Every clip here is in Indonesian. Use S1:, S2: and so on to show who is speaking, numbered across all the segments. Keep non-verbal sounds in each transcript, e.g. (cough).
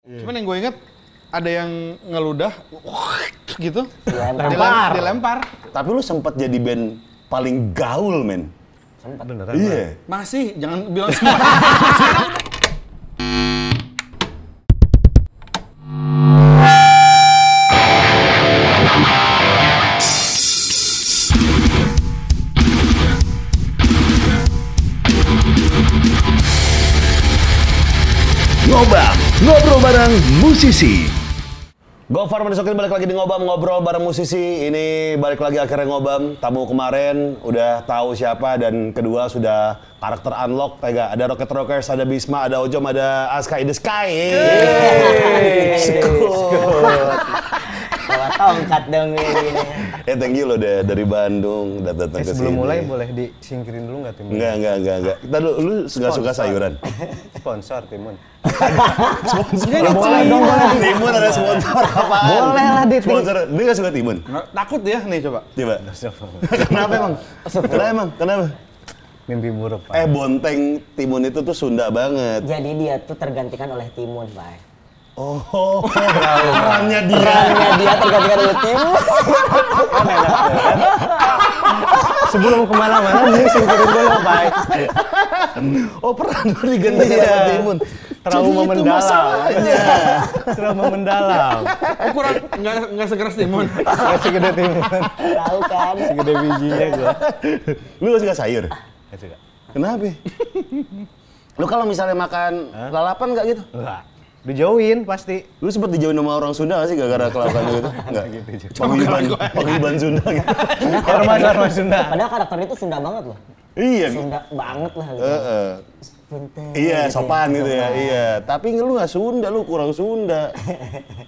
S1: Cuman yang gue inget ada yang ngeludah gitu.
S2: Dilempar.
S1: Dilem- Dilempar.
S3: Tapi lu sempat jadi band paling gaul, men.
S2: Beneran.
S3: Iya.
S1: Masih jangan bilang semua.
S3: Ngobam, ngobrol bareng musisi. Gofar Menisokin balik lagi di Ngobam, ngobrol bareng musisi. Ini balik lagi akhirnya Ngobam. Tamu kemarin udah tahu siapa dan kedua sudah karakter unlock. Tega. Ada Rocket Rockers, ada Bisma, ada Ojom, ada Aska in the Sky.
S2: Bawa tongkat dong ini.
S3: Eh, thank you lo deh dari Bandung udah datang
S4: Eh,
S3: ke
S4: sebelum
S3: sini.
S4: mulai boleh disingkirin dulu nggak Timun?
S3: Enggak, enggak, enggak, enggak. Ntar lu, lu nggak suka sayuran?
S4: Sponsor Timun.
S1: Jangan
S2: boleh dong, boleh.
S3: Timun ada sponsor apaan?
S2: Boleh lah, Dit.
S3: Sponsor, dia nggak suka timun?
S1: Takut ya nih coba.
S3: Coba. Kenapa emang? Kenapa emang? Kenapa?
S4: Mimpi buruk Pak.
S3: Eh bonteng timun itu tuh Sunda banget.
S2: Jadi dia tuh tergantikan oleh timun, Pak.
S3: Oh, perannya dia.
S2: Perannya dia tergantikan oleh timun.
S4: Sebelum kemana-mana nih singkirin dulu Pak. Iya.
S3: Oh peran lu diganti sama timun.
S4: Trauma
S3: Jadi itu
S4: mendalam. Iya.
S3: masalahnya.
S4: Trauma mendalam.
S1: Aku Eh, kurang nggak nggak sekeras timun.
S4: Nggak segede Timun.
S2: Tahu kan?
S4: Segede bijinya gua.
S3: Lu nggak suka sayur?
S4: Nggak suka.
S3: Kenapa? Lu kalau misalnya makan lalapan nggak gitu?
S4: Nggak. Dijauhin pasti.
S3: Lu sempet dijauhin sama orang Sunda nggak sih gara-gara kelakuan lu (laughs) gitu? Enggak gitu. Paguyuban, paguyuban Sunda gitu.
S4: Hormat hormat Sunda.
S2: Padahal karakter itu Sunda banget loh.
S3: iya. Eh,
S2: Sunda banget lah. gitu.
S3: Heeh.
S2: Pinter.
S3: Iya, sopan gitu ya. Iya, tapi lu nggak Sunda, lu kurang Sunda.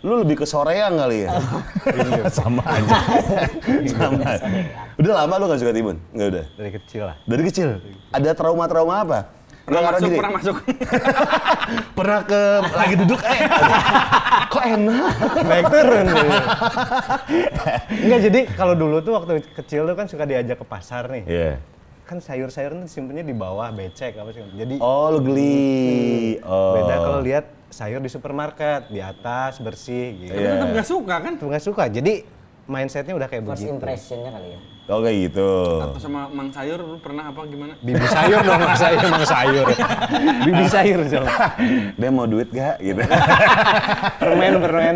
S3: Lu lebih ke soreang kali ya. (laughs) Sama aja. Sama. Udah lama lu nggak suka timun? Nggak udah.
S4: Dari kecil lah.
S3: Dari kecil. Ada trauma-trauma apa?
S1: Pernah
S3: Nggak ngarang
S1: masuk,
S3: diri?
S1: pernah masuk.
S3: Pernah ke lagi duduk eh. Kok enak?
S4: Naik turun. gitu. Nggak jadi kalau dulu tuh waktu kecil tuh kan suka diajak ke pasar nih.
S3: Iya.
S4: Kan sayur-sayur tuh disimpannya di bawah becek apa sih. Jadi
S3: Oh, lu geli. Oh.
S4: beda kalau lihat sayur di supermarket di atas bersih gitu.
S3: Iya.
S1: Tetap nggak suka kan?
S4: Tuh nggak suka. Jadi mindsetnya udah kayak
S2: First
S3: Gitu.
S4: begitu.
S2: impression-nya kali ya.
S3: Oh kayak gitu.
S1: Atau sama Mang Sayur lu pernah apa gimana?
S4: Bibi sayur dong, Mas sayur, emang sayur. (laughs) Bibi sayur dong.
S3: Dia mau duit gak? Gitu. (laughs)
S4: Permen, permen.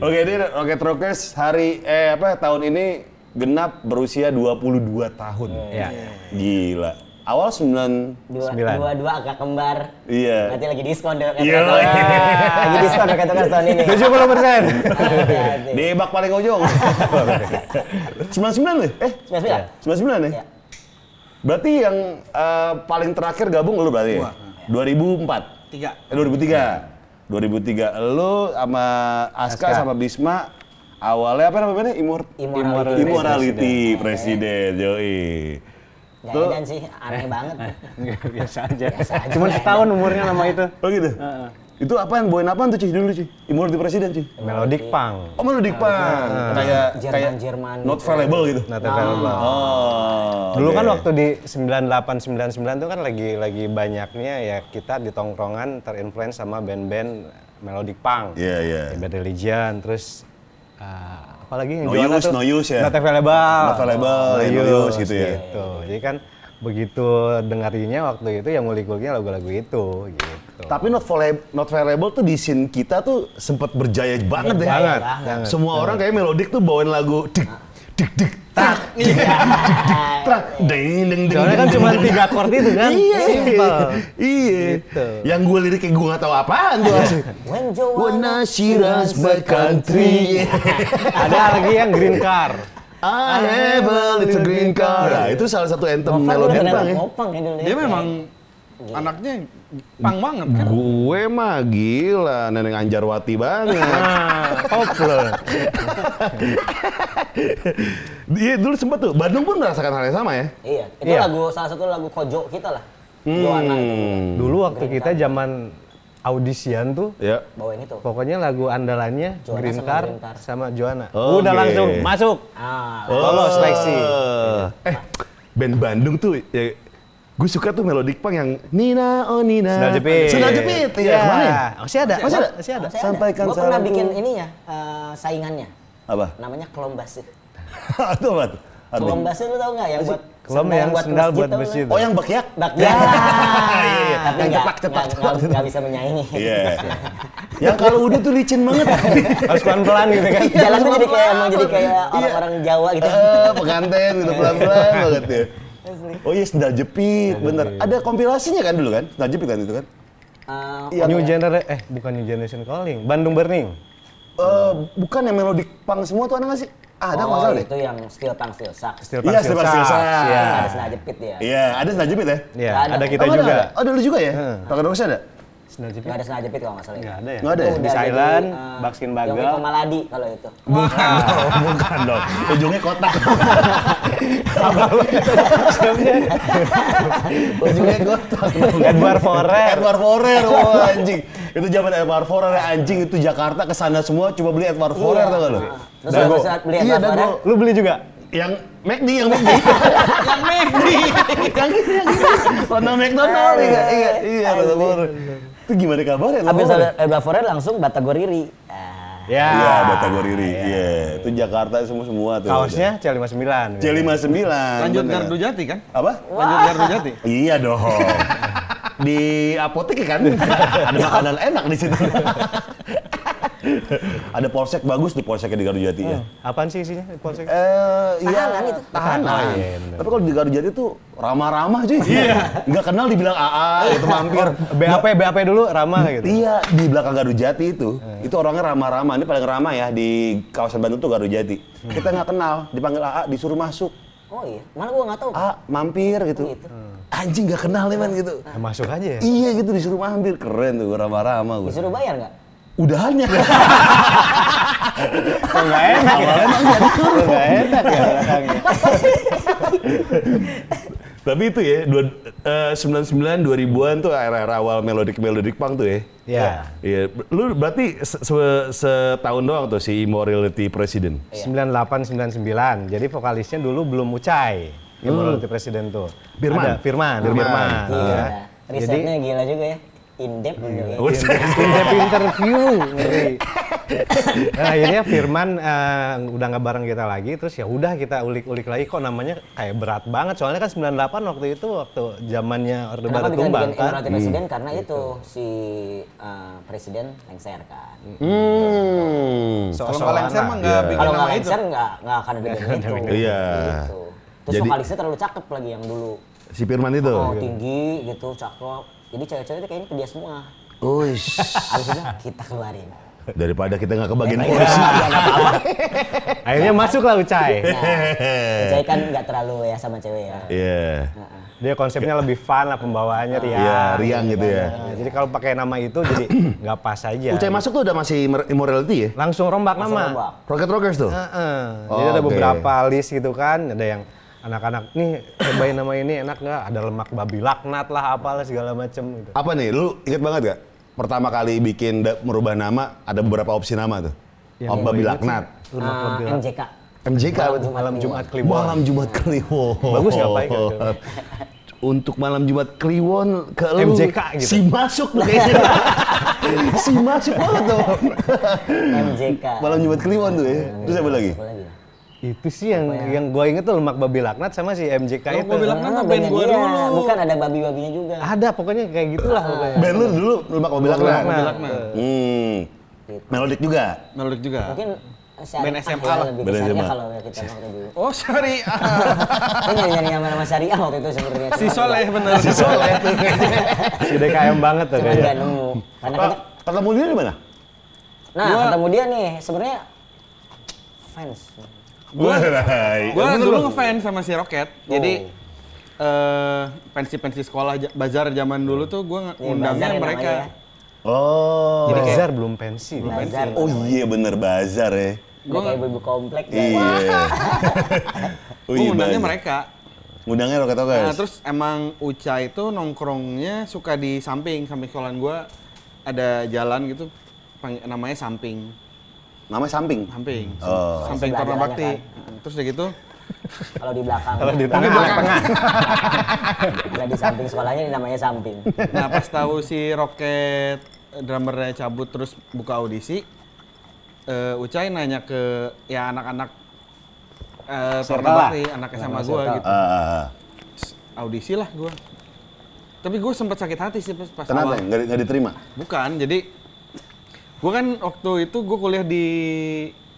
S3: Oke, ini Rocket Rockers hari eh apa tahun ini genap berusia 22 tahun.
S4: Iya.
S3: Gila. Awal 9
S2: Dua,
S4: Sembilan.
S2: dua, dua agak kembar.
S3: Iya.
S2: Nanti lagi diskon dong.
S3: Iya,
S2: kata-kata.
S3: lagi.
S2: Lagi diskon dong, kata-kata Iya, tahun ini.
S4: 70 persen.
S2: Hati-hati.
S3: (laughs) di bak paling
S4: (laughs)
S3: ujung. 99 nih? Eh, 99
S2: 99?
S3: nih?
S2: Iya.
S3: Berarti yang eh, paling terakhir gabung lu berarti ya? 2004.
S1: Tiga.
S3: Eh, 2003. 2003 lu sama Aska,
S4: Aska.
S3: sama Bisma awalnya apa namanya? Imor
S2: Immorality. Iya.
S3: Immorality Presiden, Joey.
S2: Gak
S3: Tuh.
S2: edan sih, aneh banget.
S4: Eh. Biasa aja.
S2: (laughs) Biasa aja.
S4: Cuman setahun umurnya nama itu.
S3: Oh gitu? Itu apaan? Boin apaan tuh Cih dulu Cih? Immorality Presiden Cih?
S4: Melodic punk.
S3: Oh malu dikpan? Kayak
S2: Jerman-
S3: kayak
S2: Jerman
S3: not
S2: gitu.
S3: valuable gitu?
S4: ya. Not available.
S3: Oh.
S4: Dulu kan
S3: oke.
S4: waktu di 98 99 tuh kan lagi lagi banyaknya ya kita di tongkrongan terinfluence sama band-band melodic punk.
S3: Iya, iya.
S4: Ya, Bad Religion, terus uh, apalagi yang
S3: No
S4: juara
S3: use,
S4: tuh,
S3: no use ya?
S4: Not available.
S3: Not available,
S4: No
S3: ya, no use gitu ya?
S4: gitu. Jadi kan begitu dengarinya waktu itu yang ngulik-nguliknya lagu-lagu itu gitu.
S3: Tapi not, valu- not valuable tuh di scene kita tuh sempat berjaya banget deh.
S4: Banget,
S2: banget.
S3: Semua orang kayak melodic tuh bawain lagu dik dik dik tak dik dik dik tak ding deng deng.
S4: Ah, iya, Soalnya kan
S3: deng,
S4: cuma
S3: deng,
S4: tiga chord itu kan.
S3: (laughs) Iya.
S4: Simple.
S3: Iya.
S4: Gitu. Iya.
S3: Yang gue lirik kayak gue gak tahu apaan tuh asli.
S2: When Joanna,
S3: Wanna she runs my country.
S4: (laughs) Ada lagi yang green car.
S3: I have a little green car. Nah, itu salah satu anthem
S2: Ngopang
S3: melodi
S2: udah kena
S3: bang ya.
S2: ngopang ya dulu.
S1: Dia memang anaknya pang banget kan?
S3: Gue mah gila, neneng Anjarwati banget. Ah.
S4: Koplo.
S3: (laughs) Iya dulu sempet tuh, Bandung pun merasakan hal yang sama ya?
S2: Iya, itu
S4: Iya. Hmm.
S2: lagu salah satu lagu kojo kita lah. Joanna itu.
S4: Dulu waktu kita zaman audisian tuh
S3: Ya.
S2: Bawain itu.
S4: Pokoknya lagu andalannya
S2: Joanna
S4: Green
S2: sama
S4: Car
S2: Green Car.
S4: sama Joanna.
S3: Oke. Oh.
S4: Udah langsung masuk.
S2: Ah,
S4: Lolos seleksi.
S3: Eh, band Bandung tuh ya, Gue suka tuh melodic punk yang Nina oh Nina.
S4: Sendal jepit.
S3: Sendal jepit. Iya,
S4: Iya.
S3: kemana ya?
S4: Masih ada.
S3: Masih ada?
S4: Masih ada.
S2: Saya
S3: Sampaikan
S2: Gua pernah
S3: salamku.
S2: bikin ininya, eh, saingannya.
S3: (laughs) Apa?
S2: Namanya Kelombase.
S3: Itu apa? tuh? Artinya?
S2: Kelombase lu tau nggak yang buat
S4: Kelom yang sendal buat
S2: tau nggak?
S4: masjid.
S3: Oh yang bekyak?
S2: Bak ya.
S3: (laughs) Iya.
S2: Tapi
S3: Yang cepak, cepak,
S2: nggak nggak-
S3: cepak.
S2: nggak- nggak bisa menyaingi.
S3: Iya. yang kalau udah tuh licin banget. (laughs)
S4: Harus pelan-pelan gitu kan.
S3: Iya,
S2: Jalan tuh jadi kayak
S3: pelan-pelan.
S2: emang jadi kayak
S3: Iya.
S2: orang-orang Jawa gitu.
S3: Eh, pengantin gitu
S4: (laughs)
S3: pelan-pelan banget ya. Oh iya sendal jepit, bener. Ada kompilasinya kan dulu kan? Sendal jepit kan itu kan?
S2: Eh,
S3: Iya.
S4: New Generation, eh bukan New Generation Calling, Bandung Burning.
S3: Eh, bukan yang melodic punk semua tuh ada nggak sih? Ah, ada nggak
S2: oh,
S3: salah deh.
S2: itu yang steel punk steel sax.
S4: Steel
S3: Iya, Steel Punk, Steel Sax.
S4: Iya,
S2: Ada sendal jepit dia.
S3: Iya, ada sendal jepit ya?
S4: Iya,
S2: Nggak ada.
S4: ada kita
S3: Oh, ada,
S4: juga.
S3: ada. Oh, ada lu juga ya?
S4: Heeh.
S3: Pakai dosis ada?
S4: Sendal jepit?
S2: Nggak ada sendal jepit kalau nggak eh, salah.
S4: Nggak ada ya?
S3: Nggak ada ya?
S4: Di Silent, Bakskin
S2: Yogi
S4: Bagel.
S2: Komaladi kalau itu.
S3: Bukan, bukan dong. Ujungnya kotak. Ujungnya kotak. dong.
S4: Edward Forer.
S3: Edward Forer, wah anjing. Itu zaman Edward Forer anjing itu Jakarta ke sana semua coba beli Edward Forer tau gak lu?
S2: Iya. Terus habis saat beli
S3: Iya,
S2: Edward
S3: dago.
S4: Lu beli juga?
S3: Yang McD, yang
S2: (laughs)
S3: McD. yang McD. yang itu, yang itu. Ronald McDonald. Iya, iya, iya, Edward Forer. Itu gimana kabarnya? Edward
S2: Habis
S3: Forer?
S2: ada Elba Forer eh, langsung Batagor Riri. Ah.
S4: Ya.
S3: Iya, kategori Iya, itu Jakarta semua semua tuh.
S4: Kaosnya C59.
S3: C59.
S1: Lanjut
S3: bener.
S1: Gardu Jati kan?
S3: Apa?
S1: Lanjut Gardu Jati.
S3: (laughs) Iya dong. di apotek kan ada makanan enak di situ. ada polsek bagus tuh polseknya di Gardu Jati ya.
S4: Apaan sih isinya di polsek?
S3: Eh,
S2: Tahanan itu.
S3: Tahanan.
S4: Oh, iya, iya, bener.
S3: Tapi kalau di Gardu Jati tuh ramah-ramah cuy. Iya. Nggak kenal dibilang AA itu mampir.
S4: BAP, BAP dulu, ramah gitu. Hmm.
S3: Iya, di belakang Garut Jati itu, itu orangnya ramah-ramah. Ini paling ramah ya di kawasan Bandung tuh Garut Jati.
S4: Hmm.
S3: Kita nggak kenal, dipanggil AA, disuruh masuk.
S2: Oh iya, malah gua nggak tahu.
S4: Ah.
S3: A, mampir gitu.
S2: Gitu.
S3: Anjing nggak kenal ya, man gitu.
S4: Ya, Masuk aja ya.
S3: Iya gitu disuruh mampir, keren tuh ramah-ramah gue.
S2: Disuruh bayar nggak?
S3: Udahannya.
S4: Enggak enak ya. Enggak enak ya belakangnya.
S3: (laughs) Tapi itu ya, dua, eh, 99 2000-an tuh era-era awal melodic melodic punk tuh ya.
S4: Iya.
S3: Iya, lu berarti se- se- setahun doang tuh si Immorality President.
S4: 98 99. Jadi vokalisnya dulu belum Ucai. Immorality Presiden tuh.
S3: Firman.
S4: Ada Firman,
S3: Firman.
S4: Firman.
S2: Gila.
S4: ya. Jadi Iya. Oh,
S2: Risetnya gila juga ya. In depth juga. ya.
S3: Buset.
S4: Pinjam interview,
S3: (laughs)
S4: ngeri. Nah, akhirnya Firman eh, udah nggak bareng kita lagi, terus ya udah kita ulik-ulik lagi kok namanya kayak berat banget. Soalnya kan 98 waktu itu waktu zamannya Orde
S2: Kenapa
S4: Baru
S2: bikin
S4: tumbang
S2: bikin
S4: kan.
S2: Emirati Presiden? Karena itu si eh, Presiden lengser kan.
S3: Hmm.
S4: Oh,
S1: Kalau nggak lengser mah nggak
S3: Iya.
S1: bikin
S2: Kalau
S1: nama
S2: nggak
S1: itu.
S2: lengser nggak nggak akan ada band itu.
S3: Iya.
S2: Gitu. Terus
S3: Jadi-
S2: vokalisnya terlalu cakep lagi yang dulu.
S3: (laughs) Si Firman itu.
S2: Oh tinggi gitu, cakep. Jadi cewek-cewek itu kayaknya ke dia semua. (laughs)
S3: Uish.
S2: Abis itu kita
S3: (laughs)
S2: keluarin.
S3: Daripada kita nggak kebagian
S2: Baik, (laughs)
S3: kursi.
S2: ada apa-apa.
S4: (laughs) Akhirnya masuklah
S2: (laughs)
S4: Ucai.
S2: Nah, Cewek kan nggak terlalu ya sama cewek ya.
S3: Iya.
S4: Dia konsepnya lebih fun lah pembawaannya riang.
S3: Iya, riang gitu ya.
S4: Nah, jadi kalau pakai nama itu jadi nggak pas aja.
S3: Ucai masuk tuh udah masih mer- Immorality ya?
S4: Langsung rombak
S2: Langsung
S4: nama.
S2: rombak.
S3: Rocket Rockers tuh?
S2: Nah,
S4: Heeh.
S3: Oh,
S4: Jadi ada
S3: oke.
S4: beberapa list gitu kan, ada yang anak-anak nih cobain nama ini enak nggak? Ada lemak babi laknat lah, apalah segala macem gitu.
S3: Apa nih, lu inget banget gak? Pertama kali bikin da- merubah nama, ada beberapa opsi nama tuh.
S4: Ya,
S3: Om Babi Laknat.
S4: Lemak
S2: Ah,
S4: babi
S3: (clears throat)
S4: laknat.
S2: MJK.
S3: MJK
S2: Malam
S3: apa tuh?
S2: Jumat
S4: oh, iya Malam Jumat Kliwon.
S3: Malam Jumat Kliwon.
S4: Bagus nggak, Pak?
S3: (laughs) Untuk malam Jumat Kliwon ke lu,
S4: MJK gitu.
S3: si masuk tuh kayaknya. (laughs) si masuk banget tuh.
S2: MJK.
S3: malam Jumat Kliwon tuh ya. Terus apa lagi?
S2: Apa lagi ya?
S4: Itu sih yang yang gue inget tuh lemak babi laknat sama si MJK
S1: Lemak
S4: itu.
S1: babi laknat. Kan
S2: Karena
S1: tuh band gua
S2: dia.
S1: dulu.
S2: Bukan ada babi-babinya juga.
S3: Ah.
S4: Ada pokoknya kayak gitulah
S2: Ah.
S4: pokoknya.
S3: Band lu dulu Lemak Babi Laknat.
S4: Babi
S1: Laknat.
S3: Hmm. Melodic juga.
S1: Melodic juga.
S2: Mungkin
S1: Band
S2: syariah
S1: SMA
S2: ya,
S1: lah.
S2: lebih ke
S3: Band
S2: syariah
S3: SMA.
S2: kalau
S3: (laughs)
S2: kita gitu. waktu dulu.
S1: Oh, (laughs) sorry.
S2: Kita nyari-nyari nama-nama syariah waktu itu sebenarnya.
S1: si Soleh bener. Si
S4: Si DKM banget tuh
S2: Cuman
S3: Iya.
S4: kayaknya.
S2: nggak nemu. Karena
S3: Pak,
S2: kita,
S3: ketemu dia di mana?
S2: nah
S1: Gua-
S2: ketemu dia nih sebenarnya fans.
S3: (laughs)
S1: Gua- Gue
S3: Bener
S1: dulu
S3: loh.
S1: ngefans sama si Rocket.
S5: Oh.
S1: Jadi eh pensi-pensi sekolah ja- bazar zaman dulu tuh gue
S2: bazar
S1: ngundangnya
S2: ya
S1: mereka.
S2: namanya.
S3: Oh.
S4: Jadi Bazar belum pensi.
S2: Bazar.
S3: Oh iya bener bazar ya.
S2: Gua kayak ibu-ibu komplek ya.
S3: Iya.
S1: Gue ngundangnya mereka.
S3: Undangnya Rocket Rockers.
S1: Nah, terus emang Uca itu nongkrongnya suka di samping samping sekolahan gue ada jalan gitu pang- namanya samping
S3: namanya samping.
S1: samping
S3: Oh.
S1: samping
S2: Sebelah
S1: Torna
S2: jalannya
S1: Bakti
S2: kan.
S1: terus udah gitu
S2: Kalau di belakang.
S4: Kalau di tengah, tengah.
S2: Kalau di samping sekolahnya namanya samping.
S1: Nah pas tahu si Rocket drummernya cabut terus buka audisi, eh, Ucai nanya ke ya anak-anak eh
S4: Circle
S1: Pernama
S4: lah.
S1: Bakti, anak SMA
S4: Anak
S1: gue
S4: circle.
S1: gitu.
S3: Ah,
S1: Audisi lah gue. Tapi gue sempat sakit hati sih pas, pas
S3: kenapa
S1: awal.
S3: nggak di- nggak diterima?
S1: Bukan, jadi gue kan waktu itu gue kuliah di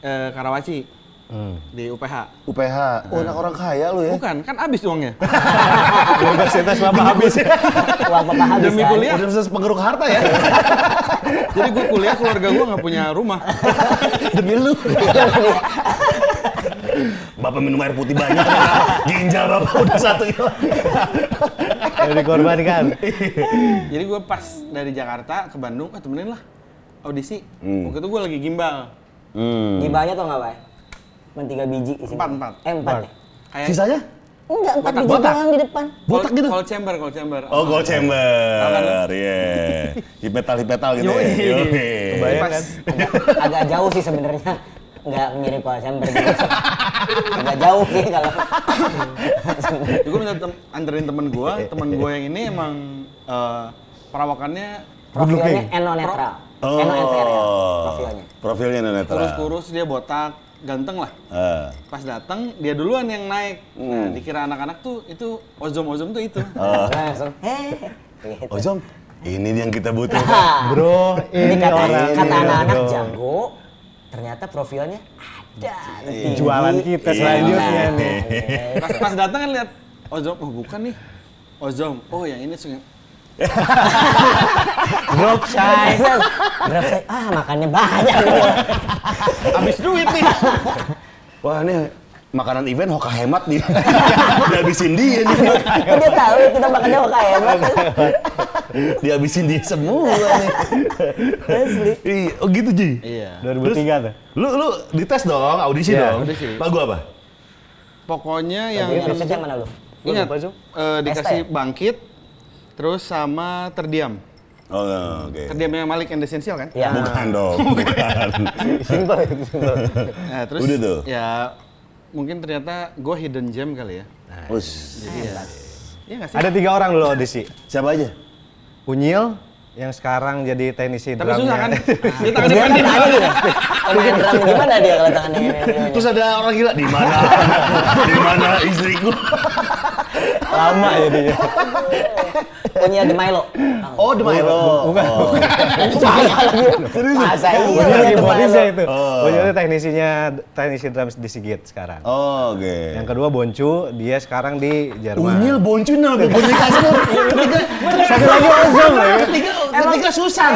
S1: eh, Karawaci
S3: Hmm.
S1: di UPH.
S3: UPH, oh anak orang kaya lu ya.
S1: Bukan, kan abis uangnya.
S4: (laughs)
S1: (laughs)
S4: Universitas Bapak habis.
S2: Uang papa habis
S1: Demi
S2: kan?
S1: kuliah.
S3: Udah bisa Iya. penggeruk harta
S4: (laughs)
S3: ya.
S1: Jadi gue kuliah keluarga gue nggak punya rumah.
S3: Demi lu. bapak minum air putih banyak. (laughs) Ginjal bapak udah satu hilang.
S4: Yang dikorbankan.
S1: Jadi gue pas dari Jakarta ke Bandung, ah temenin lah audisi. Waktu itu gue lagi gimbal.
S3: Hmm.
S2: Gimana tuh nggak, Pak? Cuman tiga biji isinya.
S1: Empat, empat.
S2: Eh, empat ya?
S1: Kayak
S3: Sisanya?
S2: Enggak, empat biji
S3: botak.
S2: doang di depan.
S3: Botak
S1: call-
S3: gitu.
S1: Call chamber, call chamber.
S3: Oh,
S1: Tahu kan
S3: gold
S1: lu?
S3: chamber. Iya. Hipetal-hipetal gitu ya.
S1: Yoi.
S3: Yoi.
S4: Kebayang
S1: Pas- (laughs)
S4: kan?
S2: Agak, agak jauh sih sebenarnya. Nggak mirip call chamber gitu. Agak jauh sih kalau.
S1: gue minta tem- anterin temen gue, temen gue yang ini emang eh, perawakannya
S2: Profilnya
S4: looking.
S2: eno netral.
S3: Oh.
S2: Eno NTRL. ya, Profilnya.
S3: Profilnya netra.
S1: kurus-kurus, dia botak, ganteng lah.
S3: Ah.
S1: Pas datang dia duluan yang naik. Nah, dikira anak-anak tuh itu ozom-ozom tuh itu.
S2: Oh. Nah, Langsung, hehehe. Gitu.
S3: Oh, Jom, ini yang kita butuhkan.
S4: Bro,
S2: Ini
S4: ini
S2: kata,
S4: orang.
S2: kata
S4: ini
S2: anak-anak
S4: orang.
S2: jago, ternyata profilnya ada. Tinggi.
S4: Jualan kita
S2: Iya.
S1: ya,
S4: selanjutnya nih.
S1: Pas pas datang kan lihat ozom, oh bukan nih. Ozom. Oh yang ini sungai.
S4: Drop
S2: Nah,
S4: size.
S2: terus, berapa saya, ah makannya banyak. (laughs)
S1: Habis duit nih.
S3: Wah, ini makanan event hoka hemat nih. (laughs) Dihabisin dia nih.
S2: Dia tahu kita makannya kok hemat.
S3: (laughs) Dihabisin dia semua nih.
S2: Asli.
S3: Iya, oh gitu, Ji.
S1: Iya.
S2: (laughs)
S4: 2003 tuh.
S3: Lu lu dites dong, audisi
S4: Iya,
S3: dong.
S1: audisi.
S3: Lagu apa?
S1: Pokoknya yang
S2: Ini episode yang mana lu?
S4: Lu
S1: Ingat,
S4: lupa, Zoom?
S1: eh, dikasih
S2: ST.
S1: bangkit, terus sama terdiam.
S3: Oh, oke.
S1: Terdiamnya Malik and Essential kan?
S2: Ya.
S3: (laughs) Bukan dong, bukan.
S4: Simple itu. simple.
S1: Nah, terus
S3: Udah tuh.
S1: ya mungkin ternyata gue hidden gem kali ya.
S3: Us.
S1: Iya nggak sih?
S4: Ada tiga orang dulu audisi.
S3: Siapa aja?
S4: Unyil yang sekarang jadi teknisi
S1: Tapi
S4: drumnya. (laughs)
S1: susah kan? Dia tangannya
S2: Dia kan
S1: pendek.
S2: tanya gitu. Pemain drum gimana dia kalau tangannya ini?
S3: Terus ada orang gila di mana? di mana istriku?
S4: Lama jadinya.
S2: Punya The Milo.
S3: Oh, Demilo.
S4: Bukan.
S2: Serius? Masa iya
S4: Unyil
S2: punya The
S4: keyboardisnya
S2: Milo.
S4: itu.
S3: Oh.
S4: Unyil itu teknisinya teknisi drum di Sigit sekarang.
S3: Oh, oke.
S4: Yang kedua Boncu, dia sekarang di Jerman.
S3: Unyil boncun dong, boncun kasur. Ketiga,
S4: Satu lagi Ozom ya. kan?
S3: ketiga, ketiga Susan.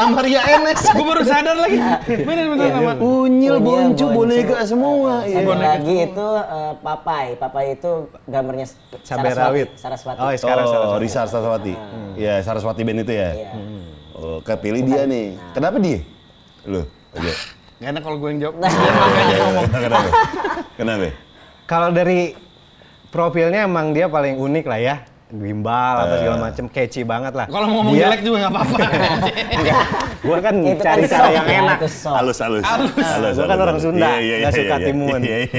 S3: Amaria Enes.
S1: Gue baru sadar lagi. Bener-bener sama.
S3: Unyil
S2: Unyil,
S3: boncu
S2: boncu.
S3: boneka semua.
S2: Satu
S3: Iya.
S2: lagi itu eh, Papai. Papai itu gambarnya
S4: Cabai
S2: Saraswati.
S4: rawit.
S2: Saraswati.
S4: Oh, sekarang
S3: oh,
S4: Saraswati.
S3: Risa Saraswati. Iya, Saraswati band itu ya.
S2: Iya.
S3: Oh, kepilih dia nih. Kenapa dia? Lu. Oke.
S1: Gak enak kalau gue yang jawab.
S2: (laughs)
S3: (laughs) Kenapa? Kenapa?
S4: Kalau dari profilnya emang dia paling unik lah ya. Gimbal apa
S2: Iya.
S4: segala macem, catchy banget lah.
S1: Kalau ngomong
S4: Dia-
S1: jelek juga nggak
S4: (laughs)
S1: apa-apa.
S4: Iya. Gua kan
S2: Itu kan
S4: cari cara
S2: soft
S4: yang
S2: ya,
S4: enak.
S2: Itu soft.
S3: Halus, halus. Halus.
S4: Gua kan orang Sunda,
S3: Iya, iya,
S4: nggak
S3: iya,
S4: suka
S3: iya,
S4: timun.
S3: iya, iya.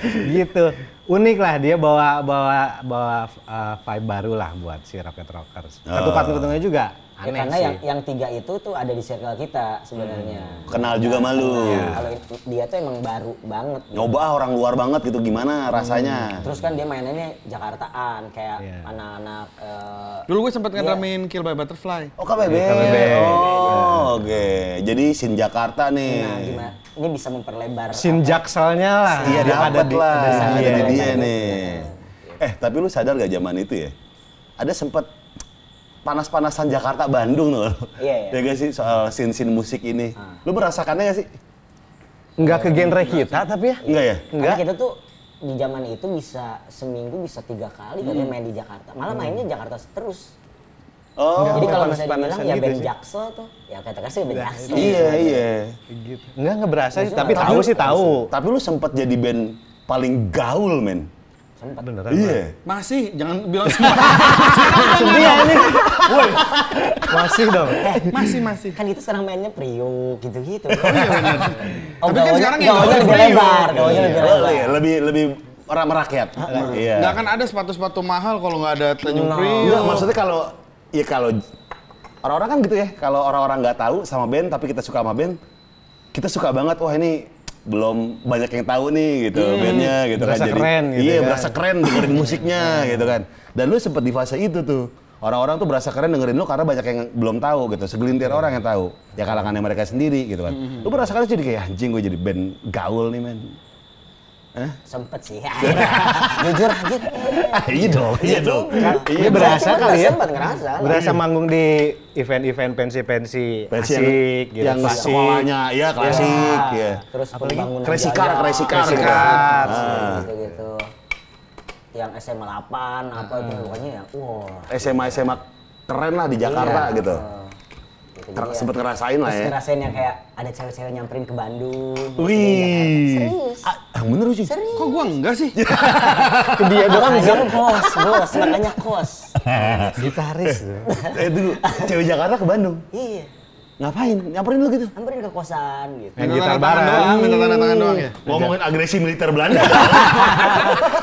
S4: (laughs) gitu. Unik lah dia bawa bawa bawa uh, vibe baru lah buat si Rocket Rockers.
S3: Oh.
S4: Ketupat-ketupatnya juga
S2: Ya,
S4: aneh
S2: karena
S4: sih.
S2: yang yang tiga itu tuh ada di circle kita sebenarnya.
S3: (laughs) Kenal juga malu.
S2: Nah, Kalau itu- dia tuh emang baru banget.
S3: Nyoba ah, orang luar banget gitu gimana rasanya.
S2: Terus kan dia mainannya Jakartaan kayak
S4: Iya.
S2: anak-anak eh,
S1: Dulu gue sempat ngeramein Kill by Butterfly.
S3: Oh KBB.
S4: KBB.
S3: Oh, oke. Jadi Sin Jakarta nih.
S2: nah gimana ini bisa memperlebar
S4: Sin Jakselnya lah.
S3: Iya
S4: Ada- ada
S3: dapat
S4: di-
S3: lah.
S4: ada di
S3: Ada
S4: dia.
S3: di dia
S2: Iya.
S3: nih. Eh tapi lu sadar gak zaman itu ya? Ada sempet panas-panasan Jakarta Bandung tuh.
S2: Iya,
S3: Ya
S2: iya.
S3: gak sih soal sin-sin musik ini. Lu merasakannya gak sih?
S4: Enggak ke genre kita tapi ya.
S3: Enggak ya?
S2: Karena
S4: Enggak.
S2: kita tuh di zaman itu bisa seminggu bisa tiga kali kali main di Jakarta malah mainnya Jakarta terus
S3: Oh.
S2: jadi kalau
S4: panas-panasan
S2: misalnya dibilang ya
S4: gitu
S2: band
S4: sih.
S2: Jaksel tuh ya kata kasih band Jaksel
S3: Iya, iya.
S4: Gitu. Enggak nggak berasa sih,
S2: Maksudnya
S3: Oh,
S4: tapi
S2: nggak
S4: tahu
S2: tahu.
S4: sih tahu.
S3: Tapi lu sempet jadi band paling gaul men.
S2: sempat.
S4: Beneran.
S3: Iya.
S1: Masih, jangan bilang
S4: (laughs)
S1: semua. (laughs)
S4: Sedih ya
S3: (laughs)
S4: ini. Woi. Masih dong.
S1: masih, masih.
S2: Kan itu sekarang mainnya priuk gitu-gitu. Oh,
S1: Tapi kan
S2: gawanya-
S1: sekarang yang
S2: gawanya
S1: gawanya
S2: lebih
S1: priuk.
S2: lebar, gawanya
S3: Iya,
S2: lebih
S3: iya,
S2: lebar.
S3: lebih lebih orang merakyat. Iya.
S1: Nggak kan akan ada sepatu-sepatu mahal kalau nggak ada tenyum
S4: Iya.
S1: priuk.
S3: Enggak, maksudnya kalau ya kalau orang-orang kan gitu ya, kalau orang-orang nggak tahu sama band tapi kita suka sama band, kita suka banget wah ini belum banyak yang tahu nih gitu bandnya gitu
S4: Hmm. Berasa
S3: kan
S4: keren gitu
S3: iya
S4: kan. Nah.
S3: berasa keren dengerin
S4: (laughs)
S3: musiknya gitu kan dan lu sempet di fase itu tuh orang-orang tuh berasa keren dengerin lu karena banyak yang belum tahu gitu segelintir
S4: Iya.
S3: orang yang tahu ya kalangannya mereka sendiri gitu kan
S4: Hmm.
S3: lu berasa keren jadi kayak anjing gue jadi band gaul nih men
S2: Sempet
S3: (laughs)
S2: sih. akhirnya. Jujur aja.
S3: Ah, (laughs) iya dong iya dong
S4: Iya, berasa
S2: Sempet,
S4: kali ya.
S2: Sempet ngerasa. lah.
S4: Berasa manggung di event-event pensi-pensi
S3: Pensi yang-
S4: asik gitu.
S3: yang
S4: klasik.
S3: sekolahnya, iya, klasik, iya.
S2: Terus pembangunan
S3: Crazy
S2: jaya,
S3: car, crazy car,
S4: Crazy
S3: gitu.
S4: car.
S3: Ah.
S2: gitu-gitu. Yang SMA 8
S3: Ah.
S2: apa itu pokoknya ya. Wah.
S3: SMA SMA keren lah di Jakarta
S2: Iya.
S3: gitu.
S2: Heeh. Gitu
S3: Ter-
S2: dia.
S3: sempet ngerasain lah
S2: Terus
S3: ya.
S2: ngerasain yang kayak ada cewek-cewek nyamperin ke Bandung. gitu
S3: Wih.
S2: dia, Jakarta. Serius.
S3: Ah, yang bener sih.
S2: Serius.
S1: Kok gua enggak sih?
S4: Iya.
S2: dia doang aja kos, bos. Makanya
S3: (laughs)
S2: kos.
S4: Gitaris. tuh.
S3: (laughs) Eh dulu, cewek Jakarta ke Bandung.
S2: Iya.
S3: Ngapain? Nyamperin lu gitu.
S2: Nyamperin ke kosan gitu.
S4: Yang
S1: Minta
S4: gitar
S1: tanda tangan
S4: bareng.
S1: doang, minta tanda tangan doang ya.
S3: Ngomongin agresi militer (laughs) Belanda.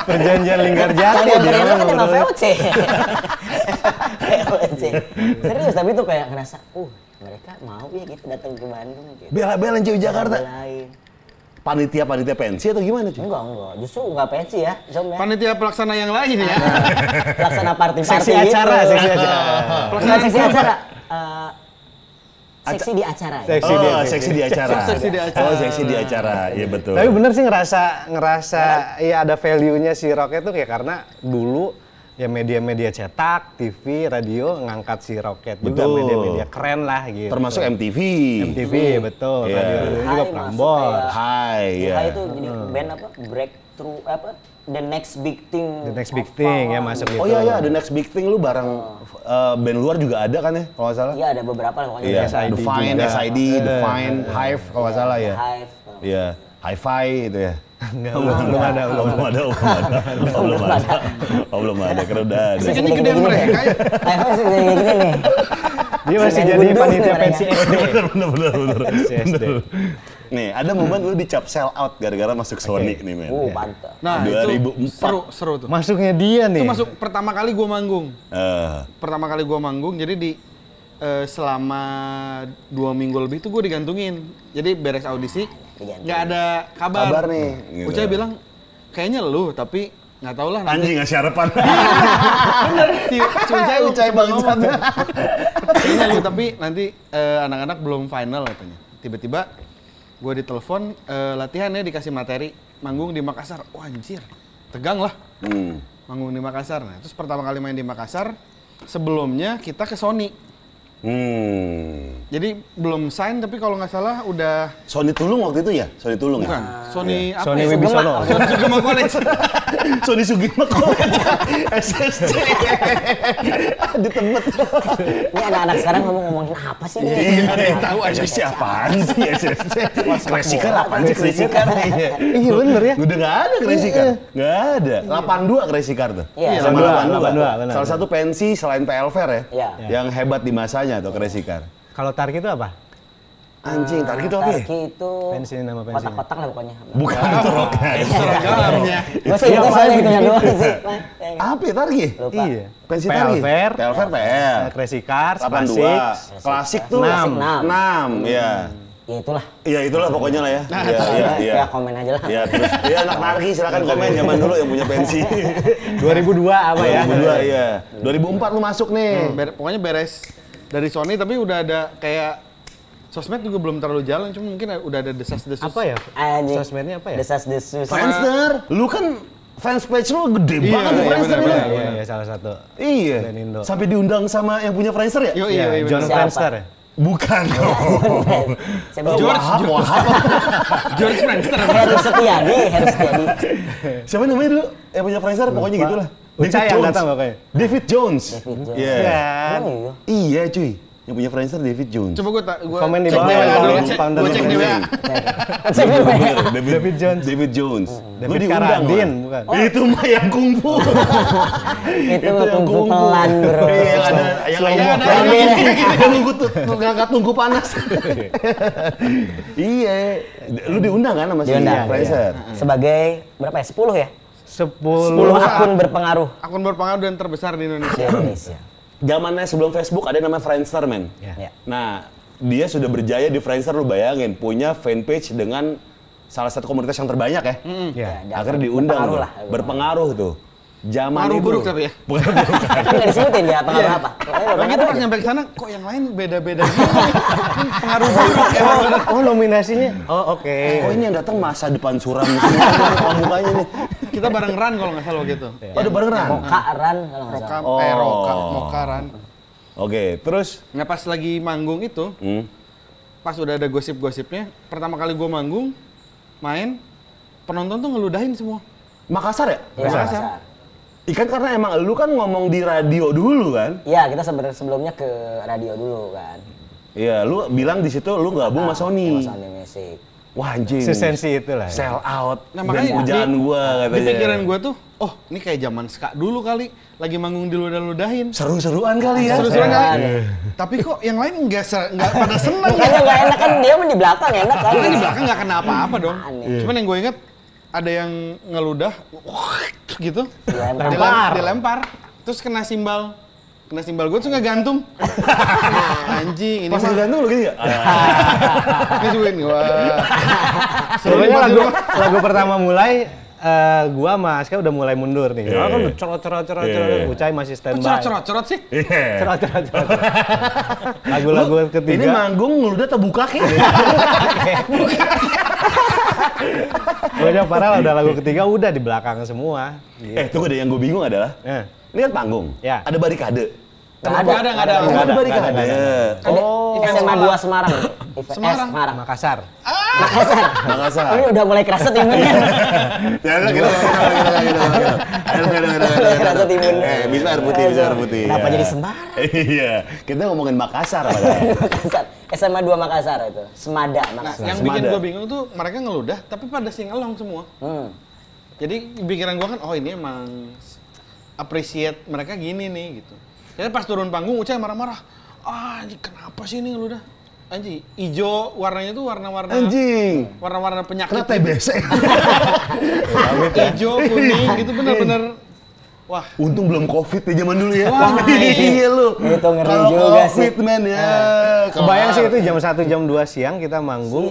S4: Perjanjian lingkar jati.
S2: Kalau yang
S4: dia
S2: berenang kan
S3: gitu.
S2: emang
S4: ngomong.
S2: VOC.
S4: (laughs)
S2: VOC. Serius, tapi tuh kayak ngerasa, uh mereka mau ya gitu datang ke Bandung gitu.
S3: Bela-belain cewek Jakarta.
S2: Lain.
S3: Panitia-panitia pensi atau gimana, cuy?
S2: Enggak, enggak. Justru enggak pensi ya, Jom ya. Nah,
S1: Panitia pelaksana yang lain
S4: Iya.
S1: ya.
S2: Laksana party-party
S4: Seksi acara,
S2: gitu.
S4: seksi acara.
S2: (laughs) Bukan seksi
S4: Iya.
S2: acara. eh, seksi di acara ya.
S4: Seksi dia.
S3: Oh, seksi di acara.
S1: Seksi di acara.
S3: Oh, seksi di acara. Iya betul.
S4: Tapi bener sih ngerasa ngerasa ya ada value-nya si Rocket tuh kayak karena dulu ya media-media cetak, TV, radio ngangkat si Rocket juga
S3: Betul.
S4: media-media keren lah gitu.
S3: Termasuk MTV.
S4: MTV betul,
S3: Iya.
S4: radio radio juga
S2: Hai,
S4: Prambors.
S2: masuk kayak-
S3: Hai,
S4: iya.
S3: ya.
S2: Hai itu jadi band apa? Breakthrough apa? The next big thing.
S4: The next big
S2: Apa?
S4: thing ya masuk gitu.
S3: Oh iya iya, the next big thing lu bareng eh, band luar juga ada kan ya, kalau nggak salah?
S2: Iya ada beberapa lah pokoknya.
S3: Iya,
S4: SID
S3: Define,
S4: juga.
S3: SID, Define, Hive kalau nggak salah ya.
S2: Hive.
S3: Eh. Iya, Hi-Fi gitu ya.
S4: Enggak,
S3: Oh, belum ada, belum ada, (laughs) belum ada, Oh, belum ada, Oh, belum ada, karena udah
S4: iya.
S3: ada.
S1: Masih gede-gedean
S2: Gini-gini.
S1: mereka ya.
S2: Hai, Hai sudah kayak gini nih.
S4: Dia masih
S2: Semen
S4: jadi
S2: gundul
S4: panitia
S2: mereka.
S4: pensi (laughs) SD.
S3: Bener, bener, bener, bener. (laughs)
S4: SD.
S3: Bener. Nih, ada momen lu dicap sell out gara-gara masuk Sony nih, men. Iya.
S4: Iya.
S2: Uh, mantap.
S1: Nah, itu
S3: 2004.
S1: seru, seru tuh.
S4: Masuknya dia nih.
S1: Itu masuk pertama kali gua manggung.
S3: Eh,
S1: Pertama kali gua manggung, jadi di eh, selama dua minggu lebih tuh gua digantungin. Jadi beres audisi,
S2: Digantungin.
S1: nggak ada kabar.
S3: Kabar nih, gitu.
S1: Ucai bilang, kayaknya lu, tapi nggak tau lah nanti.
S3: Anjing, ngasih harapan.
S1: Si- si Ucai,
S3: (laughs) Ucai
S1: sempat
S3: bangsat.
S1: ngomong tuh. (laughs) Kayaknya lu, tapi nanti eh, anak-anak belum final katanya. Tiba-tiba gue ditelepon eh, latihannya dikasih materi manggung di Makassar. Wah anjir, tegang lah
S3: Hmm.
S1: manggung di Makassar. Nah, terus pertama kali main di Makassar, sebelumnya kita ke Sony.
S3: Hmm.
S1: Jadi belum sign tapi kalau nggak salah udah
S3: Sony Tulung waktu itu ya? Sony Tulung
S1: bukan
S3: ya?
S1: Sony apa?
S4: Sony
S1: ya?
S4: Wibisono.
S1: Sony Sugemo (laughs) College.
S3: Sony Sugima College SSC ditebet
S2: Ini anak-anak sekarang ngomong ngomongin apa sih ini?
S3: iya tahu SSC apaan sih SSC Crazy Car apaan sih Crazy Car
S4: Iya bener ya.
S3: udah nggak ada Crazy Car nggak ada 82 Crazy Car tuh
S2: Iya,
S3: sama
S4: 82,
S3: 82
S4: benar.
S3: salah satu pensi selain PL Fair ya
S2: Iya.
S3: yang hebat di masanya tuh Crazy Car
S4: Kalau Tarki itu apa?
S3: anjing target
S4: gitu,
S3: itu apa ya?
S2: Tarki itu
S4: Pensi, nama pensi.
S2: gitu. kotak-kotak lah pokoknya.
S4: Iya,
S3: bukan
S2: Iya.
S3: Iya. itu rocknya
S1: Seragamnya.
S2: Gue
S3: Iya.
S2: sih itu soalnya gitu yang doang
S4: (laughs)
S2: sih.
S3: apa ya target?
S2: Lupa.
S4: Iya.
S3: pensi
S4: PL
S3: target?
S4: Fair,
S3: PL Fair PL
S4: eh, Crazy Cars, Classic.
S3: 82 klasik tuh
S4: Klasik
S3: 6
S2: enam.
S3: 6 ya
S2: Ya itulah.
S3: Ya itulah pokoknya lah ya.
S1: Nah,
S3: Iya, iya, iya.
S2: Ya komen aja lah.
S3: Ya terus ya anak narki silakan komen
S1: Iya.
S3: zaman dulu yang punya pensi.
S1: (laughs)
S4: 2002 apa ya?
S3: 2002 iya. 2004 lu masuk nih.
S1: Ber- pokoknya beres dari Sony tapi udah ada kayak sosmed juga belum terlalu jalan cuma mungkin udah ada desas-desus.
S4: Apa ya?
S2: Anjing.
S4: Sosmednya apa ya?
S2: Desas desus.
S3: Friendster, lu kan fans page lu
S1: Iya,
S3: gede banget di
S1: iya,
S3: Friendster
S1: benar,
S3: ini.
S1: benar.
S4: Iya, iya, salah satu.
S3: Iya.
S4: Band Indo.
S3: Sampai diundang sama yang punya Friendster ya?
S1: Yo
S4: Iya,
S1: iya iya.
S4: John
S1: bener.
S2: Siapa?
S4: Friendster ya?
S3: Bukan dong.
S2: (laughs) Siapa
S3: Oh,
S1: George,
S2: sih?
S3: Wahab,
S1: George.
S3: Wahab.
S1: George Friendster.
S2: Heru Setiadi, Heru Setiadi.
S4: Iya.
S1: Iya.
S3: Siapa namanya dulu yang punya Friendster? Pokoknya
S4: Lupa.
S3: gitulah.
S4: Ucai yang datang pokoknya.
S3: David Jones.
S2: David Jones.
S3: Iya.
S4: Kan.
S2: Oh, iya.
S3: Iya cuy. Yang Yang punya Friendster David Jones.
S1: Coba gue tak gua
S4: Komen di
S1: cek
S4: bawah,
S1: di WA
S4: komen,
S1: dulu,
S4: komen,
S1: cek-
S4: komen,
S1: gua cek di
S4: komen.
S1: WA.
S4: iya.
S3: Bener, bener. David,
S4: David Jones.
S3: David Jones. Gua
S4: David
S3: diundang,
S4: Carradine,
S3: Wan.
S4: bukan.
S3: Eh, Itu mah yang (laughs) kungfu.
S2: Itu kungfu pelan, bro.
S3: Iya, yang
S1: Ya,
S3: ada yang ada
S1: ada
S3: yang
S1: ada-
S3: ada-
S1: (laughs) ada nunggu tuh, ngangkat nunggu panas.
S3: Iya. Lu diundang kan sama si
S2: Diundang, iya.
S3: Friendster?
S2: Sebagai berapa ya? 10 ya? 10
S4: Sepuluh.
S2: akun berpengaruh
S1: (laughs) Akun berpengaruh dan terbesar di
S2: di
S1: Indonesia.
S2: Indonesia.
S3: Zamannya sebelum Facebook ada nama Friendster, men.
S2: Ya.
S4: Iya.
S3: Nah, dia sudah berjaya di Friendster, lu bayangin. Punya fanpage dengan salah satu komunitas yang terbanyak ya.
S4: Ya.
S2: Ya,
S3: Akhirnya diundang
S2: berpengaruh
S3: tuh.
S2: lah.
S3: Berpengaruh tuh. Zaman
S1: Pengaruh
S3: itu.
S1: buruk tapi ya?
S3: Bukan buruk.
S2: Kan nggak disebutin dia
S1: Iya.
S2: pengaruh apa. Pokoknya
S1: Lagi tuh
S2: berpengaruh
S1: Nah, pas
S2: aja.
S1: nyampe ke sana, kok yang lain (laughs) beda-beda gitu. Pengaruh buruk emang.
S4: Oh, nominasinya. Oh, oke.
S3: Oh ini yang datang masa depan suram semua depan mukanya nih.
S1: Kita bareng ran kalau nggak salah waktu itu.
S3: Oh, udah barengan.
S2: Moka, Ran, kalau nggak
S1: Roka,
S2: salah. Iya,
S1: eh
S3: Oh.
S1: Roka, Moka, Ran.
S3: Oke, terus
S1: Nah pas lagi manggung itu,
S3: hmm,
S1: pas udah ada gosip-gosipnya, pertama kali gua manggung, main, penonton tuh ngeludahin semua.
S3: Makassar ya?
S2: Iya,
S1: Makassar.
S2: Makassar.
S3: Ikan karena emang lu kan ngomong di radio dulu kan?
S2: Iya, kita sebenarnya sebelumnya ke radio dulu kan.
S3: Iya, lu bilang di situ lu gabung Ah, sama Sony.
S2: Sama Sony Music.
S3: Wah anjing.
S4: Si sensi itulah ya.
S3: Sell out.
S1: Nah
S3: dan
S1: makanya
S3: pujaan
S1: di-
S3: gua katanya.
S1: di pikiran
S3: iya.
S1: gua tuh, oh ini kayak zaman ska dulu kali, lagi manggung di ludah-ludahin.
S3: seru-seruan kali ya.
S1: Seru-seruan
S2: Seru-seruan.
S1: kali. Tapi kok yang lain nggak se- nggak pada seneng ya?
S2: Makanya nggak enak kan dia mah di belakang enak kan.
S1: Kan di belakang nggak kena apa-apa dong.
S2: Aneh.
S1: Cuman yang gue inget ada yang ngeludah gitu,
S2: Dilempar.
S1: dilempar, dilempar, terus kena simbal, kena simbal gue tuh nggak gantung. Anjing ini
S3: Pas
S1: mah
S3: gantung lu gini ya?
S4: Ah,
S1: ngejuin gue. Iya,
S4: Sebenarnya lagu lagu pertama mulai eh, gua sama Aska udah mulai mundur nih. Soalnya kan udah cerot cerot cerot
S3: Iya,
S4: cerot,
S3: iya.
S4: Ucai masih
S1: Oh,
S4: standby.
S1: Cerot-cerot sih.
S4: Cerot cerot cerot. Lagu-lagu ketiga.
S3: Ini manggung ngeludah terbuka kek.
S4: Pokoknya parah lah, udah lagu ketiga udah di belakang semua. Gitu.
S3: eh, tunggu deh yang gue bingung adalah
S4: Eh.
S3: lihat panggung.
S4: Ya.
S3: Ada barikade.
S2: Nggak ada.
S1: Nggak ada, nggak ada.
S3: Oh,
S4: Nggak ada,
S3: barikade.
S4: nggak ada,
S2: Oh, SMA 2 Semarang. Eh,
S1: Semarang.
S2: Semarang.
S4: Makassar.
S2: Makassar.
S3: Makassar.
S2: Ini udah mulai kerasa timbunnya.
S3: Ya udah gitu.
S2: Rasa timun.
S3: Eh, bisa air putih, bisa air putih.
S2: Kenapa
S3: Ya.
S2: jadi sembarang?
S3: Iya, kita ngomongin Makassar padahal.
S2: Makassar. SMA 2 Makassar itu. Semada
S1: Nah,
S2: Makassar.
S1: yang bikin
S3: Semada.
S1: gue bingung tuh mereka ngeludah tapi pada singelong semua.
S2: Hmm.
S1: Jadi pikiran gua kan oh ini emang appreciate mereka gini nih gitu. Jadi pas turun panggung Ucai marah-marah. Ah, anjing, kenapa sih ini ngeludah? Anjing, ijo warnanya tuh warna-warna
S3: Anjing. ya,
S1: warna-warna penyakit.
S3: Kena TBC.
S1: (laughs) Ijo, kuning gitu bener-bener wah
S3: (laughs) Untung belum covid di zaman dulu ya.
S1: Wah,
S3: (laughs) iya lu.
S2: itu ngeri
S3: Kalau
S2: juga sih. Eh,
S3: COVID man ya.
S4: Kebayang sih itu jam 1 jam 2 siang kita manggung.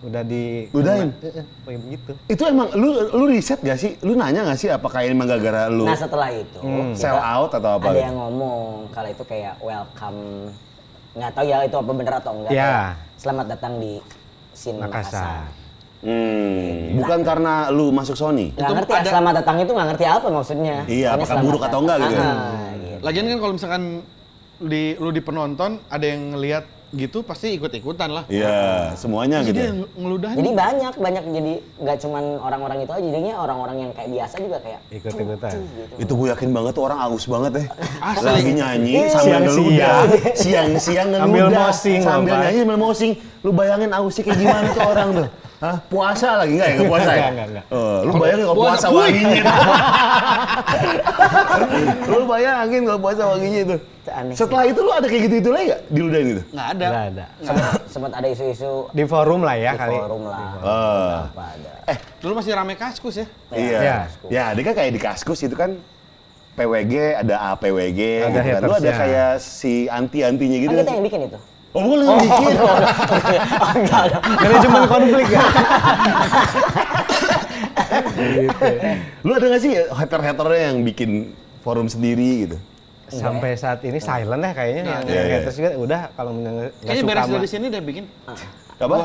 S4: Udah di
S3: Ludahin?
S4: Eh, eh, Kayak begitu.
S3: Itu emang lu lu riset gak sih? Lu nanya gak sih apakah ini emang gara-gara lu
S2: Nah setelah itu kita-
S3: sell out atau apa? gitu?
S2: ada yang ngomong kalau itu kayak welcome nggak tahu ya itu apa bener atau enggak.
S4: Ya.
S2: kayak, Selamat datang di scene
S4: Makassar.
S2: Makassar.
S3: Hmm, bukan karena lu masuk Sony.
S2: Nggak
S1: Itu
S2: ngerti ya,
S1: ada-
S2: selamat datang itu nggak ngerti apa maksudnya.
S3: Iya,
S2: Pokoknya
S3: apakah
S2: selamat
S3: buruk atau enggak gitu ya?
S2: datang. Ah, gitu.
S1: Lagian kan kalau misalkan di lu di penonton ada yang ngelihat gitu pasti ikut-ikutan lah.
S3: Iya, semuanya
S1: Jadi
S3: gitu.
S1: yang ngeludah
S2: Jadi banyak banyak jadi nggak cuman orang-orang itu aja jadinya orang-orang yang kayak biasa juga kayak
S4: Ikut-ikutan.
S3: Itu gue yakin banget tuh orang aus banget ya.
S1: Asli.
S3: Lagi nyanyi sambil
S4: Siang-siang.
S3: ngeludah, siang-siang ngeludah.
S4: Sambil mosing,
S3: Sambil
S4: Bapak.
S3: nyanyi sambil mosing. Lu bayangin ausnya kayak gimana tuh orang tuh. Hah? Puasa lagi enggak ya? Nggak puasa ya?
S4: Nggak, nggak, nggak.
S3: Eh, lu bayangin kalau puasa
S1: Puasa, wih.
S3: wanginya. tuh. (laughs) lu bayangin kalau puasa wanginya itu.
S2: Aneh.
S3: Setelah itu lu ada kayak gitu-gitu lagi enggak? Diludahin gitu.
S1: nggak ada.
S4: Enggak ada.
S2: sempat, sempat ada isu-isu
S4: Di forum lah ya
S2: di
S4: kali.
S2: forum lah.
S3: Ah.
S2: Apa ada?
S1: Dulu masih rame kaskus ya.
S3: Iya.
S4: Ya.
S3: Ya, dia kan kayak di Kaskus itu kan PWG ada APWG
S4: Ada
S3: gitu kan. Lu ada
S4: hatersnya.
S3: kayak si anti-antinya gitu.
S2: Kan kita yang bikin itu.
S3: Oh, lu yang bikin.
S2: Oh, enggak, enggak.
S4: Manajemen konflik ya.
S3: Gitu. Lu ada gak sih ya hater-haternya yang bikin forum sendiri gitu?
S4: Sampai saat ini silent ya kayaknya yang
S3: iya, iya.
S4: terus juga udah kalau nggak nggak
S1: Kayaknya
S4: suka
S1: beres
S4: sama-
S1: dari sini deh bikin.
S3: Apa?
S1: Gua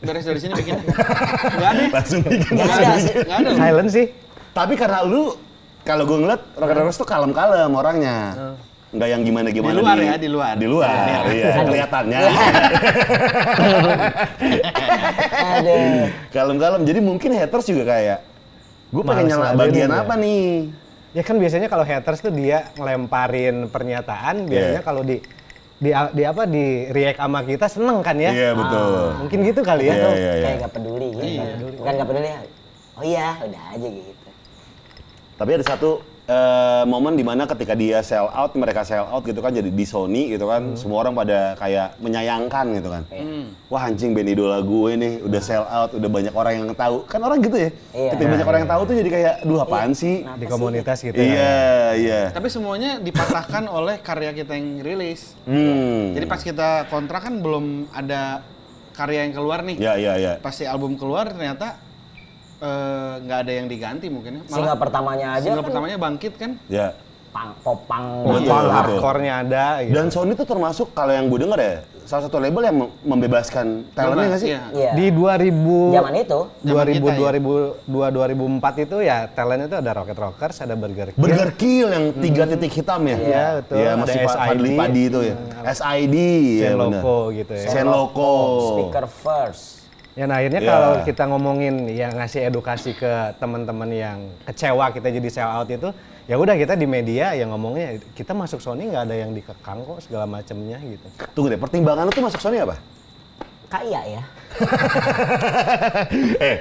S1: beres dari sini bikin. Enggak ada.
S3: Langsung bikin.
S2: Nggak
S3: langsung
S2: ada
S3: bikin.
S2: sih.
S1: Enggak ada. loh.
S4: Silent sih.
S3: Tapi karena lu, kalau gue ngeliat, rocker rockers tuh kalem-kalem orangnya. Nggak yang gimana-gimana.
S1: Di luar ya, di luar.
S3: Di luar, iya. Kelihatannya.
S2: Aduh.
S3: Kalem-kalem. Jadi mungkin haters juga kayak, gue pengen
S4: Males
S3: nyala
S4: ngeladenin
S3: bagian
S4: ya.
S3: apa nih?
S4: Ya kan biasanya kalau haters tuh dia ngelemparin pernyataan, biasanya
S3: Iya.
S4: kalau di di di apa di react sama kita seneng kan ya?
S3: Iya, betul.
S4: Mungkin gitu kali ya.
S3: Iya,
S4: tuh.
S3: iya, iya.
S2: Kayak nggak peduli gitu. Bukan nggak peduli. Oh iya, udah aja gitu.
S3: Tapi ada satu eh, momen dimana ketika dia sell out, mereka sell out gitu kan, jadi di Sony gitu kan, semua orang pada kayak menyayangkan gitu kan. Wah anjing band idola gue nih, udah sell out, udah banyak orang yang tahu. Kan orang gitu ya,
S2: Iya.
S3: ketika banyak orang yang tahu tuh jadi kayak, duh apaan sih?
S4: Di komunitas gitu.
S3: Iya, iya.
S1: Tapi semuanya dipatahkan oleh karya kita yang rilis.
S3: Hmm.
S1: Jadi pas kita kontrak kan belum ada karya yang keluar nih.
S3: Ya, ya, ya.
S1: Pasti album keluar ternyata eh, nggak ada yang diganti mungkin ya.
S2: Single pertamanya aja
S1: single
S2: kan
S1: pertamanya bangkit kan.
S3: Ya.
S2: pang, Iya, popang.
S3: Betul,
S4: Pang
S3: iya, betul.
S4: hardcore-nya ada gitu.
S3: Dan Sony tuh termasuk kalau yang gue denger ya, salah satu label yang mem- membebaskan talentnya nggak sih?
S1: Iya.
S2: Iya.
S4: Di 2000
S2: Zaman itu.
S1: Zaman
S4: 2000
S1: kita ya.
S4: 2002 2004 itu ya talent itu ada Rocket Rockers, ada Burger King.
S3: Burger Kill yang tiga titik hitam ya?
S4: Iya, betul.
S3: Iya,
S4: Ada
S3: masih Fa-
S4: SID.
S3: Fadli Padi itu ya. SID, ya benar.
S4: Loco gitu ya.
S3: Sen Loco.
S2: Speaker first.
S4: Ya nah akhirnya
S3: Ya.
S4: kalau kita ngomongin ya ngasih edukasi ke teman-teman yang kecewa kita jadi sell out itu ya udah kita di media ya ngomongnya kita masuk Sony nggak ada yang dikekang kok segala macamnya gitu.
S3: Tunggu deh, pertimbangan lu tuh masuk Sony apa?
S2: Kaya ya.
S3: eh,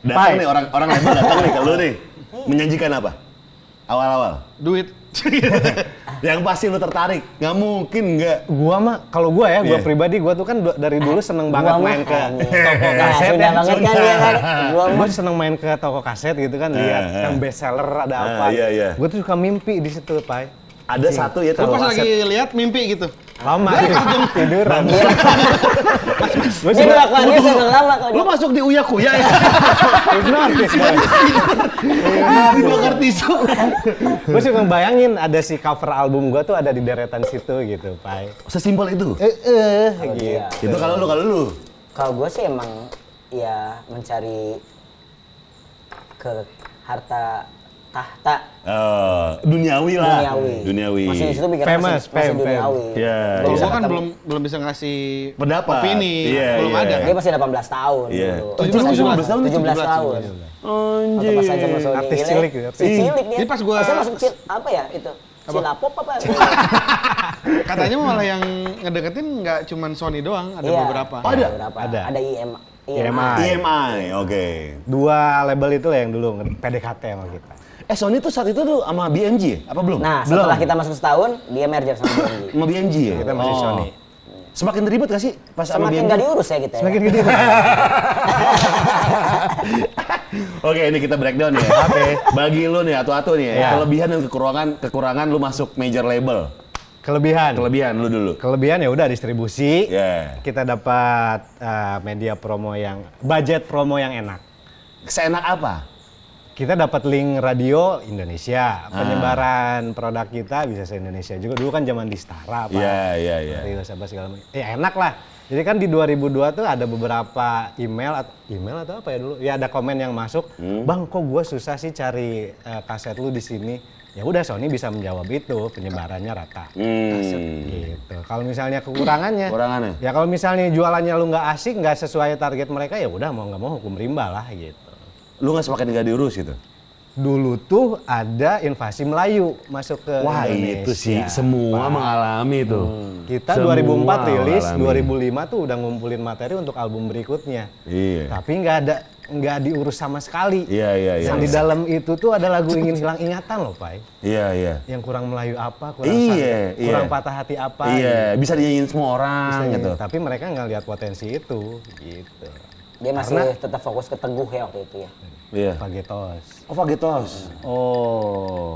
S3: datang
S4: Pai.
S3: nih orang orang label datang nih ke lu nih. Menjanjikan apa? Awal-awal.
S1: Duit. (laughs)
S3: yang pasti lu tertarik. Nggak mungkin nggak.
S4: Gua mah kalau gua ya
S3: Iya.
S4: gua pribadi gua tuh kan du- dari dulu seneng
S2: mah
S4: banget
S2: (laughs)
S4: main ke
S2: anjing.
S3: (laughs)
S4: toko
S2: Nah,
S4: kaset
S2: sudah banget kan dia kan. Gua mah
S4: Gue seneng main ke toko kaset gitu kan lihat
S3: Ah, ah.
S4: yang best seller ada
S3: Ah,
S4: apa.
S3: iya, iya.
S4: Gue tuh suka mimpi di situ, Pai.
S3: Ada satu
S1: Lu
S3: ya terlalu
S1: pas lagi
S3: aset.
S1: lihat mimpi gitu.
S4: Lama tiduran. Gue
S2: Dia kelakuannya seneng lama kalau
S3: Lu
S2: dia.
S3: masuk di uya (laughs) kuya ya?
S4: hipnotis.
S3: Di bakar tisu.
S4: gue suka bayangin ada si cover album gue tuh ada di deretan situ gitu, Pai.
S3: Sesimpel itu.
S4: Eh, eh,
S2: Kalau
S4: gitu.
S2: dia.
S3: Itu kalau lu, kalau lu.
S2: Iya. Kalau gue sih emang ya mencari ke harta tahta
S3: Eh, duniawi lah.
S2: duniawi.
S3: Duniawi.
S2: Masih itu pikir
S4: Famous,
S2: masih, masih
S4: fame,
S2: duniawi.
S3: Iya,
S1: Kalau
S3: iya.
S1: gua kan belum belum bisa ngasih
S3: Pendapat.
S1: opini,
S3: Iya,
S1: belum
S3: iya.
S1: ada kan.
S2: Dia masih 18 tahun
S3: Iya.
S2: dulu.
S1: 17, 17
S3: tahun,
S2: 17 tahun. Atau pas aja masuk
S4: Iya, Artis cilik ya.
S2: Si cilik dia.
S1: Jadi pas gua-
S2: Masa masuk cil apa ya itu? Cilapop apa?
S1: Katanya malah yang ngedeketin nggak cuman Sony doang, ada
S2: Iya,
S1: beberapa.
S3: Oh, ada?
S2: beberapa.
S4: Ada.
S2: Ada IM.
S3: E
S4: IMA.
S3: EMI, oke.
S4: Dua label itu lah yang dulu nge- PDKT sama kita.
S3: Eh Sony tuh saat itu tuh sama BMG ya? Apa belum?
S2: Nah, setelah kita masuk setahun, dia merger sama BMG.
S3: Sama BMG ya?
S4: Kita masih Sony.
S3: Semakin ribet gak sih pas sama
S2: Semakin
S3: BMG?
S2: nggak diurus ya kita ya.
S4: Semakin gede.
S3: Oke ini kita breakdown ya. (laughs) Oke. Bagi lu nih atu-atu nih ya.
S4: Iya.
S3: Kelebihan dan kekurangan, kekurangan lu masuk major label.
S4: Kelebihan.
S3: Kelebihan lu dulu.
S4: Kelebihan ya udah distribusi.
S3: Ya.
S4: Kita dapat eh, media promo yang budget promo yang enak.
S3: Seenak apa?
S4: Kita dapat link radio Indonesia, penyebaran produk kita bisa se Indonesia juga. Dulu kan zaman di Stara apa.
S3: Iya, iya, iya.
S4: Rilis apa segala macam. Ya enak lah. Jadi kan di 2002 tuh ada beberapa email atau email atau apa ya dulu? Ya ada komen yang masuk,
S3: Hmm.
S4: "Bang, kok gue susah sih cari eh, kaset lu di sini?" Ya udah Sony bisa menjawab itu, penyebarannya rata.
S3: Hmm.
S4: Gitu. Kalau misalnya kekurangannya,
S3: Kekurangannya.
S4: ya kalau misalnya jualannya lu nggak asik, nggak sesuai target mereka, ya udah mau nggak mau hukum rimba lah gitu.
S3: Lu gak semakin gak diurus gitu?
S4: Dulu tuh ada invasi Melayu masuk ke
S3: Wah
S4: Indonesia.
S3: itu Iya sih, semua mengalami tuh.
S4: Kita
S3: Semua
S4: 2004 rilis,
S3: mengalami.
S4: 2005 tuh udah ngumpulin materi untuk album berikutnya.
S3: Iya.
S4: Tapi nggak ada nggak diurus sama sekali.
S3: Iya, iya, iya.
S4: Yang di dalam itu tuh ada lagu ingin hilang ingatan loh, Pai.
S3: Iya, iya.
S4: Yang kurang Melayu apa, kurang
S3: Iya,
S4: sakit,
S3: iya.
S4: kurang patah hati apa.
S3: Iya, bisa dinyanyiin semua orang
S4: gitu.
S3: gitu.
S4: Tapi mereka nggak lihat potensi itu, gitu.
S2: Dia masih tetap fokus ke teguh ya waktu itu ya.
S3: Iya.
S4: Pagetos.
S3: Oh, Fagetos. Oh.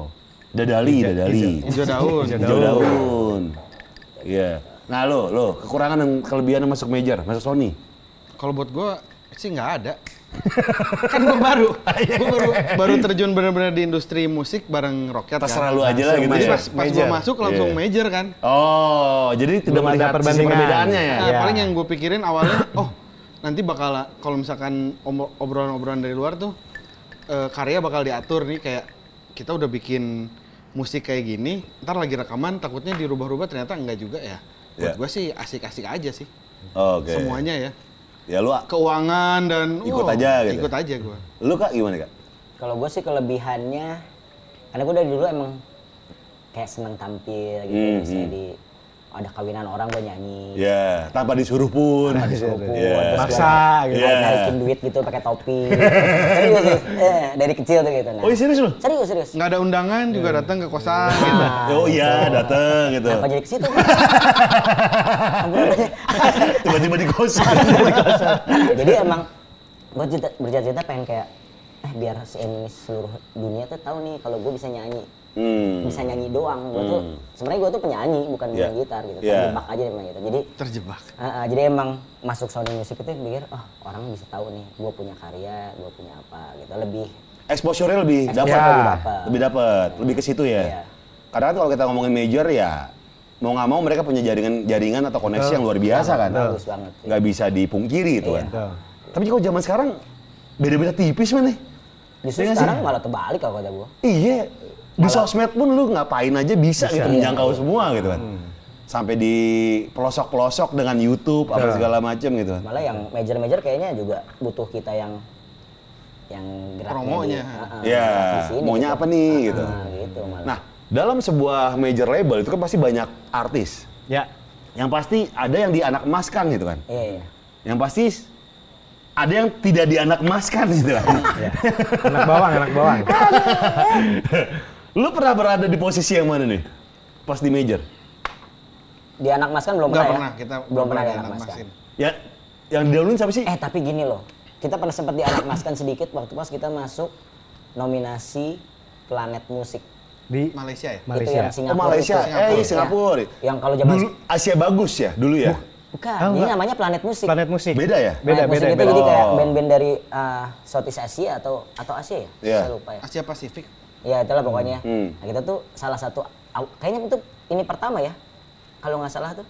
S3: iya. Dadali, dadali.
S1: Hijau daun.
S3: Hijau daun. Iya. Nah, lo, lo, kekurangan dan kelebihan masuk major, masuk Sony.
S1: Kalau buat gua sih nggak ada. kan gua baru, gua baru baru terjun benar-benar di industri musik bareng Rocket.
S3: Terserah
S1: kan.
S3: lu aja lah gitu
S1: Jadi
S3: ya.
S1: pas, pas gua
S4: Major.
S1: masuk langsung
S3: Iya.
S1: major kan.
S3: Oh, jadi tidak
S4: Belum ada
S3: melihat sisi
S4: perbandingan.
S3: perbedaannya ya?
S1: Nah,
S4: Iya.
S1: paling yang gue pikirin awalnya, oh nanti bakal kalau misalkan om- obrolan-obrolan dari luar tuh eh, karya bakal diatur nih kayak kita udah bikin musik kayak gini, ntar lagi rekaman takutnya dirubah-rubah ternyata enggak juga ya. Buat
S3: Iya.
S1: gue sih asik-asik aja sih
S3: Oke.
S1: semuanya ya.
S3: Ya lu,
S1: Keuangan dan
S3: Ikut
S1: wow,
S3: aja gitu.
S1: Ikut aja gue.
S3: lu kak gimana kak?
S2: Kalau gue sih kelebihannya, karena gue dari dulu emang kayak seneng tampil gitu, misalnya di ada kawinan orang gue nyanyi
S3: Ya, tanpa disuruh pun.
S2: Kerupuk,
S3: Iya.
S2: terus gua
S4: Maksa,
S2: naik-
S4: Iya.
S3: gitu.
S2: naikin duit gitu pakai topi (laughs) serius serius. Eh, dari kecil tuh gitu nah.
S3: Oh, serius lu?
S2: serius serius
S1: Nggak ada undangan juga datang ke kosan. gitu.
S2: Nah,
S3: Oh iya, dateng gitu.
S2: apa jadi ke situ
S3: (laughs) Tiba-tiba di kos. (laughs)
S2: jadi emang gue bercita-cita pengen kayak eh biar si Emily seluruh dunia tuh tahu nih kalau gue bisa nyanyi
S3: Hmm.
S2: bisa nyanyi doang gue tuh sebenarnya gue tuh penyanyi bukan
S3: Yeah.
S2: main gitar gitu
S3: Yeah.
S2: terjebak aja main gitar jadi
S1: Terjebak.
S2: Ah, ah, jadi emang masuk Sony Music itu pikir, oh orang bisa tahu nih, gue punya karya, gue punya apa gitu, lebih
S3: Exposure-nya lebih dapat.
S4: Ya.
S3: Lebih dapat. Lebih dapat. Lebih ke situ
S2: Iya.
S3: ya. Karena kan kalau kita ngomongin major ya, mau nggak mau mereka punya jaringan jaringan atau koneksi yang luar biasa kan.
S2: bagus banget. Iya.
S3: Nggak bisa dipungkiri itu kan.
S4: Betul.
S3: Tapi kalau zaman sekarang beda-beda tipis mana?
S2: Justru
S3: Iya nggak sih?
S2: sekarang malah terbalik kalau kata gue.
S3: Iya, di sosmed pun lu ngapain aja bisa, gitu menjangkau semua gitu kan.
S2: Hmm.
S3: Sampai di pelosok-pelosok dengan YouTube apa segala macam gitu kan.
S2: Malah yang major-major kayaknya juga butuh kita yang yang geraknya
S1: Promonya.
S2: di- ah, ah,
S3: Ya,
S2: gerak di sini
S3: maunya
S2: gitu.
S3: apa nih
S2: Ah,
S3: gitu.
S2: gitu malah.
S3: Nah, dalam sebuah major label itu kan pasti banyak artis.
S4: Ya.
S3: Yang pasti ada yang dianak emaskan gitu kan.
S2: Iya, iya.
S3: Yang pasti ada yang tidak dianak emaskan gitu kan.
S4: Anak bawang, anak bawang.
S3: lu pernah berada di posisi yang mana nih? Pas di major?
S2: Di anak mas kan belum
S1: Nggak
S2: pernah,
S1: pernah,
S2: ya?
S1: kita
S2: belum pernah di anak mas
S1: masin.
S2: kan.
S3: Ya, yang didahuluin siapa sih?
S2: Eh tapi gini loh, kita pernah sempat di anak mas kan sedikit waktu pas kita masuk nominasi Planet Musik.
S4: Di
S1: Malaysia ya?
S4: Malaysia.
S2: Itu yang
S3: Oh,
S2: Singapura.
S3: Malaysia.
S2: itu.
S3: Eh,
S2: Iya.
S3: Singapura.
S2: Yang kalau zaman
S3: dulu Asia bagus ya dulu ya.
S2: Bukan,
S4: Ah,
S2: ini
S4: enggak.
S2: namanya Planet Musik.
S4: Planet Musik.
S3: Beda ya?
S2: Planet
S4: Beda,
S2: Musik
S4: beda,
S2: itu
S4: beda.
S2: jadi kayak
S3: Oh.
S2: band-band dari uh, Southeast Asia atau atau Asia ya?
S3: Iya.
S2: Saya lupa ya.
S1: Asia Pasifik.
S2: Ya itulah pokoknya.
S3: Hmm.
S2: Nah, kita tuh salah satu aw- kayaknya itu ini pertama ya. Kalau nggak salah tuh.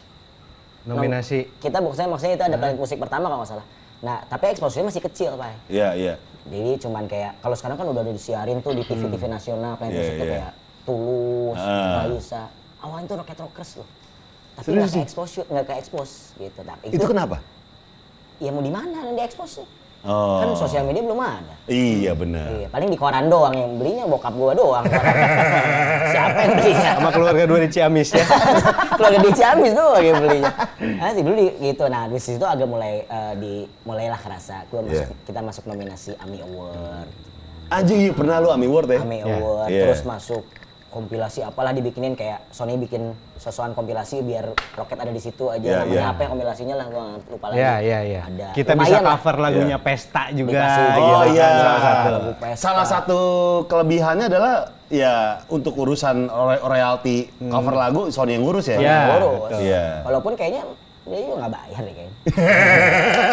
S4: Nominasi.
S2: Nom- Kita maksudnya maksudnya itu ada Planet Musik pertama kalau nggak salah. Nah, tapi eksposure masih kecil, Pak.
S3: Iya, iya.
S2: Jadi cuman kayak kalau sekarang kan udah ada disiarin tuh di TV-TV nasional
S3: Hmm.
S2: Planet
S3: Iya,
S2: Musik tuh
S3: iya.
S2: kayak Tulus,
S3: Ah.
S2: Raisa. Awalnya tuh Rocket Rockers loh. Tapi
S3: Serius
S2: nggak ke exposure, nggak ke expose gitu. Nah,
S3: Itu, kenapa?
S2: ya mau di mana di expose nih?
S3: Oh.
S2: Kan sosial media belum ada.
S3: Iya benar.
S2: Iya, paling di koran doang yang belinya bokap gua
S3: (laughs)
S2: doang. koran. Siapa yang belinya?
S4: Sama keluarga dua di Ciamis ya.
S2: (laughs) Keluarga di Ciamis doang yang belinya. Nah, sih dulu di- gitu. Nah, di situ agak mulai eh, di mulailah kerasa gua masuk,
S3: Iya.
S2: kita masuk nominasi AMI Award,
S3: Anjing iya pernah lu Ami World ya?
S2: AMI Award,
S3: Iya.
S2: terus masuk kompilasi apalah dibikinin kayak Sony bikin sosokan kompilasi biar roket ada di situ aja
S3: Iya,
S2: namanya
S3: iya.
S2: apa yang kompilasinya lah gua lupa lagi.
S4: Ya, ya, ya.
S2: Ada.
S4: Kita bisa
S2: Lumayan lah.
S4: cover lagunya Pesta juga.
S2: Dikasih.
S4: gitu
S3: Iya. Oh
S4: kan,
S3: iya.
S4: Salah satu.
S2: Lagu pesta.
S3: Salah satu kelebihannya adalah ya untuk urusan ro- royalti cover lagu Sony yang ngurus ya.
S4: Iya,
S2: Boros.
S3: betul. Iya.
S2: Walaupun kayaknya dia juga nggak bayar deh kayaknya.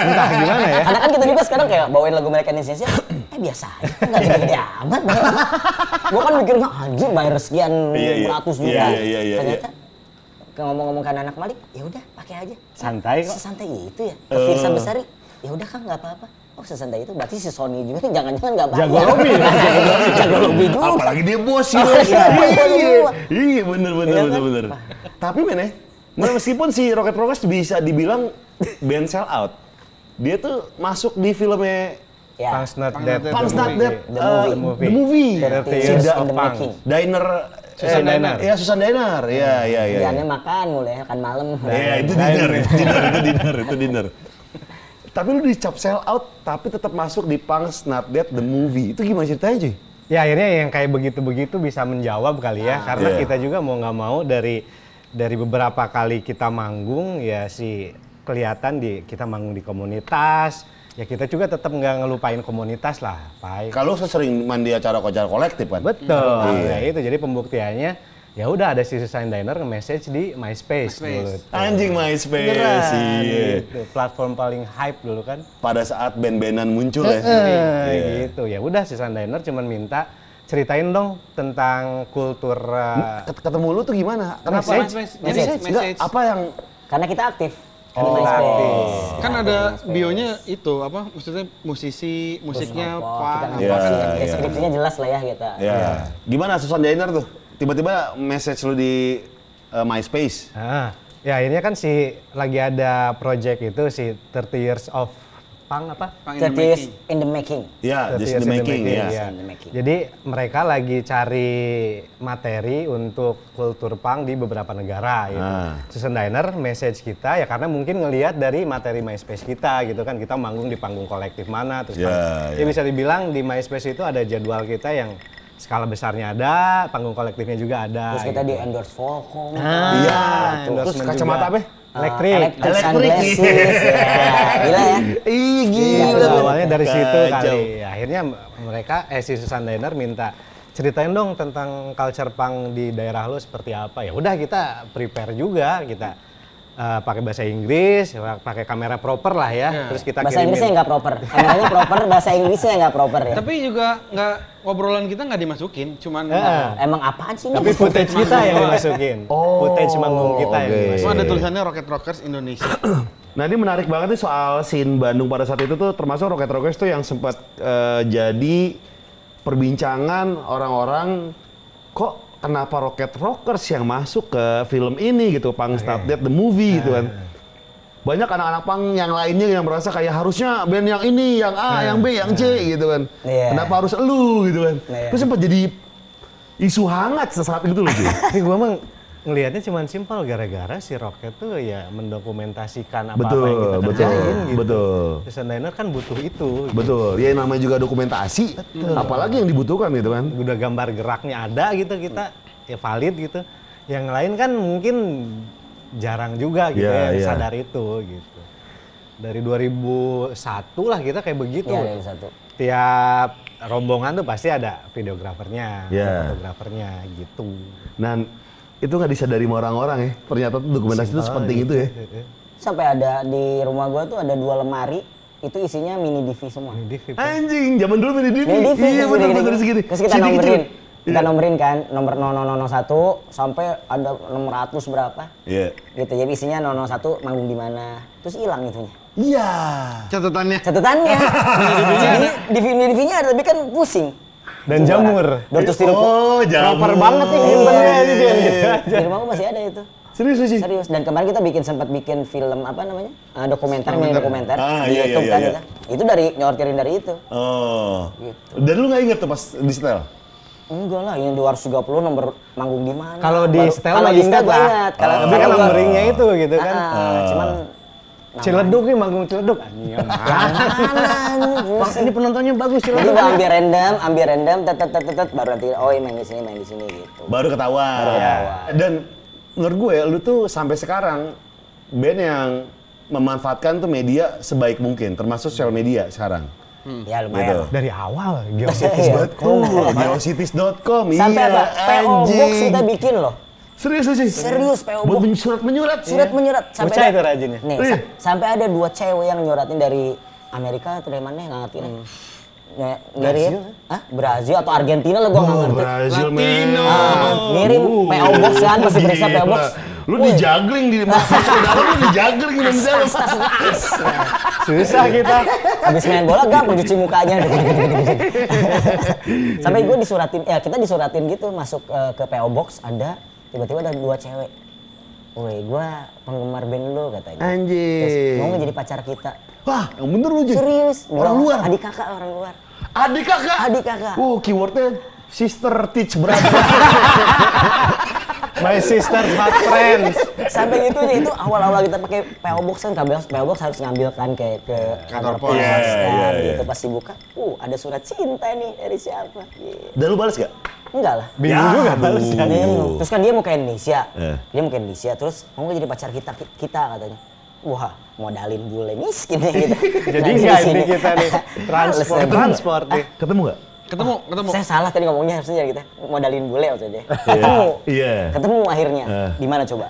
S4: Entah gimana ya.
S2: Karena kan kita juga sekarang kayak bawain lagu mereka Indonesia, eh biasa aja, nggak gede-gede amat. (laughs) Gue kan mikir, "Wah, anjir bayar sekian
S3: Iya, iya.
S2: ratus
S3: Iya,
S2: juta.
S3: iya, iya, iya,
S2: Ternyata ke ngomong-ngomong kan anak Malik, ya udah pakai aja.
S4: Santai kok.
S2: Sesantai itu ya. Ke Firsa Besari, ya udah kan nggak apa-apa. Oh sesantai itu, berarti si Sony juga (laughs) jangan-jangan nggak bayar.
S4: Jago
S2: (laughs)
S4: lobby.
S3: Iya,
S2: Jago lobby juga.
S3: Apalagi dia bos gitu.
S2: Apalagi dia bos
S3: Iya,
S2: juga.
S3: Iya bener bener
S2: Iya kan?
S3: bener bener. Tapi men ya, meskipun si Rocket Rockers bisa dibilang band sell out, dia tuh masuk di filmnya
S2: Ya,
S4: Punk's Not
S1: Punk's
S4: Dead.
S1: Not Dead.
S3: Punks Not Dead,
S1: The
S3: uh,
S2: Movie.
S3: The Movie.
S4: Thirty
S3: Si
S4: Years
S3: Da-
S2: in
S4: of
S2: the
S4: Punk.
S2: making.
S3: Diner
S4: Susan Diner.
S3: Iya, Susan Diner. Iya, iya, iya.
S2: Jangan makan mulai kan malam.
S3: Iya, itu dinner, itu dinner, itu dinner, itu dinner. Tapi lu dicap sell out, tapi tetap masuk di Punks Not Dead The Movie. Itu gimana ceritanya, cuy?
S4: Ya akhirnya yang kayak begitu-begitu bisa menjawab kali ya,
S3: Iya.
S4: karena kita juga mau nggak mau dari dari beberapa kali kita manggung ya si kelihatan di kita manggung di komunitas, ya kita juga tetap nggak ngelupain komunitas lah, Pak.
S3: Kalau saya sering mandi acara-acara kolektif kan?
S4: Betul.
S3: Iya.
S4: Ya itu jadi pembuktiannya ya udah ada si Susan Diner nge-message di MySpace, dulu.
S1: MySpace.
S3: Anjing MySpace,
S4: Beneran,
S3: iya.
S4: gitu. Platform paling hype dulu kan.
S3: Pada saat band-bandan muncul ya.
S4: Eh,
S3: Iya.
S4: gitu. Ya udah si Susan Diner cuman minta ceritain dong tentang kultur uh,
S3: Ket- Ketemu lu tuh gimana? Kenapa?
S4: Message?
S1: Message.
S3: Message?
S1: Message.
S3: Enggak,
S1: Message.
S3: apa yang...
S2: Karena kita aktif.
S4: Oh,
S2: Di MySpace.
S4: aktif.
S1: Kan ada bionya itu apa? Maksudnya musisi, musiknya
S2: Wah,
S1: apa?
S2: kita
S3: Iya,
S1: apa kan?
S2: ngapain,
S3: iya.
S2: deskripsinya jelas lah ya kita.
S4: Iya.
S3: Ya. Gimana Susan Diner tuh? Tiba-tiba message lu di eh, MySpace.
S4: Ah, ya akhirnya kan si lagi ada project itu si 30 years of pang apa?
S1: Pang in the
S2: Thirties
S1: making.
S2: in the making.
S3: Ya, just in the making, ya.
S2: ya.
S4: iya.
S2: In the making.
S4: Jadi mereka lagi cari materi untuk kultur punk di beberapa negara gitu.
S3: Ah.
S4: Susan Diner message kita ya karena mungkin ngelihat dari materi MySpace kita gitu kan kita manggung di panggung kolektif mana terus
S3: Ya,
S4: pang-
S3: ya.
S4: ya bisa dibilang di MySpace itu ada jadwal kita yang skala besarnya ada, panggung kolektifnya juga ada.
S2: Terus kita
S4: gitu.
S2: di endorse Volcom.
S4: Iya,
S3: Terus kacamata apa?
S4: Elektrik.
S2: Ah, Electric
S3: Elektrik.
S2: (laughs) sunglasses, ya. Gila ya.
S3: Ih,
S4: Terus
S3: gila.
S4: Iya, awalnya dari situ
S3: Kacau.
S4: kali. Akhirnya m- mereka eh si Susan Diner minta ceritain dong tentang culture punk di daerah lu seperti apa. Ya udah kita prepare juga kita eh, pakai bahasa Inggris, pakai kamera proper lah ya.
S3: Iya.
S4: Terus kita
S2: Bahasa
S4: kirimin.
S2: Inggrisnya nggak proper. Kameranya proper, bahasa Inggrisnya nggak proper ya.
S1: Tapi juga nggak obrolan kita nggak dimasukin, cuman
S4: Heeh.
S2: Emang apaan sih ini?
S4: Tapi footage kita yang dimasukin. footage manggung kita yang
S3: Oh. oke.
S1: cuma
S4: dimasukin.
S1: ada tulisannya Rocket Rockers Indonesia.
S3: Nah ini menarik banget nih soal scene Bandung pada saat itu tuh termasuk Rocket Rockers tuh yang sempat eh, jadi perbincangan orang-orang kok kenapa Rocket Rockers yang masuk ke film ini gitu Pang Stop Dead the Movie gitu kan
S4: Eh.
S3: banyak anak-anak pang yang lainnya yang merasa kayak harusnya band yang ini, yang
S4: Eh.
S3: A, yang B, yang C gitu kan.
S2: Iya.
S3: Kenapa harus elu gitu kan.
S2: Iya.
S3: Terus sempat jadi isu hangat sesaat itu loh. Ji.
S4: Tapi gue emang ngelihatnya cuman simpel gara-gara si Rocket tuh ya mendokumentasikan (laughs) apa-apa
S3: betul,
S4: yang kita
S3: betul,
S4: kerjain
S2: Iya.
S4: gitu.
S3: betul.
S4: Susan Diner kan butuh itu.
S3: Betul, ya namanya juga dokumentasi, apalagi yang dibutuhkan gitu kan.
S4: udah gambar geraknya ada gitu kita ya valid gitu yang lain kan mungkin jarang juga gitu
S3: Ya,
S4: ya yang
S3: ya.
S4: sadar itu gitu dari 2001 lah kita kayak begitu
S2: Iya, dari satu.
S4: tiap rombongan tuh pasti ada videografernya
S3: Ya.
S4: ada fotografernya gitu
S3: Nah, itu nggak disadari sama orang-orang ya. Ternyata tuh dokumentasi itu sepenting itu ya.
S2: Iya, Sampai ada di rumah gua tuh ada dua lemari, itu isinya mini DV semua.
S4: Ini Vivi.
S3: Anjing, zaman dulu mini DV.
S2: Mini DV.
S3: Iya,
S2: terus
S3: benar
S2: gini-gini.
S3: benar segini. gitu. Iya.
S2: Terus kita
S3: Segini
S2: nomerin.
S3: kecil.
S2: Kita nomerin kan, nomor 0001 sampai ada 600 berapa.
S3: Iya.
S2: Gitu, jadi isinya 001 manggung di mana. Terus hilang itunya.
S3: Iya.
S1: Catatannya.
S3: (laughs)
S2: Catatannya. jadi DV DV-nya ada tapi kan pusing.
S4: dan
S2: Gimana?
S4: jamur
S2: Dan terus tiru.
S3: Oh, Iya, jangan.
S4: Proper banget nih nyimpennya gitu ya.
S2: Di rumah gua masih ada itu.
S3: Serius sih.
S2: Serius. Dan kemarin kita bikin sempat bikin film apa namanya? Eh, dokumenter, mini dokumenter
S3: Ah, iya,
S2: di
S3: iya,
S2: YouTube
S3: iya,
S2: kan
S3: iya.
S2: kita. Itu dari nyortirin dari itu.
S3: Oh. Dan lu nggak inget tuh pas di setel?
S2: Enggak lah, yang 230 nomor manggung di mana?
S4: kalau di
S2: Baru-
S4: setel
S2: kalau
S4: mah
S2: di setel
S4: ingat
S2: gua
S4: lah
S2: ingat.
S4: kalau tapi
S2: kalau
S4: kan
S2: gua-
S4: numberingnya itu gitu
S2: Ah,
S4: kan
S2: ah, cuman
S4: Ciledug nih manggung Ciledug. Anjing, ya, yang mana?
S2: kanan.
S4: Wah,
S2: (laughs)
S4: ini penontonnya bagus
S2: Jadi
S4: Ciledug.
S2: gua ambil random, ambil random, tet tet tet, tet tet, baru nanti oh main di sini, main di sini gitu.
S3: Baru ketahuan. Dan menurut gue lu tuh sampai sekarang band yang memanfaatkan tuh media sebaik mungkin, termasuk sosial media sekarang.
S2: Ya lumayan. lah.
S4: Dari awal geositis
S2: Iya.
S3: Betul, geocities.com, iya
S2: Sampai apa? PO Box
S3: anjing.
S2: kita bikin loh.
S3: Serius sih?
S2: Serius, PO
S3: Buat
S2: Box.
S3: men- surat menyurat.
S2: Surat menyurat sampai
S4: Iya. Bocah
S2: ada-
S4: itu rajinnya.
S2: Nih,
S3: Iya.
S2: sa- sampai ada dua cewek yang nyoratin dari Amerika atau dari mana nggak ngerti lah. Nge- ngirim,
S4: ya?
S2: ah Brazil atatu Argentina lah gua nggak
S3: Oh,
S2: ngerti.
S3: Brazil,
S1: Latino.
S2: Ah,
S3: man.
S2: Ngirim
S3: Uh,
S2: PO Box kan, masih periksa PO Box.
S3: Gila. Lu di juggling di
S2: (laughs)
S3: masuk ke dalam lu di juggling di dalam.
S4: susah kita.
S2: Habis main bola gampang cuci mukanya. Sampai gue disuratin, ya kita disuratin gitu masuk eh, ke PO Box ada tiba-tiba ada dua cewek. Woi, gue penggemar band lu katanya.
S3: Anjir.
S2: Terus, mau nggak jadi pacar kita?
S3: Wah, yang bener lu, Jun.
S2: Serius?
S3: Orang
S2: Bilang,
S3: luar.
S2: Adik kakak orang luar.
S3: Adik kakak.
S2: Adik kakak.
S3: Oh, keywordnya sister teach
S2: (laughs)
S3: brother.
S4: My sister, but friends.
S2: Sampai gitu ya, itu awal-awal kita pakai PO Box kan kabel PO Box harus ngambil kan kayak ke
S1: Kantor pos.
S2: kan,
S3: Iya, iya, iya.
S2: gitu pas dibuka, uh ada surat cinta nih dari siapa? Gitu.
S3: Dan lu balas gak?
S2: Enggak lah.
S4: Bingung
S3: Ya,
S4: juga
S3: aduh.
S4: tahu sih.
S2: Bingung. Terus kan dia mau ke Indonesia.
S3: Eh.
S2: Dia mau ke Indonesia, terus mau nggak jadi pacar kita kita katanya. Wah, modalin bule miskin ya gitu.
S4: (laughs) Jadi nggak ini kita nih
S2: (laughs)
S4: transport transport
S3: Eh,
S4: nih.
S3: Ketemu gak?
S1: Ketemu, ketemu.
S2: ya, Saya salah tadi ngomongnya harusnya jadi kita modalin bule maksudnya. Ketemu.
S3: Iya.
S2: Ketemu akhirnya.
S3: Eh.
S2: Di mana coba?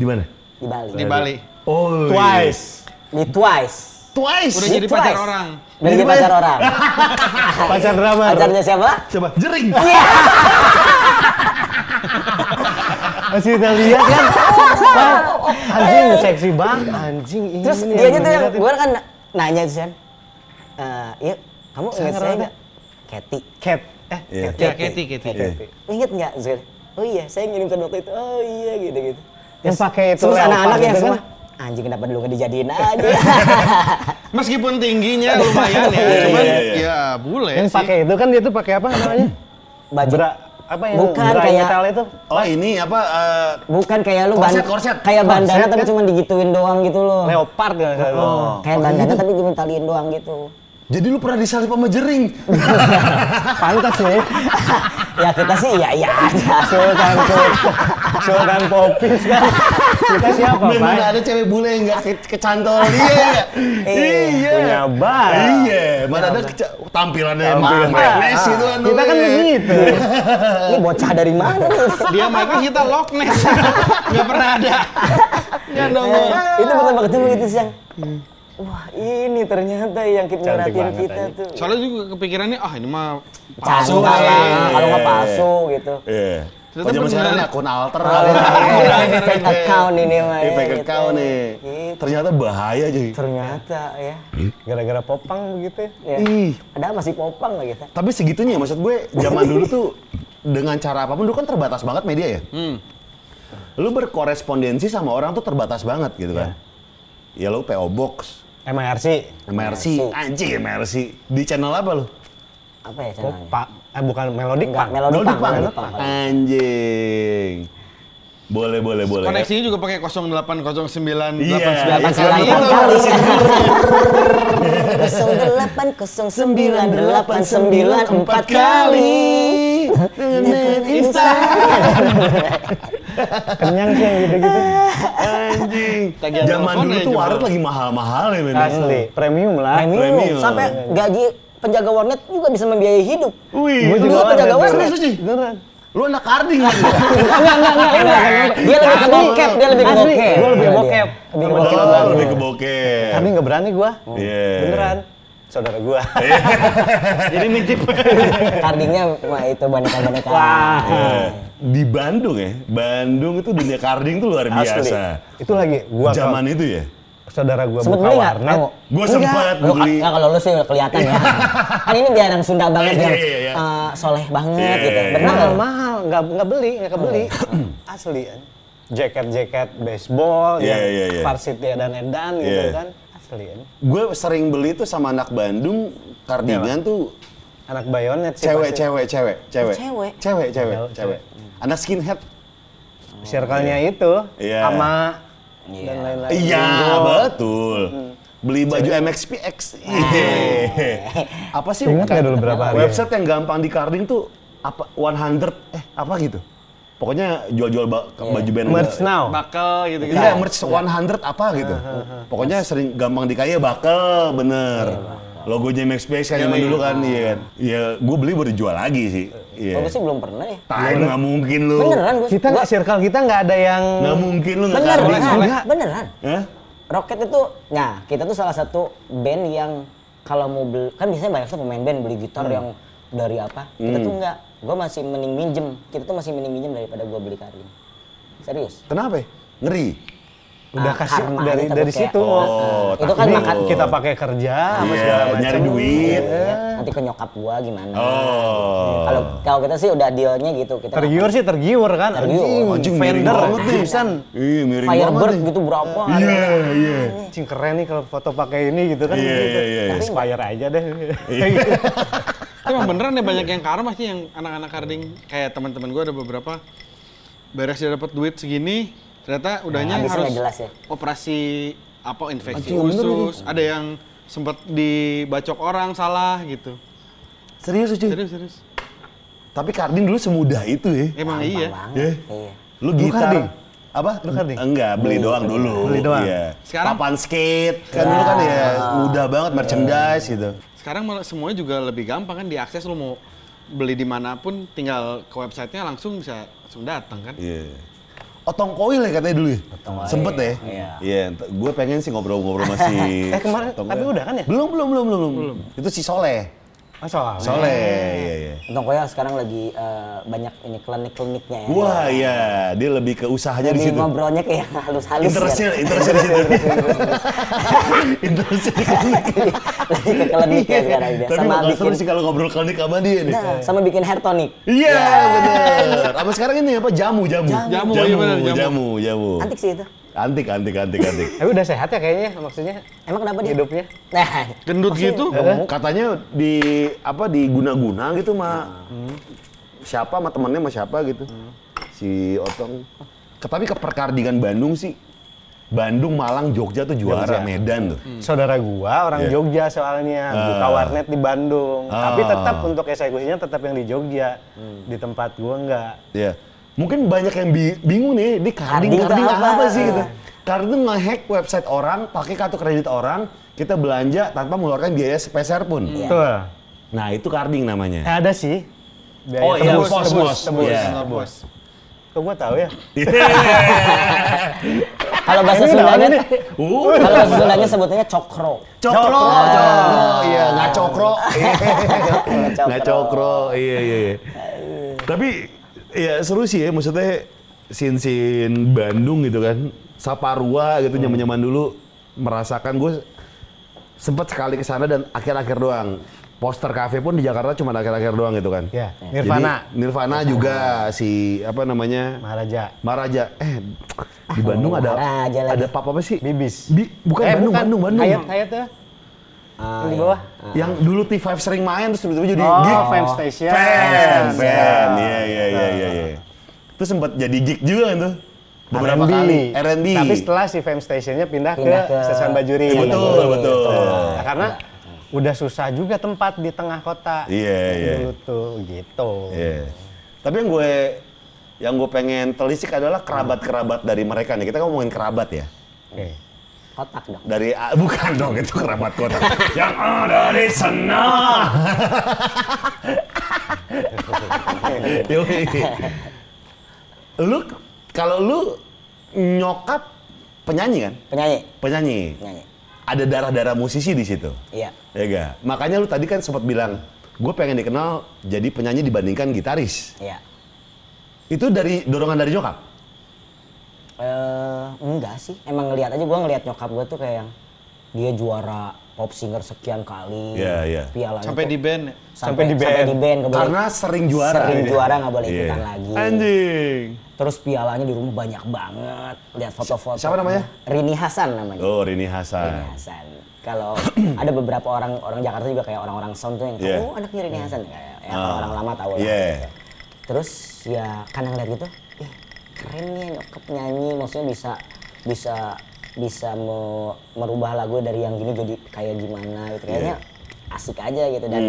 S3: Di mana?
S2: Di Bali.
S1: Di Bali.
S3: Oh,
S4: Twice.
S2: Di Twice.
S3: Twice.
S1: Udah
S2: Di
S1: jadi pacar
S2: Twice.
S1: orang.
S2: Udah jadi
S3: Jadi
S2: pacar
S3: pacar-
S2: orang.
S4: (laughs) Pacar drama.
S2: Pacarnya siapa?
S3: Coba jering.
S2: Eh.
S4: Masih kita lihat kan. Pak, Anjing seksi banget. Eh. Anjing ini.
S2: Terus
S4: nih
S2: dia gitu yang
S4: dilihatin.
S2: gue kan nanya tuh kan. Eh, iya, kamu ingat saya
S4: ngerasa-
S2: nggak? Kathy.
S4: cat. Eh,
S3: Iya.
S1: Ya, Keti, Keti.
S2: Ingat nggak Zul? Oh iya, saya ngirimkan waktu itu. Oh iya gitu gitu.
S4: Yang pakai itu
S2: Terus
S4: leopard
S2: anak-anak yang
S4: gitu kan?
S2: semua. anjing kenapa dulu gak
S4: (laughs)
S2: dijadiin aja.
S1: Meskipun (laughs) tingginya lumayan ya,
S3: Iya,
S1: cuman
S3: iya, iya.
S1: ya bule
S4: Yang
S1: sih.
S4: pakai itu kan dia tuh pakai apa namanya?
S2: Baju.
S4: Bra apa yang
S2: Bukan,
S4: bra
S2: kayak-
S4: nyetel itu?
S3: Oh ini apa? eh,
S2: Bukan kayak lu
S3: Korset,
S2: ban-
S3: korset.
S2: kayak bandana
S4: Korset,
S2: tapi
S4: kan?
S2: cuma digituin doang gitu loh.
S4: Leopard kan?
S3: Oh.
S2: kayak bandana tapi cuma taliin doang gitu.
S3: jadi lu pernah disalip sama jering?
S4: Pantas nih.
S2: ya kita sih iya iya
S4: (laughs)
S2: aja.
S4: Sultan Pop- Sultan Popis kan. Kita siapa,
S3: Bener
S4: Pak?
S3: ada cewek bule yang nggak ke- kecantol
S4: (laughs)
S3: dia. ya? iya.
S4: Punya bar.
S3: Iya, mana ada keca- tampilannya
S4: Tampilan.
S3: emang manis itu kan.
S4: Kita kan
S3: weh.
S4: begitu.
S2: Ini bocah dari mana nih?
S4: (laughs)
S1: Dia mereka kita Loch Ness. Nggak pernah ada. Ya dong.
S4: Iya.
S2: Eh, itu pertama ketemu itu siang. Wah ini ternyata yang kita
S4: Hmm. Cantik
S2: merhatiin
S4: banget
S2: kita
S4: aja.
S2: tuh.
S1: Soalnya juga kepikirannya ah ini mah
S2: Canda
S3: Palsu,
S2: lah,
S3: iya.
S2: kalau nggak palsu gitu.
S3: Iya.
S1: Ternyata
S3: Oh, zaman
S1: bener.
S3: sekarang ini akun alter.
S2: Iya,
S1: Bener,
S2: ini
S1: bener,
S2: fake
S1: bener.
S2: account ini mah.
S3: Ini
S2: ya,
S3: fake
S4: Iya.
S2: gitu.
S3: account nih.
S2: Gitu.
S3: Ternyata bahaya aja.
S2: Ternyata ya.
S4: Gara-gara popang begitu. ya.
S2: ya.
S3: Ih.
S2: Ada masih popang nggak kita?
S3: Tapi segitunya maksud gue zaman dulu tuh dengan cara apapun dulu kan terbatas banget media ya.
S4: Hmm.
S3: Lu berkorespondensi sama orang tuh terbatas banget
S4: Iya.
S3: gitu kan. Ya lu PO Box,
S4: MRC.
S3: MRC, anjing MRC. Di channel apa lu?
S2: Apa ya channelnya?
S4: Popak. Eh bukan Melodic
S2: Enggak,
S4: Pak.
S2: melodi
S3: Melodic
S2: pang,
S3: Punk.
S2: melodi pang.
S3: Anjing. Boleh boleh boleh.
S1: Koneksinya juga pakai 0809
S3: ya?" Iya,
S2: Delapan
S3: Iya,
S2: sembilan
S3: iya,
S2: kali.
S3: iya.
S2: Kosong delapan kosong sembilan delapan sembilan empat kali.
S3: Dengan Insta.
S4: (laughs) Kenyang sih yang gitu-gitu.
S3: Anjing.
S1: Tagihan
S3: Zaman
S1: teleponnya
S3: dulu tuh
S1: juga.
S3: warnet lagi mahal-mahal ya men.
S4: (laughs) Asli. Premium lah.
S3: Premium.
S2: Premium. Sampai gaji penjaga warnet juga bisa membiayai hidup.
S3: Wih,
S4: Gua
S3: lu
S4: juga
S3: apa
S4: warnet.
S3: jaga warnet?
S4: Serius,
S3: Serius sih?
S4: Beneran.
S3: Lu anak karding kan?
S2: Enggak, enggak, enggak, enggak. Dia lebih ke bokep, dia lebih ke
S4: Asli,
S2: bokep.
S4: gua lebih
S2: Iya, dia.
S4: bokep.
S2: Lebih ke
S4: Sama
S2: bokep.
S3: Oh,
S4: Iya.
S3: lebih ke bokep.
S4: Tapi nggak berani gua.
S3: Iya.
S4: Beneran. Saudara gua. (laughs)
S1: Jadi nitip.
S2: Kardingnya wah itu boneka-boneka.
S4: Wah.
S3: Eh, Di Bandung ya, Bandung itu dunia karding tuh luar
S4: Asli.
S3: biasa.
S4: Itu lagi gua
S3: Zaman itu ya.
S4: saudara gua
S2: Sempet
S4: buka
S2: beli nggak?
S4: warnet.
S2: Mau?
S3: Gue
S4: Enggak.
S3: sempat
S2: Lu,
S3: beli.
S2: ya kalau lu sih kelihatan ya.
S3: (laughs)
S2: kan ini dia orang Sunda banget
S3: Iya,
S2: yang
S3: iya, iya.
S2: eh, soleh banget
S3: Iya,
S2: gitu.
S3: iya, iya.
S2: Benar
S4: mahal
S2: nggak?
S4: mahal nggak nggak beli nggak kebeli Oh. (clears throat) asli jaket jaket baseball
S3: Iya,
S4: yang
S3: iya, iya.
S4: varsity edan edan gitu
S3: Iya.
S4: kan asli kan.
S3: Gue sering beli tuh sama anak Bandung
S4: Iya,
S3: kardigan tuh
S4: anak bayonet sih
S3: cewek,
S4: pasti.
S3: cewek, cewek, cewek,
S2: Cewek.
S3: cewek, cewek,
S4: Iya, Cewek.
S3: cewek. Anak skinhead.
S4: Oh, circle-nya itu
S3: Iya.
S4: sama
S2: Iya.
S4: dan lain-lain
S3: Iya,
S4: Jingo.
S3: betul.
S4: Hmm.
S3: Beli baju
S4: (laughs)
S3: MXPX. Iya. Apa sih?
S4: ingat nggak dulu Iya. berapa hari
S3: Website yang gampang di carding tuh apa 100 eh apa gitu. Pokoknya jual-jual ba- baju band.
S4: Iya. merch now
S1: Bakal gitu gitu.
S3: Iya, merch 100 apa gitu. Pokoknya sering gampang di kaya bakal bener. Logonya MXPX kan
S1: Iya,
S3: zaman
S1: iya.
S3: dulu kan, iya kan. Iya, gue beli baru jual lagi sih. Iya.
S2: Kalau gue sih belum pernah ya.
S3: Tai nggak mungkin lu.
S2: Beneran gue.
S4: kita nggak circle kita nggak ada yang
S3: Nggak mungkin lu nggak
S2: Beneran,
S3: carding.
S2: beneran. beneran.
S3: Hah?
S2: Roket itu, nah kita tuh salah satu band yang kalau mau beli, kan biasanya banyak tuh pemain band beli gitar
S3: Hmm.
S2: yang dari apa. Kita tuh enggak, gue masih mending minjem. Kita tuh masih mending minjem daripada gue beli karin. Serius.
S3: Kenapa ya?
S4: Ah,
S3: Ngeri.
S4: udah
S2: Ah,
S4: kasih
S2: karma
S4: dari
S2: gitu,
S4: dari
S2: kayak-
S4: situ
S3: Oh,
S2: Itu kan
S4: Ini
S2: makan.
S4: kita pakai kerja sama
S3: Iya,
S4: segala macam.
S3: nyari duit.
S4: Iya.
S2: Nanti ke nyokap gue gimana.
S3: Oh.
S2: Kalau kalau kita sih udah dealnya gitu. Kita
S4: tergiur sih tergiur kan
S2: Tergiur.
S3: Oh. Anjing miring
S4: fender
S3: banget nih.
S4: Gibson.
S3: Iya, miring banget
S2: Firebird
S3: nih.
S2: gitu berapa.
S3: Iya, iya.
S4: Cing keren nih kalau foto pakai ini gitu kan.
S3: Iya,
S4: gitu.
S3: iya, iya, iya.
S4: Inspire aja deh. (laughs)
S1: Tapi emang beneran ya banyak yang karma sih yang anak-anak karding kayak teman-teman gue ada beberapa beres dia dapat duit segini ternyata
S3: Nah,
S1: udahnya
S2: habisnya
S1: harus
S2: nggak jelas ya.
S1: operasi apa infeksi
S3: Anjing, bener
S1: usus ada yang sempat dibacok orang salah gitu
S3: Serius, cuy.
S1: serius serius
S3: Tapi Karding dulu semudah itu ya.
S1: emang
S2: Gampang
S1: iya
S2: banget,
S3: Iya.
S2: Iya.
S3: Lu
S4: Lu
S3: gitar.
S4: Karding?
S3: Apa?
S4: Lu Karding?
S3: Enggak, beli doang dulu.
S4: Beli doang.
S3: Iya.
S1: Sekarang-
S3: papan skate kan dulu kan ya mudah banget merchandise gitu.
S1: sekarang malah semuanya juga lebih gampang kan diakses lu mau beli dimanapun tinggal ke websitenya langsung bisa langsung datang kan
S3: Iya. Otong koil ya katanya dulu ya? Sempet ya?
S2: Iya.
S3: Iya, ent- gue pengen sih ngobrol-ngobrol masih...
S4: Eh, kemarin- tapi udah kan ya?
S3: Belum, belum, belum, belum. belum. Itu si Soleh.
S4: Masalah.
S3: Soleh, iya, iya.
S2: Untung Koya sekarang lagi eh, banyak ini klinik-kliniknya ya.
S3: Wah, iya. Dia lebih ke usahanya di
S2: Jadi
S3: situ.
S2: ngobrolnya kayak (laughs) halus-halus ya.
S3: Interestnya, interestnya di situ. Interestnya di klinik.
S2: (laughs) Lagi ke klinik ya sekarang dia.
S3: Tapi
S2: Sama
S3: bakal
S2: bikin
S3: seru sih kalau ngobrol klinik sama dia nih.
S2: Nah, sama bikin hair tonic.
S3: Iya bener. Apa sekarang ini apa jamu jamu
S1: Jamu,
S3: jamu
S1: iya bener,
S3: jamu
S1: jamu.
S3: jamu, jamu.
S2: Antik sih itu.
S3: Antik, antik, antik, (laughs) antik.
S4: Tapi udah sehat ya kayaknya maksudnya
S2: Emang kenapa dia?
S4: hidupnya.
S2: Nah,
S1: Gendut
S2: Maksudnya-
S1: gitu?
S3: Iya. Katanya di apa di guna-guna gitu sama siapa sama temennya sama siapa gitu. Si Otong. Ke- Tapi ke perkardigan Bandung sih. Bandung, Malang, Jogja tuh juara,
S4: Jogja.
S3: Medan tuh.
S4: Saudara gua orang
S3: Hmm. Iya.
S4: Jogja soalnya buka
S3: Ah.
S4: warnet di Bandung,
S3: Ah.
S4: tapi
S3: Hmm.
S4: tetap untuk eksekusinya tetap yang di Jogja. Di tempat gua enggak.
S3: Ya. Mungkin banyak yang bi- bingung nih, ini karding,
S2: Karding tuh
S3: karding apa,
S2: apa?
S3: sih gitu.
S2: Ah.
S3: Karding nge-hack website orang, pakai kartu kredit orang, kita belanja tanpa mengeluarkan biaya sepeser pun.
S4: Betul.
S3: Nah, itu karding namanya.
S4: Eh, ada sih. Biaya
S3: Oh, iya,
S4: tebus,
S3: pos,
S4: tebus,
S3: pos.
S4: tebus.
S3: Iya.
S1: Bos.
S4: Kok gua tahu ya?
S2: Kalau bahasa
S4: Ini udah
S2: Sundanya,
S4: ada nih.
S3: Uh.
S2: (laughs) kalau bahasa Sundanya sebutannya cokro.
S3: Cokro,
S4: Cokro.
S3: cokro, iya nggak cokro,
S2: Cokro.
S3: (laughs) nggak cokro, iya iya. iya. Tapi ya seru sih ya, maksudnya sin sin Bandung gitu kan, Saparua gitu nyaman nyaman dulu merasakan gue sempet sekali ke sana dan akhir-akhir doang. Poster kafe pun di Jakarta cuma akhir-akhir doang gitu kan.
S4: Iya,
S3: Jadi,
S4: Nirvana.
S3: Nirvana juga si apa namanya?
S4: Maharaja.
S3: Maraja. Eh di Bandung ada
S2: Maharaja lagi.
S3: ada papa apa sih?
S4: Bibis.
S3: Bi- bukan
S4: Eh,
S3: Bandung, Bandung, Bandung.
S4: Hayat, Hayat ya.
S2: Ah,
S4: Yang di
S2: iya.
S4: bawah.
S3: Yang dulu T5 sering main terus tiba-tiba jadi
S4: Oh,
S3: gig.
S4: Fam Station.
S3: Fan,
S4: Fam
S3: fan. Iya,
S4: Station.
S3: iya, iya, iya, iya. Terus sempat jadi gig juga kan tuh. Beberapa
S4: R&B.
S3: kali R&B.
S4: Tapi setelah si Fame Stationnya pindah,
S2: Pindah
S4: ke,
S2: ke-
S4: Stasiun Bajuri. Gitu.
S3: Betul, betul.
S4: Nah, karena udah susah juga tempat di tengah kota.
S3: Iya, iya.
S4: Dulu tuh gitu.
S3: Iya. Tapi yang gue yang gue pengen telisik adalah kerabat-kerabat dari mereka nih. Kita ngomongin kerabat ya.
S4: Oke.
S2: Kotak dong.
S3: Dari ah, (laughs) bukan dong itu kerabat kota. yang ada di sana. (laughs) Yoi. lu kalau lu nyokap penyanyi kan?
S2: Penyanyi.
S3: penyanyi.
S2: Penyanyi.
S3: Ada darah-darah musisi di situ.
S2: Iya.
S3: Ya gak? Makanya lu tadi kan sempat bilang, gue pengen dikenal jadi penyanyi dibandingkan gitaris.
S2: Iya.
S3: Itu dari dorongan dari nyokap?
S2: Eh, enggak sih. Emang ngelihat aja gua ngelihat nyokap gua tuh kayak yang dia juara pop singer sekian kali.
S3: Iya, iya.
S2: Piala
S1: Sampai di band. ya?
S2: sampai,
S4: Sampai di
S2: sampai
S4: band.
S2: di band nggak boleh-
S3: Karena sering juara.
S2: Sering
S3: Iya.
S2: juara nggak boleh
S3: Iya.
S2: ikutan lagi.
S1: Anjing.
S2: Terus pialanya di rumah banyak banget. Lihat foto-foto.
S3: siapa namanya?
S2: Rini Hasan namanya.
S3: Oh, Rini
S2: Rini
S3: Hasan.
S2: Hasan. Kalau (clears throat) ada beberapa orang orang Jakarta juga kayak orang-orang sound tuh yang tahu,
S3: Yeah.
S2: oh anaknya Rini Hasan kayak ya,
S3: Ah.
S2: orang lama tahu lah. gitu.
S3: Yeah.
S2: Terus ya kadang lihat gitu, ih keren nih nyokap nyanyi, maksudnya bisa bisa bisa me- merubah lagu dari yang gini jadi kayak gimana gitu kayaknya asik aja gitu
S3: Hmm.
S2: dan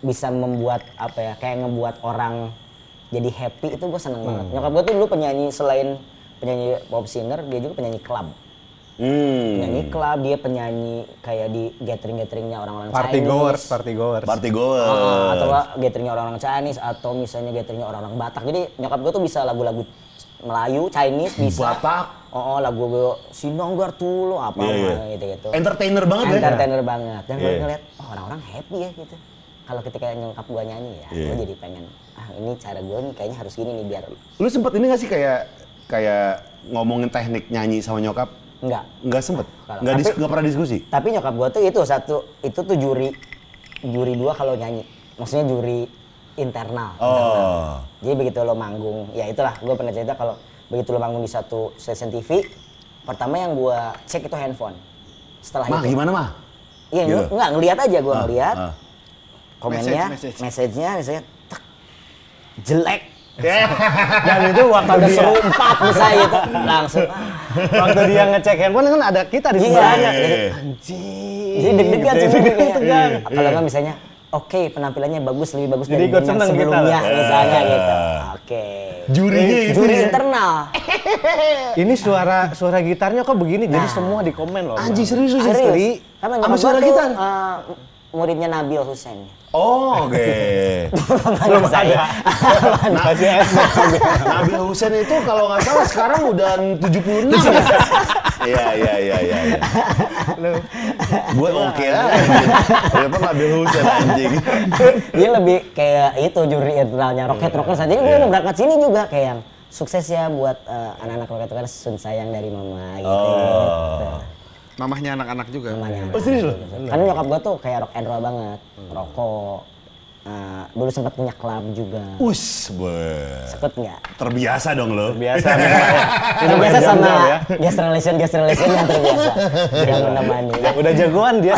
S2: bisa membuat apa ya kayak ngebuat orang jadi happy itu gue seneng
S3: Hmm.
S2: banget nyokap gue tuh dulu penyanyi selain penyanyi pop singer dia juga penyanyi club
S3: Hmm.
S2: penyanyi klub Nah, dia penyanyi kayak di gathering gatheringnya orang-orang
S4: Party
S2: Chinese.
S4: goers, party goers.
S3: Party goer.
S2: Ah, atau nggak gatheringnya orang-orang Chinese atau misalnya gatheringnya orang-orang Batak jadi nyokap gue tuh bisa lagu-lagu Melayu Chinese bisa
S3: Batak.
S2: oh, oh, lagu gue sinonggar tuh lo apa
S3: Iya, iya.
S2: gitu gitu
S3: Entertainer banget ya.
S2: entertainer banget dan gue
S3: Iya.
S2: ngeliat oh, orang-orang happy ya gitu kalau ketika nyokap gue nyanyi ya
S3: Iya.
S2: gue jadi pengen ah ini cara gue nih kayaknya harus gini nih biar
S3: Lu sempet ini gak sih kayak kayak ngomongin teknik nyanyi sama nyokap?
S2: enggak
S3: Nggak sempet?
S2: Kalau-
S3: Nggak, dis-
S2: tapi-
S3: nggak pernah diskusi?
S2: Tapi nyokap gue tuh itu satu itu tuh juri juri dua kalau nyanyi. Maksudnya juri internal. internal.
S3: Oh.
S2: Jadi begitu lo manggung, ya itulah gue pernah cerita kalau begitu lo manggung di satu stasiun TV, pertama yang gue cek itu handphone. Setelah
S3: Oh. Mah,
S2: itu,
S3: gimana mah?
S2: iya
S3: Gitu.
S2: nggak ngelihat aja gue ngelihat
S3: Ah, ah.
S2: komennya,
S1: Message, message.
S2: message-nya misalnya tek, jelek,
S4: Dan Ya. itu waktu
S2: ada
S4: dia
S2: serumpat misalnya gitu, langsung. ah.
S4: waktu dia ngecek handphone kan ada kita di
S2: Iya,
S4: sebelahnya.
S3: iya, iya.
S4: Anjing.
S2: Jadi deg-degan
S4: Gitu.
S2: sebenarnya.
S4: Tegang.
S2: Iya. Kalau nggak misalnya, oke penampilannya bagus lebih bagus
S4: Jadi
S2: dari
S4: ikut
S2: yang
S4: seneng kita.
S2: sebelumnya
S4: Eh.
S2: misalnya gitu. Oke.
S3: Jurinya itu
S2: Juri
S3: ya?
S2: internal.
S4: Ini suara suara gitarnya kok begini? Jadi
S2: Nah.
S4: semua di komen loh.
S3: Anjing serius lu
S2: Serius.
S3: Jadi, sama
S2: Karena nyokap
S3: suara
S2: gua tuh,
S3: gitar.
S2: eh, muridnya Nabil Hussein.
S3: Oh, oke.
S2: Belum saya.
S3: (laughs) Nah, Nabil Hussein itu kalau nggak salah sekarang udah 76 ya? (laughs) Iya, iya, iya, iya. iya. Gue oke lah. Kenapa Nabil Hussein anjing?
S2: Dia lebih kayak itu juri internalnya Rocket Rocket saja. Jadi gue mau berangkat sini juga kayak yang sukses ya buat eh, anak-anak Rocket Rocket sun sayang dari mama gitu.
S3: Oh.
S1: Mamahnya anak-anak juga.
S2: Namanya.
S3: Oh, serius lu?
S2: Karena nyokap gue tuh kayak rock and roll banget, rokok, eh, dulu sempat punya klub juga.
S3: Uh. Us, be.
S2: Sempet nggak?
S3: Terbiasa dong lo.
S4: Biasa.
S2: Terbiasa
S4: jam-jam
S2: sama
S4: ya.
S2: guest relation, guest relation yang terbiasa. yang menemani.
S4: Udah jagoan dia.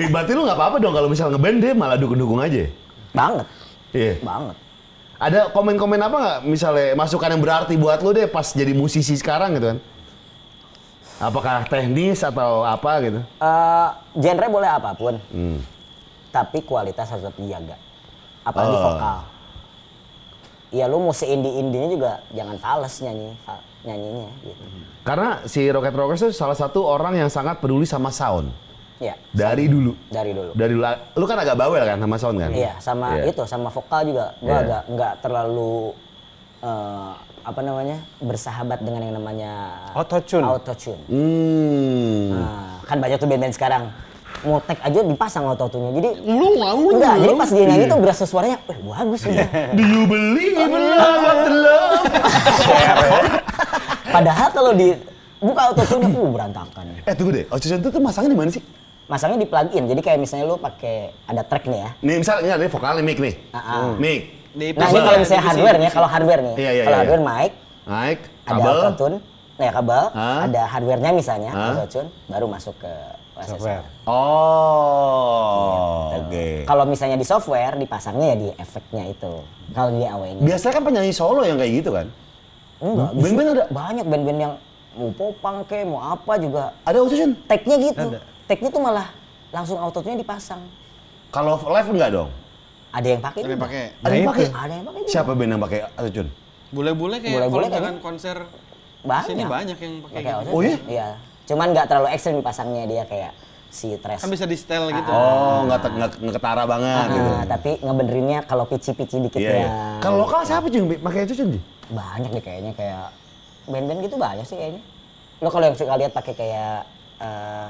S3: Ih, Berarti lu nggak apa-apa dong kalau misalnya ngeband dia malah dukung-dukung aja.
S2: Banget,
S3: Iya.
S2: banget.
S3: Ada komen-komen apa nggak misalnya masukan yang berarti buat lu deh pas jadi musisi sekarang gitu kan? Apakah teknis atau apa gitu? Hmm.
S2: Eh, genre boleh apapun, tapi kualitas harus tetap dijaga. Apalagi
S3: Oh.
S2: vokal. Ya lu mau seindie-indinya juga jangan fals nyanyi fa- nyanyinya gitu.
S3: Hmm. Karena si Rocket Rockers itu salah satu orang yang sangat peduli sama sound
S2: Ya,
S3: dari dulu.
S2: dari dulu.
S3: Dari dulu, lu kan agak bawel kan sama sound kan?
S2: Iya, sama
S3: Iya.
S2: itu, sama vokal juga. Gua
S3: Iya.
S2: agak nggak terlalu eh, apa namanya bersahabat dengan yang namanya
S4: Autotune.
S2: Autotune.
S3: Hmm.
S2: Nah, kan banyak tuh band-band sekarang mutek aja dipasang autotune-nya. Jadi
S1: Lu mau
S2: enggak,
S1: lu.
S2: jadi pas dia nyanyi tuh berasa suaranya, wah bagus nih.
S3: (laughs) Do you believe in love after love?
S2: Padahal kalau di buka autotune uh berantakan.
S3: eh tunggu deh, Ocean itu tuh masangnya di mana sih?
S2: Masangnya di plugin. Jadi kayak misalnya lu pakai ada track nih ya.
S3: Nih misalnya ada vokalnya mic nih. Hmm.
S2: Ah, ah.
S3: Mic.
S1: Di-
S2: Nah,
S1: Itu sih,
S2: ini kalau
S1: di
S2: misalnya
S1: PC,
S2: hardware
S1: di
S2: nih,
S1: PC.
S2: kalau hardware nih.
S3: Iya, iya,
S2: kalau
S3: iya.
S2: hardware mic,
S3: Naik,
S2: ada
S3: kabel.
S2: autotune, ya kabel,
S3: Ah.
S2: ada hardware-nya misalnya,
S3: Ah.
S2: autotune baru masuk ke OSS.
S4: Software.
S3: Oh, oke.
S2: Kalau misalnya di software dipasangnya ya di efeknya itu. Kalau di AW-nya.
S3: Biasanya kan penyanyi solo yang kayak gitu kan? (laughs)
S2: Enggak, justru
S3: Band-band ada?
S2: banyak band-band yang mau popang ke, mau apa juga.
S3: Ada Ocean?
S2: Tag-nya gitu. Tag-nya tuh malah langsung autotune dipasang.
S3: Kalau live enggak dong?
S2: Ada yang pakai
S1: Ada yang
S2: juga. Eh,
S1: pakai.
S3: Ada yang
S4: itu.
S3: pakai?
S2: Ada yang pakai juga.
S3: Siapa band yang pakai Ocean?
S1: Bule-bule kayak
S2: Bule-bule
S1: kalau
S2: kayak
S1: misalkan
S2: gitu.
S1: konser
S2: Banyak.
S1: sini banyak yang pakai
S2: Pakai
S1: gitu.
S2: outfit.
S3: Oh iya?
S2: Cuman nggak terlalu ekstrim dipasangnya dia kayak si Tres.
S1: Kan bisa di style gitu.
S3: Oh, nggak te- nggak nggak ketara banget
S2: Ah,
S3: gitu.
S2: tapi ngebenerinnya kalau pici-pici dikit
S3: Iya.
S2: ya.
S3: iya. Kalau lokal siapa cuy yang pakai Ocean sih?
S2: banyak deh kayaknya kayak band-band gitu banyak sih kayaknya. Lo kalau yang suka lihat pakai kayak eh,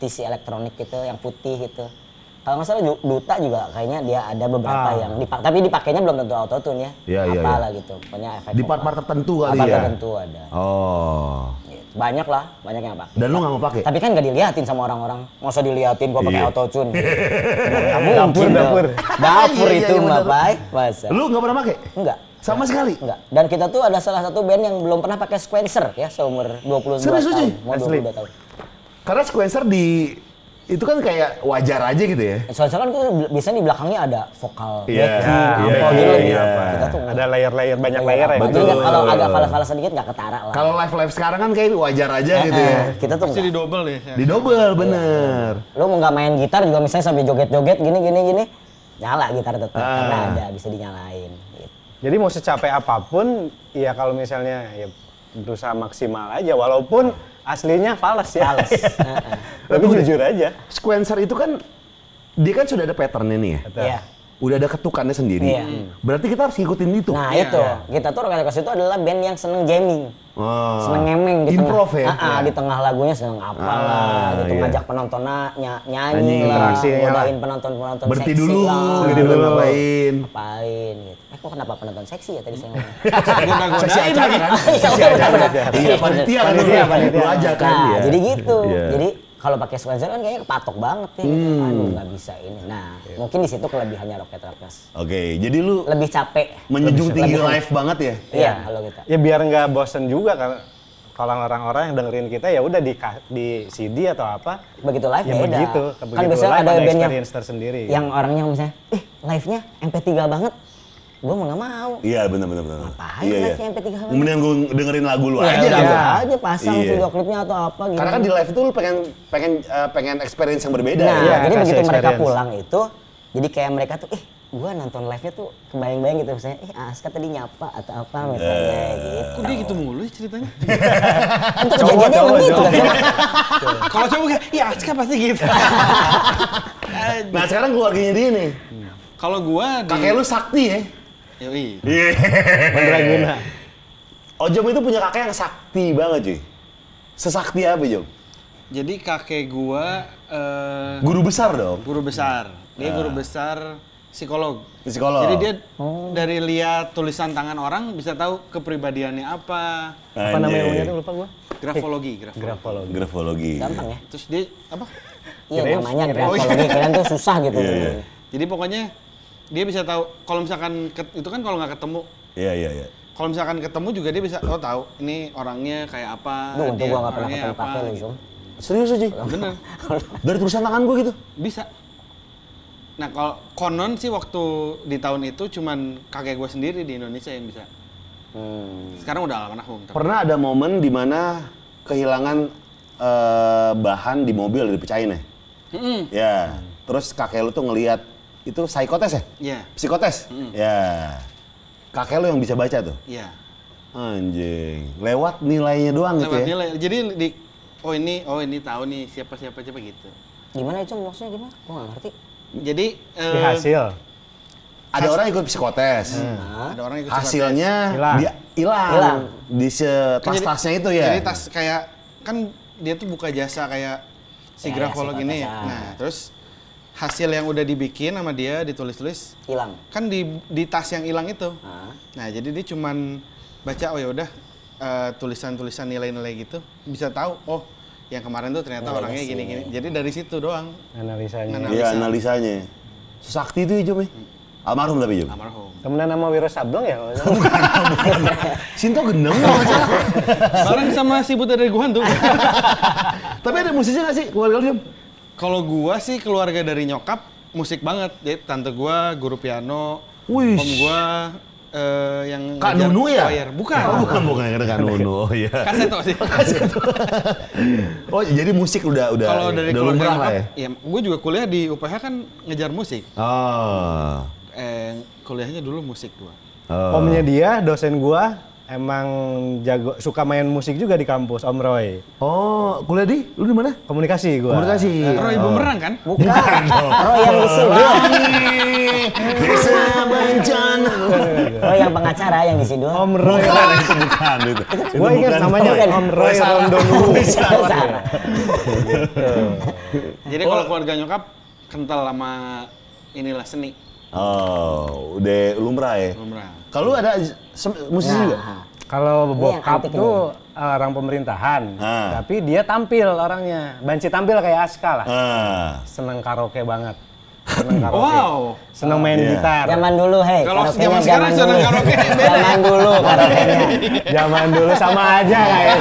S2: TC elektronik gitu yang putih gitu. Kalau nggak salah Ju- Duta juga kayaknya dia ada beberapa
S4: Ah.
S2: yang dipak tapi dipakainya belum tentu autotune ya.
S3: Iya, iya,
S2: Apalah gitu. Pokoknya efek Ah,
S3: Di part-part tertentu kali
S2: Part
S3: ya?
S2: tertentu ada.
S3: Oh.
S2: Gitu. Banyak lah, banyak yang pakai.
S3: Dan lu nggak mau pakai?
S2: Tapi kan nggak diliatin sama orang-orang. Masa diliatin gua pakai
S3: Iya. (laughs)
S2: autotune.
S4: Dapur, dapur.
S2: Dapur
S3: Iya, iya,
S2: itu
S3: iya,
S2: mah,
S3: bener.
S2: Bay. Masa?
S3: Lu nggak pernah pakai?
S2: Enggak.
S3: Sama sekali?
S2: Enggak. Dan kita tuh ada salah satu band yang belum pernah pakai sequencer ya seumur 22
S3: Serius,
S2: tahun.
S3: Uji?
S2: Mau
S4: Asli.
S2: 22 tahun.
S3: Karena sequencer di itu kan kayak wajar aja gitu ya.
S2: Sequencer kan tuh biasanya di belakangnya ada vokal
S3: Iya,
S4: Ya,
S3: iya,
S2: backing, apa
S3: iya,
S2: gitu.
S3: iya.
S2: Kita tuh
S4: Ada layer-layer banyak layer ya.
S2: apa.
S3: Betul.
S2: Jadi kalau agak fala-fala sedikit nggak ketara lah.
S3: Kalau live live sekarang kan kayak wajar aja gitu ya.
S2: Eh, Kita tuh
S1: Pasti di
S2: enggak.
S1: double deh.
S2: Eh.
S1: ya.
S3: Di double bener.
S2: Lu mau nggak main gitar juga misalnya sambil joget-joget gini gini gini nyala gitar tetap
S3: Ah.
S2: karena ada bisa
S3: (laughs)
S2: dinyalain gitu.
S4: Jadi mau secapek apapun, ya kalau misalnya ya berusaha maksimal aja, walaupun aslinya fals ya.
S2: Fals. Heeh.
S4: Tapi jujur aja.
S3: Sequencer itu kan dia kan sudah ada patternnya nih ya.
S2: Iya.
S3: Udah ada ketukannya sendiri.
S2: Iya.
S3: Berarti kita harus ngikutin itu.
S2: Nah, itu. Kita tuh Rocket Rockers itu adalah band yang seneng jamming.
S3: Ah.
S2: seneng ngemeng di
S3: Improv
S2: tengah,
S3: ya.
S2: Ah, ah, di tengah lagunya seneng apalah
S3: Ah,
S2: gitu
S3: iya.
S2: ngajak penonton na- ny-
S3: Nyanyi, ya.
S2: nyanyi lah
S4: interaksinya lah.
S2: ngodain penonton penonton
S3: Berhenti
S2: seksi
S3: dulu,
S2: lah gitu.
S3: berhenti dulu ngapain.
S2: ngapain gitu eh kok kenapa penonton seksi ya tadi saya ngomong Nah,
S1: Goda-godain
S3: Seksi acara
S1: lagi.
S3: kan?
S2: Iya,
S3: Seksi
S2: bener,
S3: acara.
S2: bener.
S3: Iya, panitia kan
S4: Panitia,
S3: lu-
S4: panitia.
S3: lu aja (laughs) kan.
S2: nah
S3: iya.
S2: jadi gitu
S3: Iya. Hmm.
S2: jadi kalau pakai sequencer kan kayaknya kepatok banget ya gitu. aduh nggak bisa ini nah
S3: Iya.
S2: mungkin di situ kelebihannya Rocket Rockers
S3: Oke, jadi lu
S2: lebih capek
S3: menjunjung tinggi
S2: lebih-
S3: live banget ya?
S2: iya kalau kita
S4: Ya biar nggak bosen juga kan. Kalau orang-orang yang dengerin kita ya udah di ka- di CD atau apa.
S2: begitu live
S4: Ya
S2: beda
S4: begitu.
S2: kan
S4: Begitu
S2: biasanya
S4: live
S2: ada
S4: ada
S2: band yang
S4: experience tersendiri.
S3: Iya.
S2: yang orangnya misalnya eh live nya MP3 banget gue mau nggak mau
S3: Iya, benar benar benar.
S2: Ngapain live-nya MP3 banget?
S3: Mendingan gue dengerin lagu lu aja.
S2: Ya udah,
S3: gitu.
S2: udah aja pasang
S3: Iya.
S2: video klipnya atau apa gitu.
S3: Karena kan di live itu lu pengen pengen eh, pengen experience yang berbeda. ya kan?
S2: Nah,
S4: Iya,
S2: jadi
S4: kasih
S2: begitu mereka
S4: experience.
S2: pulang itu, jadi kayak mereka tuh, ih, gua nonton live-nya tuh kebayang-bayang gitu misalnya, ih, Aska tadi nyapa atau apa misalnya gitu.
S1: Kok dia gitu mulu ya ceritanya?
S2: Untuk kejadiannya emang gitu kan.
S1: Kalau cowok kayak, iya Aska pasti gitu. Eh,
S3: Nah sekarang keluarganya dia nih.
S1: Kalau gua di...
S3: Kakek lu sakti ya.
S1: Yoi.
S4: Mandraguna.
S3: Ojom itu punya kakek yang sakti banget cuy. Sesakti apa Jom?
S1: Jadi kakek gua eh,
S3: Guru besar dong.
S1: guru besar. Dia guru besar psikolog.
S3: Psikolog.
S1: Jadi dia
S2: Oh.
S1: dari lihat tulisan tangan orang bisa tahu kepribadiannya apa,
S4: Apa namanya
S3: Anjay.
S4: ilmunya tuh lupa gua.
S1: grafologi, grafologi.
S4: Grafologi.
S3: Grafologi.
S2: Gampang ya.
S1: Terus dia apa?
S2: Iya, namanya
S4: Kirain-
S2: grafologi kalian tuh susah gitu.
S3: Iya, iya.
S1: Jadi pokoknya dia bisa tahu kalau misalkan ket- itu kan kalau nggak ketemu
S3: Iya, iya, iya.
S1: kalau misalkan ketemu juga dia bisa oh tahu ini orangnya kayak apa
S2: Duh, untung
S1: dia
S2: gua nggak pernah
S1: orangnya
S2: ketemu
S1: apa,
S2: pakai lagi,
S1: gitu.
S2: Om.
S3: Serius Uji?
S1: bener
S3: Dari tulisan tangan gue gitu?
S1: bisa nah kalau konon sih waktu di tahun itu cuman kakek gue sendiri di Indonesia yang bisa
S2: Hmm.
S1: sekarang udah almarhum tapi-
S3: Pernah ada momen di mana kehilangan eh, bahan di mobil udah dipecahin ya?
S1: Mm-mm.
S3: Ya. Terus kakek lu tuh ngelihat itu psikotes ya?
S1: Iya,
S3: Psikotes? Ya. Kakek lu yang bisa baca tuh.
S1: iya.
S3: Anjing. Lewat nilainya doang gitu
S1: Lewat
S3: ya.
S1: nilai. Jadi di oh ini oh ini tahu nih siapa siapa siapa gitu.
S2: Gimana itu maksudnya gimana? Gua nggak ngerti.
S1: Jadi
S4: Di
S1: eh,
S4: Iya, hasil.
S3: Ada orang ikut psikotes.
S1: ada Mm. orang ikut
S3: Hasilnya
S4: Hilang.
S3: dia hilang.
S2: Hilang.
S3: Di se-
S1: Kan jadi-
S3: tas-tasnya itu ya.
S1: Jadi tas kayak kan dia tuh buka jasa kayak si
S2: Ya,
S1: grafolog
S2: si
S1: ini. Ya.
S2: batasan.
S1: Nah, terus hasil yang udah dibikin sama dia ditulis-tulis
S2: Hilang.
S1: kan di di tas yang hilang itu.
S2: Ah.
S1: Nah, jadi dia cuman baca oh ya udah eh, tulisan-tulisan nilai-nilai gitu bisa tahu oh yang kemarin tuh ternyata
S2: Nilainya
S1: orangnya
S2: sini.
S1: gini-gini. Jadi dari situ doang
S2: Nah.
S4: Analisanya.
S1: Analisis.
S3: Iya, analisanya. Sakti itu Jom ya. Almarhum tapi Jom.
S1: Mm. almarhum.
S4: Temenan sama Wiro Sableng
S2: (laughs)
S4: ya? kalau nggak salah?
S3: Sinto gendeng kalau nggak salah.
S1: Bareng sama si buta dari Guhan tuh.
S3: Tapi ada musisnya nggak sih keluarga lu Jom?
S1: Kalau gua sih keluarga dari nyokap musik banget. Jadi tante gua guru piano,
S3: Wih.
S1: om gua eh, yang
S3: Kak
S1: ngajar
S3: Nunu ya?
S1: choir. iya. Bukan. Kan-
S3: Oh, bukan, bukan. Karena Kak Nunu,
S1: (laughs)
S3: oh iya.
S1: Kaseto
S3: (laughs)
S1: sih.
S3: Oh, jadi musik udah udah
S1: Kalau dari
S3: udah
S1: keluarga
S3: lumrah lah
S1: nyokap,
S3: ya.
S1: ya gua juga kuliah di UPH kan ngejar musik.
S3: Oh.
S1: Eh, kuliahnya dulu musik gua.
S3: Oh.
S4: Omnya dia, dosen gua, emang jago suka main musik juga di kampus, Om Roy.
S3: Oh, kuliah di? Lu di mana?
S4: Komunikasi gua.
S3: Komunikasi.
S1: Roy
S3: Oh.
S1: bumerang kan?
S2: Bukan. Roy yang disul.
S3: Bersama
S1: Iya,
S3: Jana.
S2: (laughs) Roy Oh, yang pengacara yang disidul.
S4: Om Roy.
S3: Bukan, itu bukan itu. Itu
S4: ya? Gua
S3: bukan. Oh,
S4: ingat
S3: iya.
S4: namanya
S2: Bukan.
S4: Om Roy
S3: Salah.
S4: Rondonu.
S2: Pengacara.
S1: Jadi kalau
S3: Oh.
S1: keluarga nyokap kental sama inilah seni
S3: Oh, udah lumrah ya.
S1: bumerang.
S3: Kalau lu ada sem- musisi juga?
S4: Kalau
S2: yang
S4: bokap
S2: antik
S4: tuh eh, orang pemerintahan,
S3: Ah.
S4: tapi dia tampil orangnya. Banci tampil kayak Aska lah.
S3: Ah.
S4: Seneng karaoke banget. Seneng
S3: Oh,
S4: karaoke.
S1: Wow.
S4: Seneng main
S3: Iya.
S4: gitar.
S2: Zaman dulu, hei.
S1: Kalau
S2: karaokenya
S1: zaman sekarang senang
S2: dulu.
S1: karaoke, beda.
S2: Zaman dulu karaokenya.
S4: (laughs)
S1: (laughs)
S4: Zaman dulu sama aja kayak. gitu.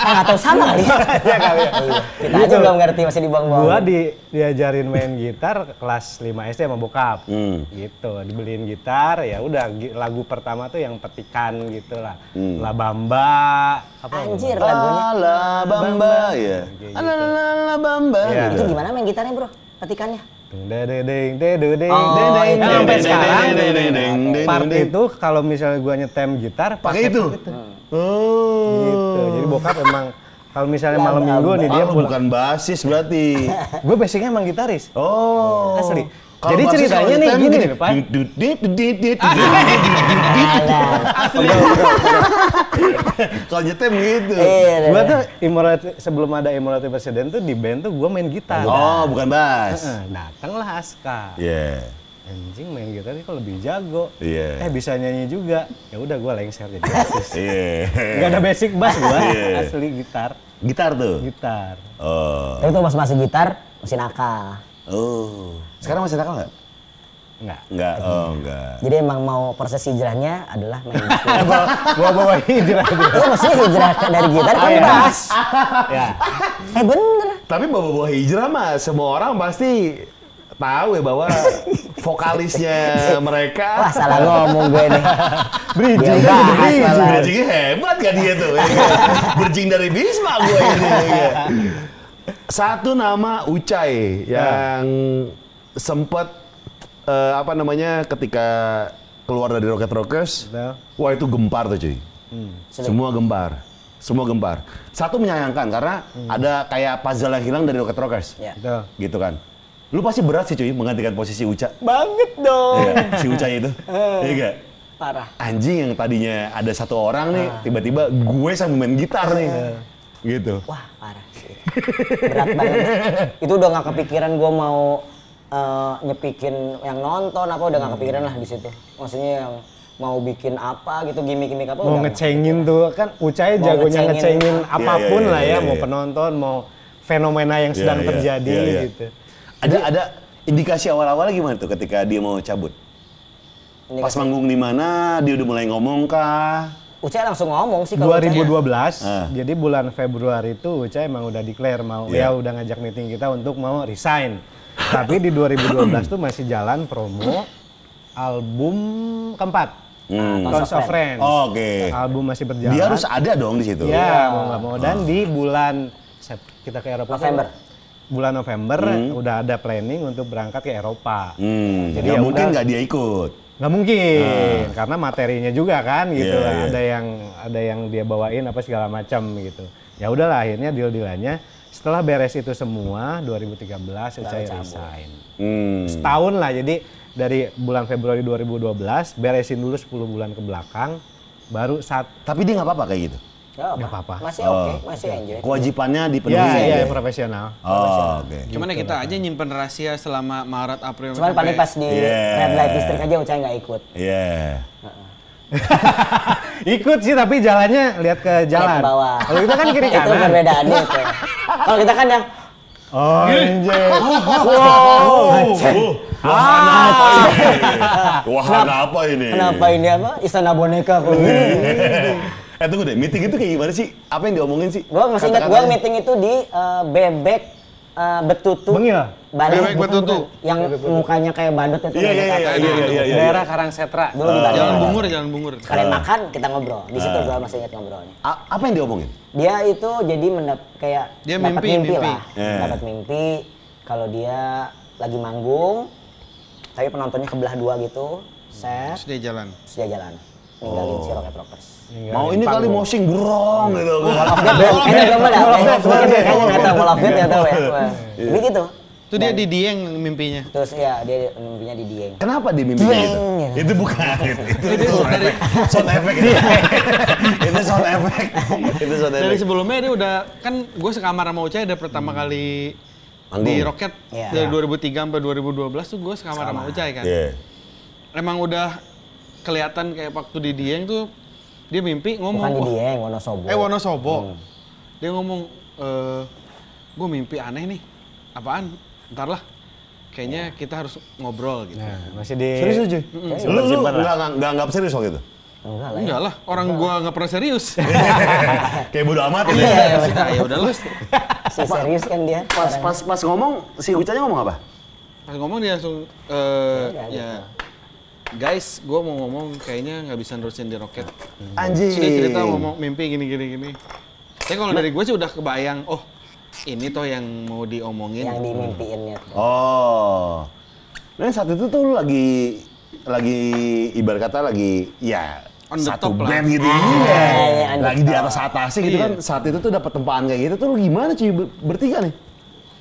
S2: Ah, nggak tahu sama
S4: (laughs)
S2: kali. Iya kali. Kita aja
S4: Gitu.
S2: belum ngerti masih dibuang-buang.
S4: Gua di diajarin main gitar kelas 5 SD sama bokap.
S3: Hmm.
S4: Gitu, dibeliin gitar ya udah gi- lagu pertama tuh yang petikan gitu lah. La Bamba apa ya?
S2: Anjir lagunya.
S3: Ala Bamba ya.
S4: Kayak gitu.
S3: Ala la la la Bamba.
S4: Iya.
S2: Itu
S3: gitu.
S2: gimana main gitarnya, Bro? Petikannya.
S4: Deng deng deng deng deng deng
S2: Oh,
S4: deng deng
S2: itu.
S4: Nah, sampai
S2: Deng, deng,
S4: sekarang
S3: deng, deng, deng, deng, deng,
S4: part
S3: deng, deng.
S4: itu kalau misalnya gua nyetem gitar
S3: Pakai itu. Oh.
S4: gitu. Jadi bokap emang kalau misalnya malam
S2: La
S4: minggu nih dia
S3: Ah, lu
S4: pulang.
S3: bukan basis
S4: (laughs)
S3: berarti.
S4: Gue basicnya emang gitaris.
S3: Oh.
S4: Asli.
S3: Kalau
S4: Jadi
S3: basis
S4: ceritanya
S3: kalau
S4: nih
S3: nyetem
S4: gini nih, Pak.
S3: Dut, dut, dit, dut, dit, dit, dut, dit, dit, dit,
S4: (laughs)
S3: dit, dit. Kalau nyetem gitu.
S2: Eh,
S4: Gua tuh immorality, sebelum ada immorality presiden tuh di band tuh gua main gitar.
S3: Oh, bukan bass.
S4: Heeh, datanglah Aska.
S3: Iya.
S4: Anjing main gitar ini kok lebih jago.
S3: Iya.
S4: Eh bisa nyanyi juga. Ya udah gua lengser
S3: (laughs)
S4: jadi bassist.
S3: Iya.
S4: Gak ada basic bass gua,
S3: Iya.
S4: asli gitar,
S3: Gitar tuh.
S4: gitar.
S3: Oh.
S2: Tapi tuh pas masih gitar masih nakal.
S3: Oh. Sekarang masih nakal nggak?
S4: Enggak.
S3: Nggak. Oh, nggak.
S2: Jadi emang mau proses hijrahnya adalah main
S4: (laughs)
S2: gitar.
S4: (laughs) Gua bawa hijrah itu.
S2: Iya maksudnya hijrah ke- dari gitar
S4: Oh,
S2: kan
S4: iya.
S2: bass.
S4: Ya.
S2: Eh bener.
S3: Tapi bawa-bawa hijrah mah semua orang pasti tahu ya bahwa vokalisnya mereka
S2: Wah salah ngomong gue nih.
S4: (laughs) Bridging,
S2: Dia
S3: Nah,
S2: bahas
S4: bridging.
S2: malah.
S3: Berjingnya hebat kan dia tuh. ya kan? Berjing dari Bisma gue ini. ya. Satu nama Ucai yang sempat eh, apa namanya ketika keluar dari Rocket Rockers,
S4: Betul.
S3: wah itu gempar tuh cuy. Semua gempar. Semua gempar. Satu menyayangkan karena ada kayak puzzle yang hilang dari Rocket Rockers.
S2: Ya.
S4: Gitu.
S3: Gitu kan. Lu pasti berat sih cuy menggantikan posisi Uca.
S2: Banget
S4: Oh.
S2: dong.
S3: Iya, si Ucai itu. Iya nggak?
S2: Parah.
S3: anjing yang tadinya ada satu orang nih, tiba-tiba gue sambil main gitar nih. Gitu.
S2: Wah parah sih. Berat banget. Itu udah nggak kepikiran gue mau eh, nyepikin yang nonton apa udah
S4: Hmm.
S2: nggak kepikiran lah di situ. Maksudnya yang mau bikin apa gitu gimmick-gimmick apa udah
S4: Mau
S2: nggak.
S4: ngecengin tuh kan Ucai
S2: Mau
S4: jagonya
S2: ngecengin.
S4: ngecengin
S2: Iya,
S4: apapun
S3: iya,
S4: lah
S3: iya,
S4: ya,
S3: iya,
S4: mau
S3: iya.
S4: penonton, mau fenomena yang sedang
S3: Iya, iya,
S4: terjadi
S3: iya, iya.
S4: gitu.
S3: Ada ada Indikasi awal-awalnya gimana tuh ketika dia mau cabut?
S2: Ini
S3: Pas manggung di mana, dia udah mulai ngomong kah?
S2: Ucai langsung ngomong sih kalau Ucai. ya?
S4: 2012,
S3: Ah.
S4: jadi bulan Februari itu Uca emang udah declare mau
S3: Iya.
S4: ya udah ngajak meeting kita untuk mau resign. Tapi di 2012 tuh masih jalan promo album keempat,
S3: Hmm.
S2: Tons
S4: Tons
S2: of
S4: of Friends.
S3: Oke.
S4: Album masih berjalan.
S3: Dia harus ada dong di situ.
S4: Ah, Iya, mau nggak mau.
S3: Ah.
S4: Dan di bulan Sep- kita ke Eropa tuh
S2: November.
S4: bulan November udah ada planning untuk berangkat ke Eropa.
S3: Hmm.
S4: Jadi
S3: Nggak
S4: ya
S3: mungkin
S4: udah.
S3: nggak dia ikut.
S4: nggak mungkin karena materinya juga kan gitu
S3: Ah. Iya,
S4: lah.
S3: iya.
S4: ada yang ada yang dia bawain apa segala macam gitu ya udahlah akhirnya deal dealannya setelah beres itu semua 2013 Ucai resign
S3: Hmm.
S4: setahun lah jadi dari bulan Februari 2012 beresin dulu 10 bulan ke belakang baru saat
S3: Tapi dia nggak apa-apa kayak gitu.
S2: Nggak
S4: Nggak apa-apa.
S2: Masih
S3: Oh.
S2: oke, masih enjoy.
S3: Kewajibannya dipenuhi.
S4: ya,
S3: ya?
S4: ya, profesional
S3: Oh, oke.
S1: Gimana ya kita aja nyimpen rahasia selama Maret, April,
S2: Cuman paling pas di
S3: Yeah.
S2: red light district aja Ucai nggak ikut.
S3: Iya.
S4: (laughs) ikut sih tapi jalannya lihat ke
S2: Lihat
S4: jalan
S2: ke bawah.
S4: kalau kita kan kiri
S2: (laughs) Itu
S4: kanan
S2: perbedaannya itu. Kalau kita kan yang
S4: oh anjir
S3: Oh. Wahana apa ini?
S2: kenapa ini apa istana boneka kok.
S4: Iya.
S3: eh tunggu deh, meeting itu kayak gimana sih? Apa yang diomongin sih?
S2: Gua masih ingat gua
S3: Kata-katanya.
S2: meeting itu di eh, bebek eh, betutu.
S4: Bengil?
S2: Bali.
S1: Bebek Betutu.
S2: Yang mukanya kayak badut itu.
S3: ya? Iya, iya, iya,
S2: katanya.
S3: iya, Ah. iya, iya.
S5: Daerah Karangsetra.
S2: Dulu di Bali.
S1: Jalan bungur, jalan bungur.
S2: Kalian makan, kita ngobrol. Di
S3: Ah.
S2: situ gua masih ingat ngobrolnya.
S3: A- apa yang diomongin?
S2: Dia itu jadi mendap kayak
S1: Dia
S2: dapat
S1: mimpi, mimpi.
S2: lah.
S3: Eh.
S2: Dapat mimpi kalau dia lagi manggung tapi penontonnya kebelah dua gitu. Set,
S1: Terus dia jalan.
S2: terus dia jalan. Ninggalin
S3: Oh.
S2: si Rocket Rockers.
S3: Mau ini kali mosing brong gitu.
S2: Kayaknya belum ada. Kayaknya kayaknya nggak tahu. Kalau update nggak tahu ya. Wah.
S3: Iya.
S2: Tapi gitu.
S1: Itu dia di Dieng mimpinya.
S2: Terus ya dia mimpinya di Dieng.
S3: Kenapa dia mimpinya gitu?
S2: Iya.
S3: Itu (laughs) bukan. Itu, itu
S1: Itu
S3: sound
S1: dari-
S3: effect. (laughs) Sound effect. itu. Itu sound effect. Itu sound
S1: Dari
S3: effect.
S1: sebelumnya dia udah kan gue sekamar sama Ucai ada pertama kali di
S3: Hmm. Manggung.
S1: Rocket
S2: Iya.
S1: dari 2003 sampai 2012 tuh gue sekamar sama Ucai kan.
S3: Iya.
S1: Emang udah kelihatan kayak waktu di Dieng tuh dia mimpi ngomong
S2: Bukan di
S1: "Wah,
S2: Dieng, Wonosobo.
S1: Oh. Eh
S3: Hmm.
S1: Wonosobo. Dia ngomong, eh gue mimpi aneh nih. Apaan? Ntar lah.
S3: Iya.
S1: Kayaknya kita harus ngobrol gitu.
S4: Nah, masih di
S3: Serius aja? Lu lu
S4: Simpen-simpen lah.
S3: nggak nggak- nggak anggap serius waktu (laughs) itu?
S2: Enggak lah. ya.
S1: Enggak Iya, lah, orang gua nggak pernah (laughs) serius.
S3: Kayak bodo amat gitu ya.
S1: Ya sudah, ya udahlah.
S2: Si serius kan dia.
S3: Pas pas pas ngomong si Ucanya ngomong apa?
S1: Pas ngomong dia langsung, eh
S2: Ya, ya,
S1: ya guys, gua mau ngomong kayaknya nggak bisa nerusin di roket.
S3: Anjing.
S1: Terus dia cerita ngomong mimpi gini gini gini. Tapi kalau dari gue sih udah kebayang, oh ini toh yang mau diomongin.
S2: Yang dimimpiinnya. tuh.
S3: Oh. Dan saat itu tuh lu lagi lagi ibarat kata lagi ya
S1: On the
S3: satu
S1: top lah.
S3: band gitu
S2: iya,
S3: iya.
S2: iya, on the
S3: lagi di atas atasnya gitu
S1: Iya.
S3: kan saat itu tuh dapat tempaan kayak gitu tuh lu gimana cuy ber- bertiga nih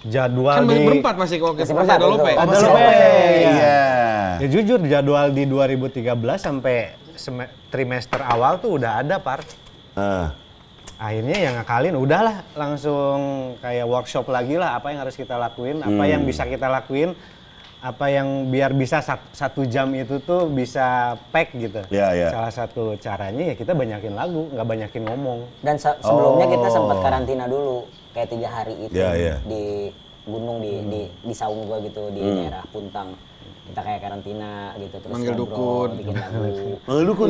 S4: jadwal
S1: Kan
S4: di
S1: masih berempat masih kalau
S2: Masih
S1: kita masih ada
S2: berempat,
S1: lope.
S2: betul.
S3: Ada
S4: masih
S3: Lope,
S4: Lope,
S3: iya.
S4: Ya jujur jadwal di 2013 sampai seme- trimester awal tuh udah ada par.
S3: Ah.
S4: Akhirnya yang ngakalin udahlah langsung kayak workshop lagi lah apa yang harus kita lakuin, apa yang bisa kita lakuin, apa yang biar bisa sat- satu jam itu tuh bisa pack gitu.
S3: Iya, iya.
S4: Salah satu caranya ya kita banyakin lagu, nggak banyakin ngomong.
S2: Dan se- sebelumnya kita
S3: Oh.
S2: sempat karantina dulu kayak tiga hari itu
S3: Iya, iya.
S2: di gunung di di di saung gua gitu di daerah Puntang. Kita kayak karantina gitu terus
S1: Manggil
S2: ngobrol,
S1: dukun.
S2: bikin lagu.
S3: Eh, lu
S1: Iya.
S3: kun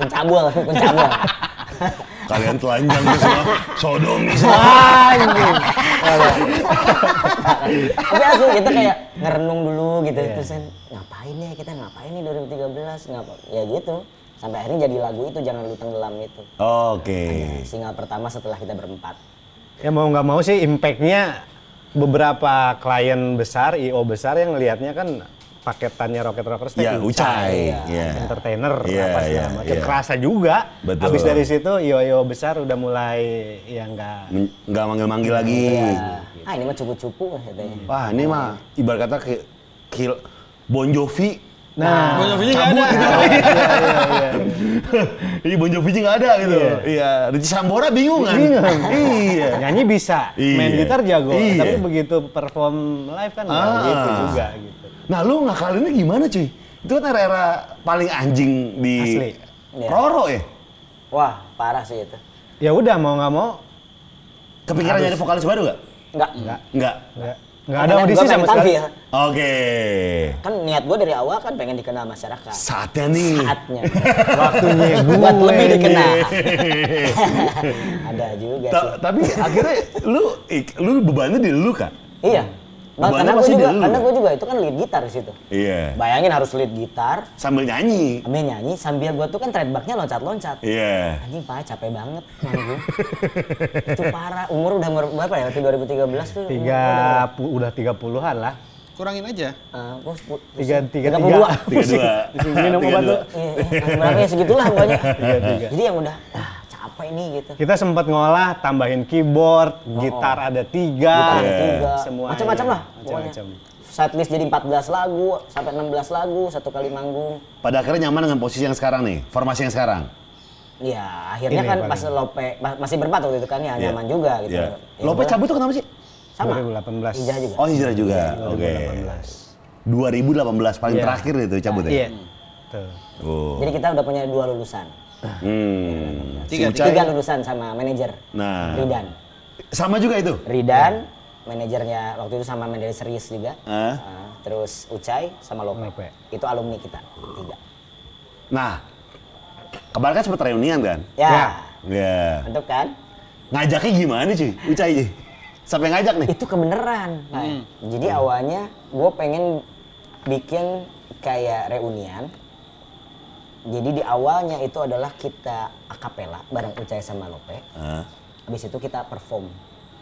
S2: Pencabul, pencabul.
S3: kalian telanjang tuh semua sodomi semua
S2: Anjing. Tapi asli kita kayak ngerenung dulu gitu. Terus kan, ngapain ya kita ngapain nih 2013 ngapa ya gitu. Sampai akhirnya jadi lagu itu jangan lu tenggelam itu.
S3: oke
S2: Single pertama setelah kita berempat.
S4: Ya mau nggak mau sih impactnya beberapa klien besar, IO besar yang lihatnya kan paketannya Rocket Rockers tuh
S3: ya ucai Iya.
S4: entertainer
S3: Iya,
S4: apa segala
S3: iya,
S4: macam.
S3: iya.
S4: Kerasa juga.
S3: Betul.
S4: Habis dari situ yo-yo besar udah mulai ya enggak
S3: Men- nggak manggil manggil lagi
S4: gitu.
S2: Ah ini mah cupu-cupu katanya.
S3: wah ini mah ibarat kata kayak kill Bon Jovi
S4: Nah,
S1: Bon Jovi-nya nggak
S3: cabut
S1: ada.
S3: gitu. Iya, Bon Jovi nggak ada gitu. Iya, Richie Sambora bingung kan? (laughs) Iya.
S4: nyanyi bisa, main
S3: Iya.
S4: gitar jago,
S3: Iya.
S4: tapi begitu perform live kan nggak
S3: Ah.
S4: gitu juga gitu.
S3: Nah, lu ngakalinnya gimana cuy? Itu kan era-era paling anjing di
S4: Asli.
S2: Iya.
S3: Roro ya?
S2: Wah parah sih itu.
S4: Ya udah mau nggak mau
S3: Kepikiran nyari vokalis baru gak?
S2: Enggak.
S3: Enggak.
S4: nggak Nggak ada audisi sama sekali.
S2: sekali.
S3: Oke.
S2: Kan niat gue dari awal kan pengen dikenal masyarakat.
S3: Saatnya nih.
S4: (laughs)
S2: Saatnya.
S4: Waktunya gue
S2: (laughs) Buat lebih
S4: nih.
S2: dikenal. ada juga
S3: (laughs)
S2: sih.
S3: Ta- tapi akhirnya lu ik- lu bebannya di lu kan?
S2: Iya. Bang,
S3: Bebannya
S2: karena gue
S3: pasti
S2: juga,
S3: dari lu,
S2: karena
S3: kan?
S2: gue juga itu kan lead gitar di situ.
S3: Iya.
S2: Bayangin harus lead gitar,
S3: Sambil nyanyi.
S2: sambil nyanyi, sambil gue tuh kan trademarknya loncat-loncat.
S3: Iya.
S2: Anjing parah capek banget nanggung. itu parah. Umur udah umur berapa ya? Waktu 2013 tuh.
S4: Tiga pu- udah tiga puluhan lah.
S1: Kurangin aja.
S2: gue
S4: Tiga tiga
S2: 32.
S4: tiga.
S3: Tiga
S4: (laughs)
S3: dua.
S4: Minum
S3: Tiga
S4: obat
S3: dua.
S4: tuh.
S2: Iya, iya. berapa ya segitulah
S3: (laughs)
S2: pokoknya.
S3: Iya,
S2: Jadi yang udah ah, capek nih gitu.
S4: Kita sempat ngolah, tambahin keyboard, gitar ada
S2: Gitar ada
S4: tiga,
S3: Iya.
S2: tiga,
S4: semua
S2: Kan, macam-macam lah pokoknya.
S4: Macam-macam.
S2: Setlist jadi 14 lagu, sampai 16 lagu satu kali manggung.
S3: Pada akhirnya nyaman dengan posisi yang sekarang nih, formasi yang sekarang.
S2: Ya, akhirnya
S4: Ini
S2: kan
S4: paling.
S2: pas Lope ma- masih berempat waktu itu kan ya
S3: Iya.
S2: nyaman juga gitu.
S3: Iya.
S2: Ya, Iya.
S3: Lope
S2: gua
S3: cabut tuh kenapa sih?
S2: sama
S4: 2018.
S2: Ijah juga.
S3: Oh hijrah juga. Oke. 2018 paling
S4: Iya.
S3: terakhir itu cabut ya.
S4: Iya. Tuh.
S3: Oh.
S2: Jadi kita udah punya dua lulusan.
S3: Hmm. Si
S1: Tiga,
S3: Ucai-
S2: Tiga lulusan sama manajer.
S3: Nah.
S2: Ridan.
S3: Sama juga itu.
S2: Ridan manajernya waktu itu sama manajer serius juga.
S3: Hah?
S2: Ah, terus Ucai sama Lope.
S4: Lope.
S2: Itu alumni kita. Tiga.
S3: Nah, kemarin kan sempat reunian kan?
S2: Ya.
S4: Ya.
S3: Iya.
S2: Mantap
S3: (laughs)
S2: kan?
S3: Ngajaknya gimana cuy? Ucai cuy. Sampai ngajak nih.
S2: Itu kebeneran. Pak. Nah,
S4: Hmm.
S2: Jadi awalnya gue pengen bikin kayak reunian. Jadi di awalnya itu adalah kita akapela bareng Ucai sama Lope.
S3: Hah?
S2: Habis itu kita perform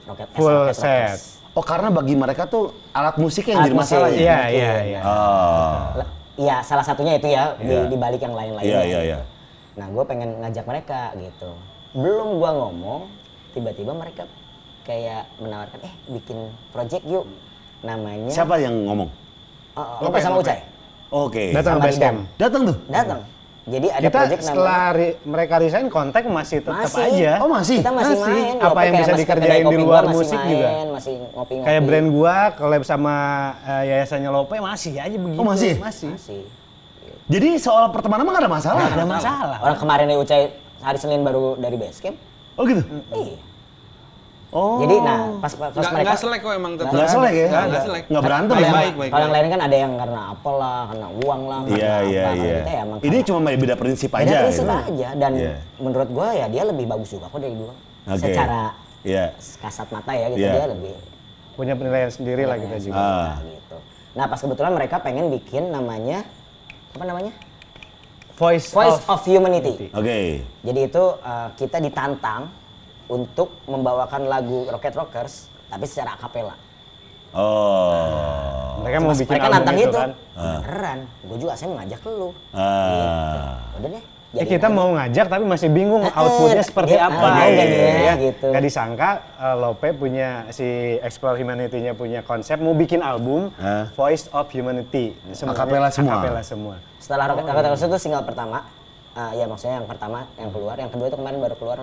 S2: Rocket S,
S4: Full
S2: Rocket, Rocket
S4: set.
S2: S.
S3: Oh karena bagi mereka tuh alat musiknya yang
S2: Alat
S3: jadi
S2: musik,
S3: masalah ya?
S4: Iya,
S2: Mungkin.
S4: iya, iya.
S3: Oh.
S2: Le- Iya, salah satunya itu ya di,
S3: Iya.
S2: di balik yang
S3: Iya,
S2: lain-lainnya.
S3: iya, iya.
S2: Nah, gue pengen ngajak mereka gitu. Belum gua ngomong, tiba-tiba mereka kayak menawarkan, eh bikin project yuk. Namanya
S3: Siapa yang ngomong?
S2: Oh, oh,
S1: Lope,
S2: Lope sama
S1: Lope.
S2: Ucai.
S3: Oke.
S4: Datang
S2: Sama
S4: ke Basecamp.
S2: Ridan.
S3: Datang tuh.
S2: Datang. Jadi ada
S4: Kita
S2: project
S4: setelah
S2: namanya.
S4: re- mereka resign kontak masih tetap aja.
S3: Oh, masih?
S2: Kita masih,
S4: Masih.
S2: main.
S4: Apa
S2: Lope
S4: yang
S2: kayak masih
S4: bisa
S2: ke kedai
S4: dikerjain di
S2: kopi gua
S4: luar
S2: masih
S4: musik juga?
S2: main, Masih ngopi-ngopi.
S4: Kayak brand gua collab sama eh, yayasannya Lope masih aja begitu.
S3: Oh, masih?
S4: Masih.
S2: Masih.
S3: Jadi soal pertemanan mah gak ada masalah.
S4: Nggak ada masalah.
S2: Orang kemarin dari Ucai hari Senin baru dari Basecamp.
S3: Oh gitu.
S2: Iya.
S3: Oh.
S2: Jadi nah pas pas
S1: Nggak,
S2: mereka
S1: nggak selek kok emang tetap.
S3: nggak selek ya?
S1: Nggak, nggak selek.
S3: Nggak berantem
S1: baik,
S3: ya?
S1: Baik, baik.
S2: Kalau yang
S1: baik.
S2: lain kan ada yang karena apa lah, karena uang lah, karena
S3: Iya iya
S2: apa. Kalau
S3: iya.
S2: Kita ya emang
S3: Ini cuma beda prinsip
S2: beda
S3: aja.
S2: prinsip
S3: gitu.
S2: aja dan
S3: Iya.
S2: menurut gua ya dia lebih bagus juga kok dari gua.
S3: Oke.
S2: Secara
S3: Iya.
S2: kasat mata ya gitu
S3: Iya.
S2: dia lebih
S4: Punya penilaian sendiri lah kita juga.
S3: Ah.
S2: gitu. Nah pas kebetulan mereka pengen bikin namanya apa namanya
S4: Voice,
S2: Voice
S4: of,
S2: of Humanity.
S3: Oke.
S2: Jadi itu eh, kita ditantang untuk membawakan lagu Rocket Rockers tapi secara akapela.
S3: Oh.
S4: Mereka mau bikin
S2: mereka
S4: album
S2: nantang
S4: itu
S2: itu.
S4: kan.
S2: Beneran, gue juga saya ngajak lu.
S3: Ah.
S2: Udah deh.
S4: Ya,
S2: jadiin
S4: kita
S2: aja.
S4: mau ngajak tapi masih bingung
S2: Eh, eh,
S4: outputnya seperti
S2: dia-
S4: apa.
S3: iya,
S2: ah,
S4: gitu
S2: iya,
S4: ya.
S2: gitu.
S4: Nggak disangka eh, Lope punya si Explore Humanity-nya punya konsep mau bikin album
S3: Hah?
S4: Voice of Humanity. Semuanya
S3: Akapela semua.
S4: Akapela semua.
S2: Setelah Rocket Rocket Rockers itu single pertama. Ah, ya maksudnya yang pertama yang keluar, yang kedua itu kemarin baru keluar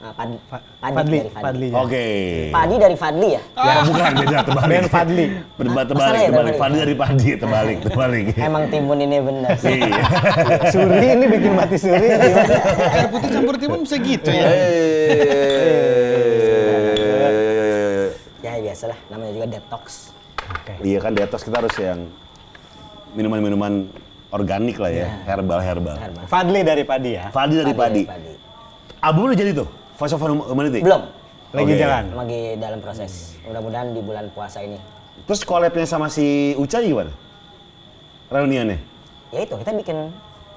S2: ah, Padi,
S4: Fa-
S2: Padi,
S4: Fadli,
S2: dari Fadli.
S4: Fadli. ya.
S3: Oke.
S2: Padi dari Fadli ya?
S3: Ya, bukan beda terbalik.
S4: Ben Fadli.
S3: Berdebat terbalik,
S2: Masalah ya,
S3: terbalik.
S2: terbalik.
S3: Fadli dari Padi,
S2: (laughs)
S3: terbalik, terbalik.
S2: Emang timun ini bener. sih.
S3: Iya.
S4: Suri ini bikin mati
S3: (laughs)
S4: Suri.
S1: Air putih campur timun bisa gitu
S3: Iya.
S1: ya.
S2: ya biasalah, namanya juga detox.
S3: Iya kan di atas kita harus yang minuman-minuman organik lah ya, herbal-herbal.
S2: Herbal.
S4: Fadli dari Padi ya.
S3: Fadli dari Padi.
S2: dari Padi.
S3: Album lu jadi tuh, Voice of Humanity?
S2: Belum,
S4: Lagi
S3: Oke.
S4: jalan.
S2: lagi dalam proses. Mudah-mudahan di bulan puasa ini.
S3: Terus collabnya sama si Ucai gimana? Reuniannya?
S2: Ya itu, kita bikin
S3: ya?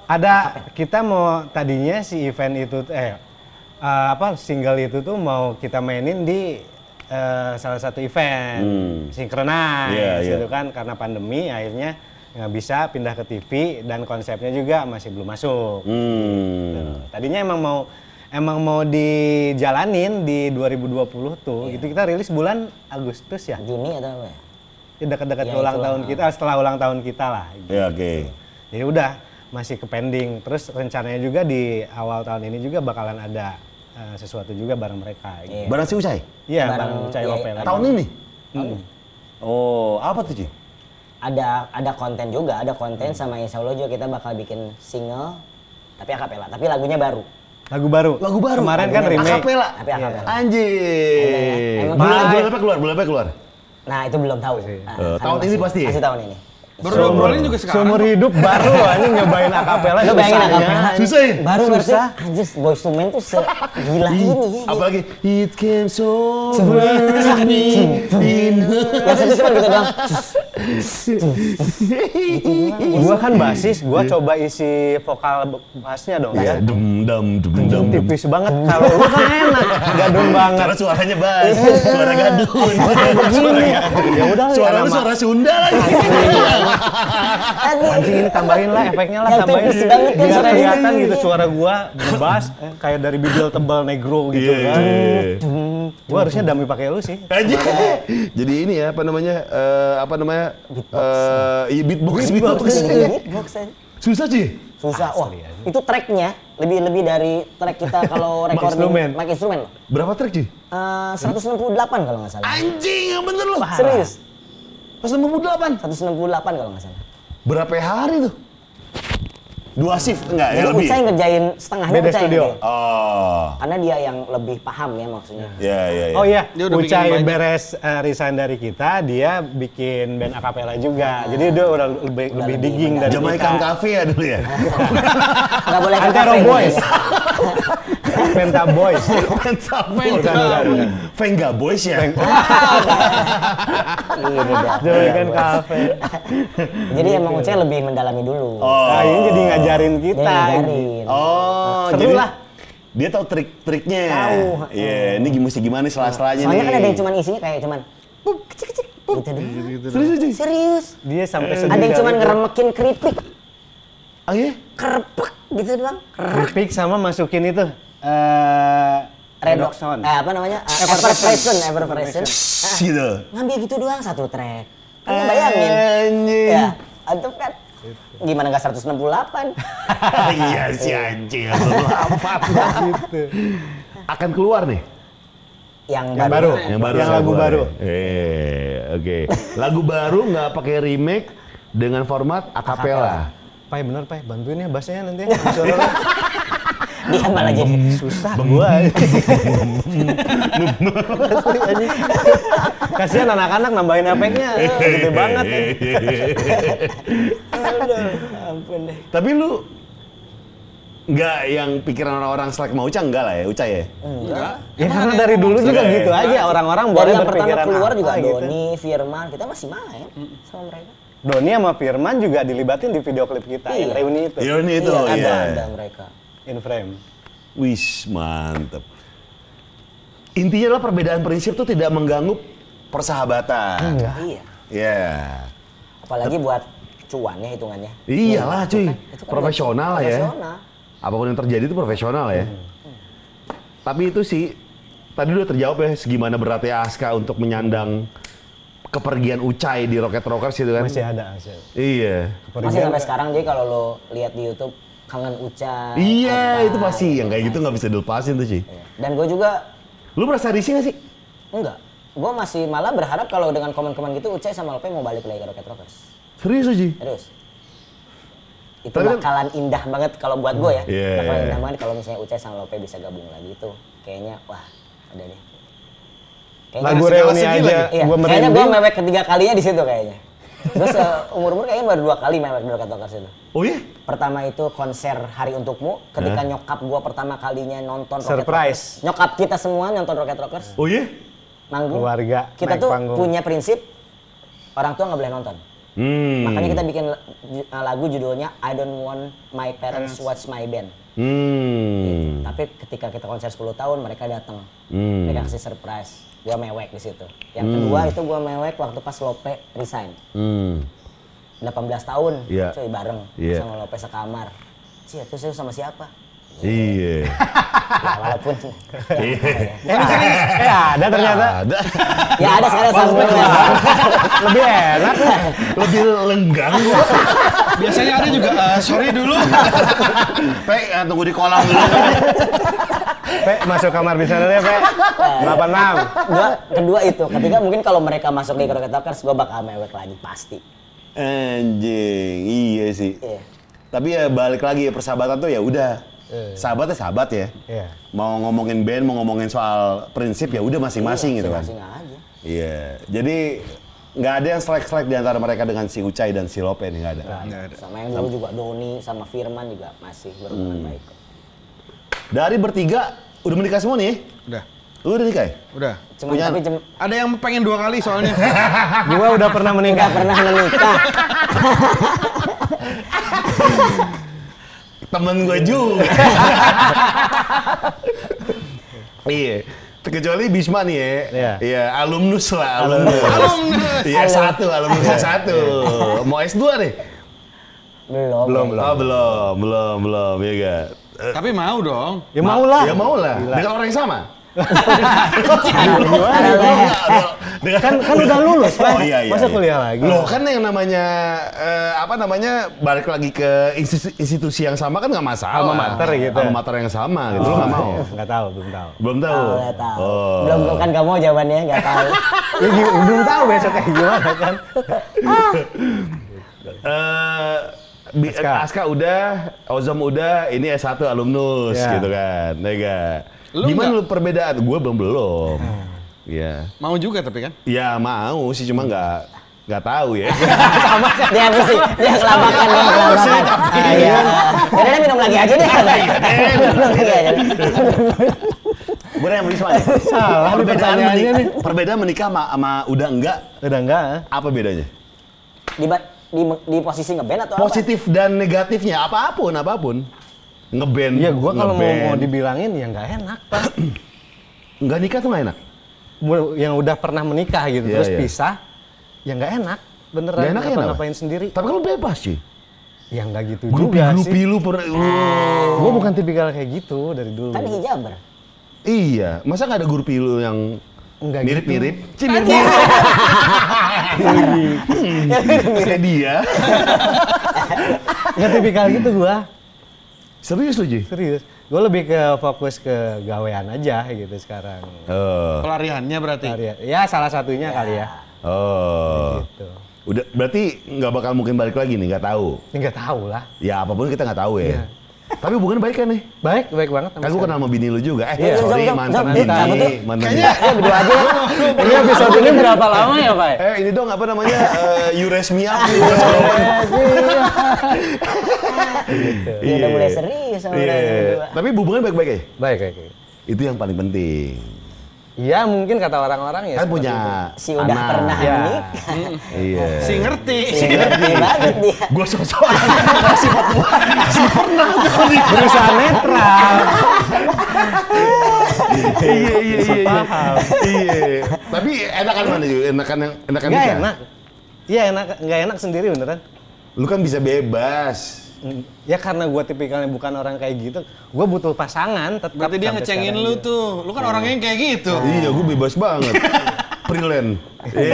S4: Ada kita mau tadinya si event itu eh eh, apa single itu tuh mau kita mainin di eh, salah satu event
S3: Hmm.
S4: sinkronize
S3: Iya, iya.
S4: gitu kan karena pandemi akhirnya nggak bisa pindah ke TV dan konsepnya juga masih belum masuk.
S3: Hmm.
S4: Tadinya emang mau emang mau dijalanin di 2020 tuh.
S3: Iya.
S4: Gitu kita rilis bulan Agustus ya.
S2: Juni atau apa ya?
S4: Ya, Dekat-dekat
S3: iya,
S2: Ya,
S4: ke ulang
S2: itulah.
S4: tahun kita setelah ulang tahun kita lah
S3: Ya oke.
S4: jadi udah masih ke pending. Terus rencananya juga di awal tahun ini juga bakalan ada eh, sesuatu juga bareng mereka. gitu.
S3: Barang si Ucai?
S4: Iya,
S2: Iya. Bareng-
S4: bareng Cai
S2: iya,
S4: Lope
S2: iya.
S4: lagi.
S3: Tahun ini? Oh, apa tuh Ci?
S2: ada ada konten juga, ada konten sama Insya Allah juga kita bakal bikin single tapi akapela, tapi lagunya baru.
S4: Lagu baru.
S3: Lagu baru?
S4: Kemarin kan remake.
S3: Acapella?
S2: Tapi akapela.
S3: Anjir.
S2: Emang
S3: Bulan,
S4: baik.
S3: bulan apa keluar? Bulan apa keluar?
S2: Nah, itu belum tahu.
S4: Masih.
S3: Eh,
S2: Nah, karena
S3: tahun ini
S2: masih-
S3: pasti?
S2: Masih tahun ini.
S1: Baru ngobrolin juga sekarang.
S4: Seumur hidup baru
S2: (laughs)
S4: anjing nyobain akapela
S2: Lu bayangin akapela.
S3: Susah ya?
S2: Baru ngerti,
S4: Susah.
S2: anjir, boys to men tuh segila ini. ya, gitu.
S3: Apalagi it came so
S2: Yang satu cuma gitu doang.
S4: Gua kan basis, gua coba isi vokal bassnya dong
S3: Ya,
S4: ya.
S3: dum dum dum dum. dum.
S4: Tipis banget. Kalau lu kan enak, gadun banget.
S3: Karena suaranya bass, suara gadun, suara gadun.
S4: Ya udah lah,
S3: suara lu
S4: ya nama.
S3: suara Sunda lagi.
S2: Aduh.
S4: Anjing ini tambahin lah efeknya lah
S2: Yang
S4: tambahin.
S2: tipis banget kan
S4: Biar
S2: suara ini.
S4: kelihatan gitu suara gua ngebas eh, kayak dari bidil tebal negro gitu
S3: Iya,
S4: kan.
S3: iya, iya.
S4: Gua harusnya dummy pakai lu sih.
S3: Anjing. Jadi ini ya apa namanya? eh, apa namanya? eh, iya, beatbox, beatbox.
S2: Jadi beatbox aja.
S3: Susah sih.
S2: "Iya, Susah. Wah,
S4: eh." Asli, anjing.
S2: itu tracknya lebih lebih dari track kita kalau recording
S4: instrumen. Hmm.
S2: pakai instrumen. loh.
S3: Berapa track sih?
S2: Eh, 168 kalau nggak salah.
S3: Anjing, yang bener lu.
S2: Serius,
S3: Pas 98.
S2: 168 kalau nggak salah.
S3: Berapa hari tuh? Dua shift enggak ya
S2: Jadi
S3: lebih?
S2: Ucai ngerjain setengahnya
S4: Beda
S2: Ucai yang
S4: studio.
S2: ngerjain.
S3: Oh.
S2: Karena dia yang lebih paham ya maksudnya.
S3: Ya ya ya.
S4: Oh iya,
S1: Dia udah bikin
S4: Ucai
S1: banyak.
S4: beres eh, resign dari kita, dia bikin band akapela juga. Jadi dia udah lebih, lebih
S2: lebih
S4: digging dari
S3: Jamaican
S4: kita.
S3: Cafe ya dulu ya.
S2: Nggak boleh ke
S4: Antero
S2: kafe. Iya,
S4: Boys. Penta Boys.
S1: Bukan, bukan,
S3: Bukan, Venga Boys ya.
S2: Iya, beda.
S4: Jamaican Cafe.
S2: Jadi emang Ucai lebih mendalami dulu.
S4: Nah, ini jadi ngajarin
S2: Dia
S4: kita.
S2: ngajarin.
S3: Oh,
S4: Seru
S3: jadi
S4: lah.
S3: Dia tahu trik-triknya.
S2: Tahu.
S3: Iya, ini gi- mesti gimana sih selah-selahnya
S2: Soalnya
S3: nih.
S2: kan ada yang cuman isinya kayak cuman pup, kecik kecik gitu deh. Serius.
S4: Dia sampai sedih.
S2: Ada yang cuman ngeremekin keripik,
S3: Oh iya?
S2: kerepek gitu doang. Krek.
S4: Pick sama masukin itu eh
S2: Redoxon. Eh, apa namanya? Eh, Everfreshen, Everfreshen.
S3: Shhh, gitu.
S2: Ngambil gitu doang satu track. Kamu bayangin.
S3: Anjing.
S2: Ya, antum kan gimana enggak 168?
S3: (laughs) Iya si anjing aku lapar. Akan keluar nih.
S2: Yang,
S4: yang baru,
S2: (laughs)
S3: Yang baru.
S4: yang
S3: akan
S4: lagu
S3: keluar
S4: baru.
S3: ya. Eh, oke. Lagu baru nggak pakai remake dengan format akapela.
S4: Pai bener Pai, bantuin ya bassnya nanti. ya. Suara lu.
S2: Dia Iya, malah jadi
S4: susah (laughs) gua. Asli, anjing. Kasihan anak-anak nambahin efeknya, gede banget.
S3: (laughs)
S4: ya.
S2: Aduh, ampun deh.
S3: Tapi lu nggak yang pikiran orang-orang selek mau Uca enggak lah ya Uca ya.
S2: Hmm.
S1: Enggak.
S4: Ya karena dari dulu juga
S3: Iya, iya.
S4: gitu aja orang-orang
S2: Dari
S4: boleh
S2: yang pertama
S4: berpikiran
S2: keluar
S4: apa
S2: juga
S4: gitu.
S2: Doni, Firman, kita masih main sama mereka.
S4: Doni sama Firman juga dilibatin di video klip kita yang
S2: Iya.
S4: reuni itu.
S3: Ironi itu
S2: iya, ada,
S3: ya.
S2: ada mereka.
S4: In frame.
S3: Wis mantep. Intinya lah perbedaan prinsip tuh tidak mengganggu persahabatan.
S2: Iya.
S3: Ya.
S2: Apalagi buat cuannya hitungannya.
S3: Iyalah cuy,
S2: Itu kan
S3: profesional lah ya.
S2: profesional. Hmm.
S3: Apapun yang terjadi itu profesional ya. Tapi itu sih tadi udah terjawab ya segimana beratnya Aska untuk menyandang kepergian Ucai di Rocket Rockers gitu kan.
S4: Masih ada hasil.
S3: Iya.
S2: Masih sampai sekarang jadi kalau lo lihat di YouTube kangen Uca. nah,
S3: Iya, itu pasti yang kayak gitu nggak bisa dilepasin tuh sih.
S2: Dan gue juga
S3: Lu merasa risih nggak sih?
S2: enggak. Gue masih malah berharap kalau dengan komen-komen gitu Uca sama Lope mau balik lagi ke Rocket Rockers.
S3: Serius sih.
S2: Terus. Itu
S3: Tapi kan-
S2: bakalan indah banget kalau buat gue ya.
S3: Iya,
S2: bakalan
S3: iya.
S2: indah banget kalau misalnya Uca sama Lope bisa gabung lagi itu. Kayaknya wah, udah deh. Kayaknya
S4: Lagu
S1: Masih
S4: reuni
S1: kalah
S4: aja,
S1: sedih
S2: Iya.
S4: gua
S2: kayaknya gue
S4: merinding.
S2: mewek ketiga kalinya di situ kayaknya. Gue (laughs) seumur umur kayaknya baru dua kali mewek di Rocket Rockers itu.
S3: Oh iya?
S2: Pertama itu konser Hari Untukmu, ketika nyokap gue pertama kalinya nonton Rocket
S4: Surprise.
S2: Rockers. Nyokap kita semua nonton Rocket Rockers,
S3: Oh iya?
S2: manggung.
S4: Keluarga,
S2: Kita
S4: naik
S2: tuh
S4: panggung.
S2: punya prinsip, orang tua nggak boleh nonton.
S3: Hmm.
S2: Makanya kita bikin la- ju- uh, lagu judulnya I Don't Want My Parents Watch My Band.
S3: Hmm.
S2: Tapi ketika kita konser 10 tahun, mereka datang.
S3: Hmm.
S2: Mereka kasih surprise. Gue mewek di situ. Yang kedua itu gue mewek waktu pas Lope resign.
S3: Hmm.
S2: 18 tahun,
S3: Iya.
S2: cuy bareng
S3: Iya.
S2: sama Lope sekamar. Cie, terus lu sama
S3: (laughs)
S2: siapa? (laughs)
S3: Iya.
S2: Ya, walaupun
S4: Eh, eh, ada ternyata.
S3: Ada.
S2: ya ada sekarang satu
S4: Lebih enak.
S3: (laughs) Lebih lenggang gua.
S1: Biasanya ada juga, eh, sorry
S3: (laughs)
S1: dulu.
S3: Pe, eh, tunggu di kolam dulu.
S4: Pe, masuk kamar bisa deh, Pe. 86.
S2: Gua kedua itu, ketiga mungkin kalau mereka masuk di Rocket Talkers, gue bakal mewek lagi pasti.
S3: Anjing, iya sih.
S2: Iya.
S3: Tapi ya balik lagi ya persahabatan tuh ya udah. Sahabatnya sahabat ya.
S4: Iya.
S3: Mau ngomongin band, mau ngomongin soal prinsip ya udah masing-masing gitu kan.
S2: Masing aja.
S3: Iya. Jadi nggak ada yang selek-selek di antara mereka dengan si Ucai dan si Lope nih nggak ada.
S2: Sama yang dulu juga Doni sama Firman juga masih berhubungan baik.
S3: Dari bertiga udah menikah semua nih.
S1: Udah,
S3: Lu udah nikah ya?
S1: udah.
S2: Cuma
S3: Punya
S2: tapi
S3: anak?
S2: cem-
S1: Ada yang pengen dua kali soalnya.
S4: Gua udah pernah
S2: udah
S4: menikah.
S2: pernah menikah.
S3: Temen gue juga. iya. Kecuali Bisma nih ya.
S4: Iya.
S3: Iya, alumnus lah, alumnus.
S1: Alumnus.
S3: Iya, satu, alumnus satu. Mau S2 nih?
S2: belum.
S3: Oh, belum, belum, belum, ya enggak.
S1: (laughs) Tapi mau dong.
S4: Ya mau lah.
S3: Ya mau lah. Dengan orang yang sama.
S2: Gimana,
S3: Belum,
S2: Bang?
S3: enggak, belum. Dengan-
S4: Kan kan udah lulus, Pak.
S3: Oh iya iya.
S4: Masa
S3: iya.
S4: kuliah lagi?
S3: Loh kan yang namanya eh, apa namanya balik lagi ke institusi, institusi yang sama kan nggak masalah.
S4: Alma mater gitu. Oh.
S3: Alma mater yang sama gitu. Lu
S4: (laughs)
S3: nggak mau?
S4: Enggak tahu, belum tahu.
S3: Belum tahu.
S2: Oh, nggak tahu.
S3: Oh.
S2: Belum kan kamu jawabannya nggak tahu. (laughs)
S4: Ya, gi- belum tahu besok kayak gimana kan.
S3: Eh, bi-
S4: Aska.
S3: Aska udah, Ozom udah, ini S1 alumnus
S4: Iya.
S3: gitu kan. Ya nggak?
S1: Lu
S3: Gimana
S1: nggak-
S3: lu perbedaan? Gue belum belum. Iya.
S1: Mau juga tapi kan.
S3: Ya mau sih cuma nggak nggak tahu (laughs) ya.
S2: dia apa sih? Dia kelabakan dia
S3: sih,
S2: kelabakan.
S3: tapi-
S2: Ah, Iya. Udah deh, minum lagi aja deh. Iya, Minum lagi aja.
S3: Gue yang Risma ya.
S4: Salah nih
S3: perbedaan
S4: pertanyaannya
S3: menikah, perbedaan menikah sama, sama udah enggak
S4: Udah enggak? ah?
S3: apa bedanya?
S2: Di, ba- di, di posisi ngeband atau apa?
S3: Positif dan negatifnya apapun apapun. Ngeband.
S4: Ya gua kalau mau,
S3: ngeband.
S4: mau dibilangin ya nggak enak, Pak.
S3: nggak nikah tuh nggak enak.
S4: Mu- Yang udah pernah menikah gitu
S3: Iya,
S4: terus
S3: iya.
S4: pisah ya nggak enak. Beneran
S3: Nggak enak ya kenapa?
S4: ngapain sendiri.
S3: Tapi kalau bebas sih.
S4: Ya nggak gitu
S3: Grupi
S4: juga
S3: grupi
S4: sih. Ah.
S3: lu per lu.
S4: Gua bukan tipikal kayak gitu dari dulu.
S2: Kan hijaber.
S3: Iya, masa nggak ada grupi lu yang
S4: Nggak gitu. Iya,
S3: mirip-mirip? Cih,
S4: (laughs)
S3: mirip Hmm, Kayak dia.
S4: Nggak tipikal gitu gua.
S3: Serius lu, Ji?
S4: Serius. Gue lebih ke fokus ke gawean aja gitu sekarang.
S3: Oh.
S1: Pelariannya berarti.
S4: Karya. Ya salah satunya kali ya.
S3: Oh.
S4: Gitu.
S3: Udah berarti nggak bakal mungkin balik lagi nih, nggak tahu.
S4: Ya nggak tahu lah.
S3: Ya apapun kita nggak tahu ya.
S4: Iya.
S3: Tapi hubungan baik kan nih?
S4: Baik, baik banget. sama
S3: Kan gue kenal
S4: sekali.
S3: sama bini lu juga. Eh,
S2: Iya.
S3: sorry
S2: Zom, zom,
S3: mantan
S2: zom,
S3: bini.
S2: zom, betul.
S3: Mantan
S1: Kayaknya
S3: bini.
S1: ya berdua
S3: (laughs)
S1: aja.
S2: Iya,
S4: Ini episode ini berapa lama ya, Pak?
S3: Eh, ini dong apa namanya? eh, you raise me
S2: (laughs)
S3: up.
S2: Iya,
S3: Gitu.
S2: Dia Iya, udah mulai serius sama
S3: Gitu. Iya.
S2: orang berdua.
S3: Tapi hubungan baik-baik ya?
S4: Baik, baik. baik.
S3: Itu yang paling penting.
S4: Iya, mungkin kata orang-orang ya.
S3: Kan
S4: seperti
S3: punya
S4: itu.
S2: Iya, Si udah
S3: anak.
S2: pernah
S4: Ya.
S2: menikah.
S3: Iya.
S1: Si ngerti.
S2: Ngerti banget dia.
S3: Gue sosokan kasih fatwa. Si pernah tuh nih.
S4: Berusaha netral.
S3: Iya iya iya. iya.
S4: Sepaham.
S3: Iya. Tapi enakan mana juga? Enakan yang enakan
S4: Nggak
S3: nikah?
S4: enak. Iya enak, nggak enak sendiri beneran.
S3: Lu kan bisa bebas.
S4: Ya karena gue tipikalnya bukan orang kayak gitu, gue butuh pasangan. Tetap
S1: Berarti dia
S4: sampai
S1: ngecengin
S4: sekarang
S1: lu
S4: gitu.
S1: tuh. Lu kan orangnya yang kayak gitu.
S3: Iya, gue bebas banget. Freelance. Iya.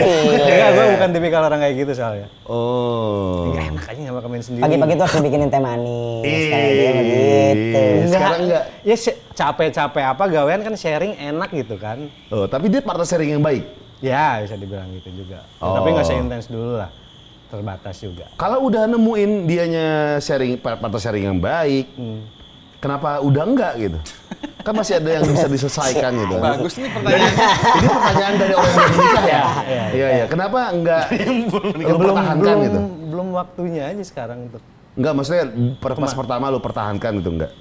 S4: Enggak, gue bukan tipikal orang kayak gitu soalnya.
S3: Oh.
S4: Nggak enak aja sama main sendiri. Ya,
S2: Pagi-pagi tuh harus dibikinin teh manis. Kayak dia
S3: Ih.
S2: begitu.
S3: Sekarang enggak.
S4: Ya se- capek-capek apa gawean kan sharing enak gitu kan.
S3: Oh, tapi dia partner sharing yang baik.
S4: Ya bisa dibilang gitu juga.
S3: Oh.
S4: Tapi nggak seintens dulu lah. Terbatas juga.
S3: Kalau udah nemuin dianya sharing par- partner sharing yang baik,
S4: Hmm.
S3: kenapa udah enggak gitu? Kan masih ada yang bisa diselesaikan gitu.
S1: Bagus nih pertanyaan.
S3: Ini pertanyaan dari orang yang menikah ya. Iya iya. Kenapa enggak lu
S4: belum
S3: pertahankan
S4: belum,
S3: gitu?
S4: belum waktunya aja sekarang untuk.
S3: Enggak maksudnya per- pas pertama lu pertahankan gitu enggak?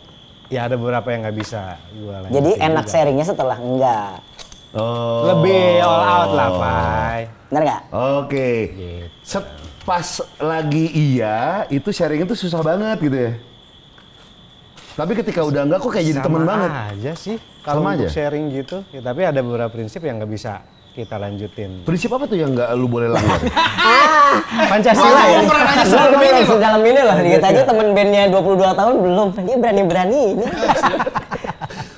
S4: Ya ada beberapa yang nggak bisa gua lanjutin
S2: Jadi enak
S4: juga.
S2: sharingnya setelah enggak.
S3: Oh.
S4: Lebih ya. all out lah, Pak.
S2: Bener nggak?
S3: Oke. Set pas lagi iya, itu sharing itu susah banget gitu ya. Tapi ketika udah enggak kok kayak jadi teman banget.
S4: aja sih. Kalau
S3: Sama
S4: untuk
S3: aja?
S4: sharing gitu. Ya, tapi ada beberapa prinsip yang nggak bisa kita lanjutin.
S3: Prinsip apa tuh yang enggak lu boleh langgar?
S4: Pancasila
S1: Gua
S4: ya.
S1: pernah nanya
S2: Gua
S1: soal
S2: udah
S1: ini
S2: langsung
S1: loh.
S2: dalam ini loh.
S3: Iya,
S2: Lihat aja temen bandnya 22 tahun belum. Dia berani-berani ini.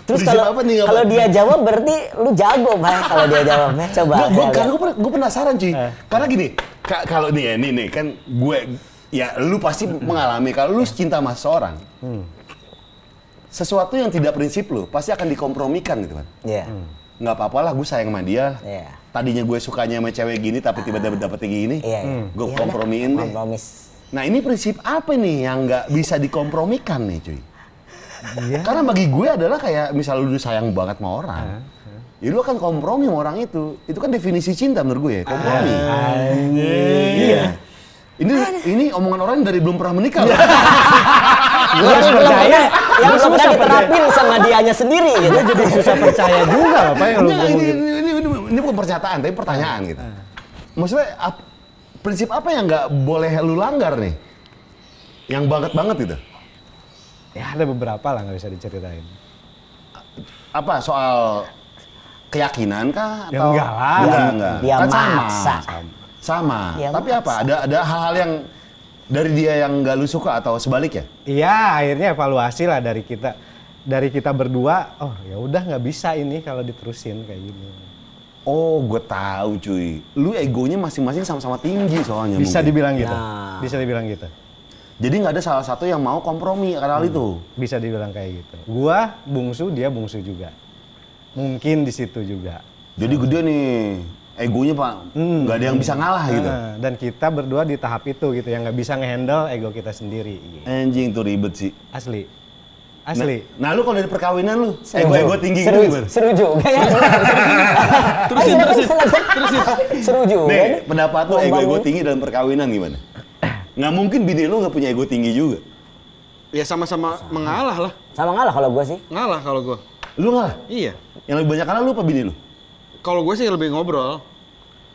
S2: Terus
S3: Prinsip
S2: kalau
S3: apa nih, apa?
S2: kalau dia jawab berarti lu jago banget kalau dia jawabnya. Coba.
S3: Gue gue
S2: saya lihat.
S3: penasaran cuy.
S2: Eh.
S3: Karena gini, ka- kalau nih ya, nih nih kan gue ya lu pasti mengalami kalau lu cinta sama seorang.
S2: Hmm.
S3: Sesuatu yang tidak prinsip lu pasti akan dikompromikan gitu kan.
S2: Iya.
S3: Nggak apa-apalah gue sayang sama dia.
S2: Iya.
S3: Tadinya gue sukanya sama cewek gini tapi tiba-tiba dapet kayak gini.
S2: Iya. iya.
S3: Gue Hmm.
S2: Iya,
S3: kompromiin
S2: udah.
S3: deh.
S2: Kompromis.
S3: Nah ini prinsip apa nih yang nggak bisa dikompromikan nih cuy?
S4: Iya.
S3: Karena bagi gue adalah kayak misalnya lu sayang banget sama orang.
S4: Iya,
S3: Ya lu akan kompromi sama orang itu. Itu kan definisi cinta menurut
S4: Ah,
S3: gue ya, kompromi. Iya. Ini ini omongan orang yang dari belum pernah
S4: Iya.
S3: menikah. loh. Ah, iya,
S2: Yang belum pernah, yang belum pernah diterapin sama dianya sendiri gitu.
S4: jadi susah percaya juga (laughs) apa yang lu
S3: Enggak, ini,
S4: ngomongin. Ah.
S3: ini, ini, ini- ini bukan percataan, tapi pertanyaan gitu. Maksudnya ap- prinsip apa yang nggak boleh lu langgar nih? Yang banget banget gitu.
S4: Ya ada beberapa lah nggak bisa diceritain.
S3: Apa soal keyakinan kah?
S4: Ya enggak lah.
S3: Enggak, enggak.
S2: Dia
S3: Kan sama.
S2: maksa.
S3: Sama.
S2: Dia
S3: tapi apa? Ada ada hal-hal yang dari dia yang nggak lu suka atau ya? sebaliknya?
S4: Iya, akhirnya evaluasi lah dari kita dari kita berdua. Oh ya udah nggak bisa ini kalau diterusin kayak gini.
S3: Oh, gue tahu cuy. Lu egonya masing-masing sama-sama tinggi soalnya.
S4: Bisa
S3: mungkin.
S4: dibilang gitu.
S2: Nah.
S4: Bisa dibilang gitu.
S3: Jadi nggak ada salah satu yang mau kompromi karena hal itu.
S4: Bisa dibilang kayak gitu. Gua bungsu, dia bungsu juga. Mungkin di situ juga.
S3: Jadi gede nih egonya pak,
S4: Hmm.
S3: nggak ada yang bisa ngalah gitu.
S4: Nah, dan kita berdua di tahap itu gitu yang nggak bisa ngehandle ego kita sendiri. gitu.
S3: Anjing tuh ribet sih.
S4: Asli. Asli.
S3: Nah, lu kalau dari perkawinan lu
S2: Seru.
S3: ego ego tinggi
S2: seru,
S3: gitu gimana?
S2: Seru juga ya.
S1: (laughs) Terusin,
S2: Ayo,
S1: terusin,
S2: ayo, ayo.
S1: terusin.
S2: Seru juga. ya.
S3: Nih,
S2: nih.
S3: pendapat lu ego ego
S2: Membangun.
S3: tinggi dalam perkawinan gimana? Nggak mungkin bini lu nggak punya ego tinggi juga.
S1: Ya sama-sama mengalah lah.
S2: Sama ngalah kalau gue sih.
S1: Ngalah kalau gua.
S3: Lu ngalah?
S1: Iya.
S3: Yang lebih banyak kalah lu apa bini lu?
S1: Kalau gue sih lebih ngobrol.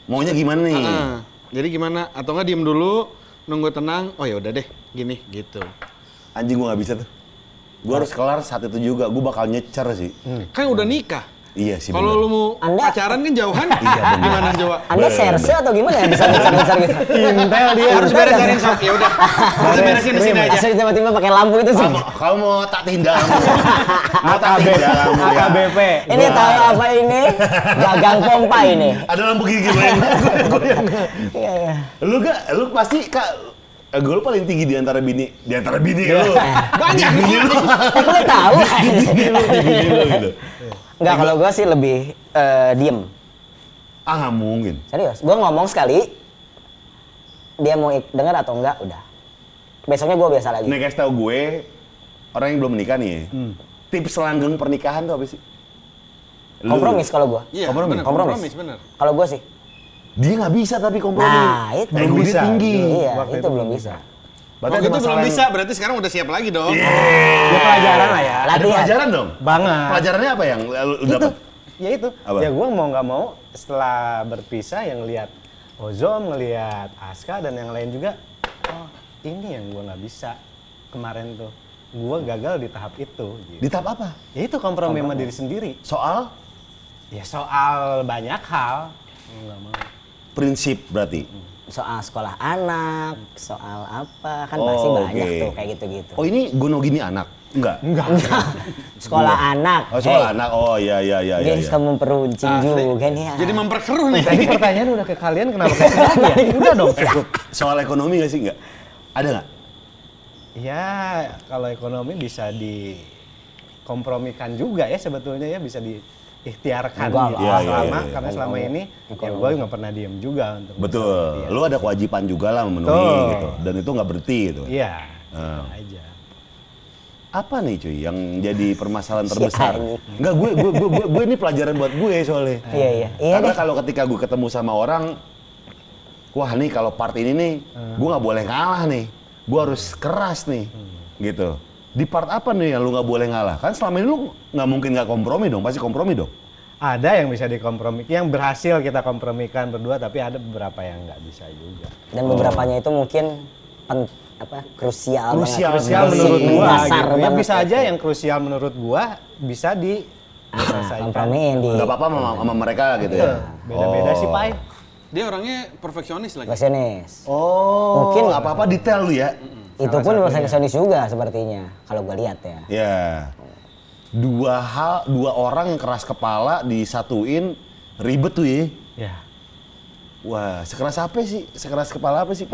S3: Maunya gimana nih?
S1: Ah, jadi gimana? Atau nggak diem dulu, nunggu tenang. Oh ya udah deh, gini gitu.
S3: Anjing gua nggak bisa tuh. Gua harus kelar saat itu juga. Gua bakal nyecer sih.
S1: Kan udah nikah.
S3: Iya sih.
S1: Kalau
S3: bener.
S1: lu mau
S2: Anda-
S1: pacaran kan jauhan.
S3: Iya, bener.
S1: Gimana coba?
S2: Anda serse atau gimana ya bisa besar-besar gitu?
S4: Intel dia.
S1: Harus beresin sok. Ya udah. Harus beresin di sini aja.
S2: Asal tiba-tiba pakai lampu itu sih.
S3: Kamu, kamu mau tak tindak
S1: (laughs)
S3: kamu. Mau tak
S4: AKB,
S3: tindak kamu ya.
S4: AKBP.
S2: Ini tahu apa ini? Gagang pompa ini.
S3: Ada lampu gigi gue yang (laughs) gue yang.
S2: Iya, iya.
S3: Lu gak, lu pasti kak. eh, Gue lu paling tinggi di antara bini, di antara bini lu.
S1: (laughs) Banyak.
S3: Bini lu,
S2: Eh, boleh
S3: (laughs)
S2: tahu?
S3: bini lu, di bini lu gitu.
S2: Enggak, kalau gue sih lebih eh, diem.
S3: Ah nggak mungkin.
S2: Serius, gue ngomong sekali, dia mau ik- dengar atau enggak, udah. Besoknya gue biasa lagi.
S3: Nih kasih tau gue, orang yang belum menikah nih.
S2: Hmm.
S3: Tips langgeng pernikahan tuh apa sih? Lu.
S2: Kompromis kalau gue.
S1: Iya,
S3: Kompromi.
S1: bener,
S2: Kompromis.
S1: kompromis bener.
S2: Kalau gue sih.
S3: Dia nggak bisa tapi kompromi.
S2: Nah, itu
S3: Ego
S4: Belum
S3: dia
S4: bisa.
S3: tinggi.
S2: Iya,
S4: waktu
S2: itu,
S4: itu
S2: belum
S4: belum
S2: bisa.
S1: Waktu
S3: ada
S1: itu belum
S3: masalah yang-
S1: bisa, berarti sekarang udah siap lagi dong.
S3: Iya.
S4: Ya pelajaran lah ya.
S3: Ada
S2: Latihan.
S3: pelajaran dong?
S4: Banget.
S3: Pelajarannya apa yang lu lu
S4: Itu.
S3: dapet?
S4: Ya itu.
S3: Apa?
S4: Ya gue mau nggak mau setelah berpisah yang lihat Ozom, ngelihat Aska dan yang lain juga. Oh ini yang gue nggak bisa kemarin tuh. Gue gagal di tahap itu. Gitu.
S3: Di tahap apa?
S4: Ya itu kompromi sama diri sendiri.
S3: Soal
S4: Ya soal banyak hal. Mau nggak mau.
S3: prinsip berarti.
S2: Soal sekolah anak, soal apa, kan
S3: Oh,
S2: pasti banyak
S3: oke.
S2: tuh kayak gitu-gitu.
S3: Oh ini gono gini anak? Enggak.
S4: Enggak.
S2: Sekolah anak.
S3: Oh soal
S2: Hmm. eh,
S3: anak. Oh iya iya iya
S2: Dia
S3: iya.
S2: suka memperuncing
S1: Asli.
S2: juga nih. ah.
S1: Jadi memperkeruh nih.
S4: Tadi pertanyaan udah ke kalian kenapa (laughs) ke saya lagi ya? Udah dong cukup.
S3: Soal ekonomi nggak sih enggak? Ada nggak?
S4: Ya kalau ekonomi bisa dikompromikan juga ya sebetulnya ya bisa diikhtiarkan
S2: Enggak
S4: gitu.
S3: lah. Iya, iya,
S4: selama
S3: iya.
S4: karena selama ini ya gue nggak pernah diem juga untuk
S2: Iya.
S3: Betul. Lu ada kewajiban juga lah memenuhi
S4: Betul.
S3: gitu. Dan itu nggak berhenti gitu.
S4: Iya.
S3: Ah.
S4: Aja.
S3: Apa nih cuy yang jadi
S2: (laughs)
S3: permasalahan terbesar?
S2: anjing.
S3: Enggak gue gue gue gue, gue ini pelajaran buat gue soalnya.
S2: Iya, iya. Iya
S3: Karena
S2: deh.
S3: kalau ketika gue ketemu sama orang, wah nih kalau part ini nih,
S2: Hmm.
S3: gue nggak boleh ngalah nih. Gue harus keras nih,
S2: Hmm.
S3: gitu. Di part apa nih yang lu nggak boleh ngalah? Kan selama ini lu nggak mungkin nggak kompromi dong, pasti kompromi dong.
S4: Ada yang bisa dikompromi, yang berhasil kita kompromikan berdua, tapi ada beberapa yang nggak bisa juga.
S2: Dan beberapanya itu mungkin pen- apa krusial, banget.
S3: Krusial,
S4: krusial
S3: Basic,
S4: menurut gua
S2: Mendasar
S4: gitu. Yang
S2: banget
S4: bisa aja
S2: itu.
S4: yang krusial menurut gua bisa di
S2: Ah,
S4: selesaikan.
S2: kompromiin di
S3: Nggak apa-apa sama, sama mereka gitu
S2: Iya,
S3: ya.
S4: Beda-beda sih, Pai.
S1: Dia orangnya perfeksionis lagi.
S2: Perfeksionis.
S3: Oh, mungkin
S2: Mungkin.
S3: apa-apa detail lu ya.
S2: itu pun perfeksionis juga sepertinya kalau gue lihat ya
S3: Ya, dua hal, dua orang yang keras kepala disatuin ribet tuh ya.
S4: Ya.
S3: Wah, sekeras apa sih? Sekeras kepala apa (laughs) sih?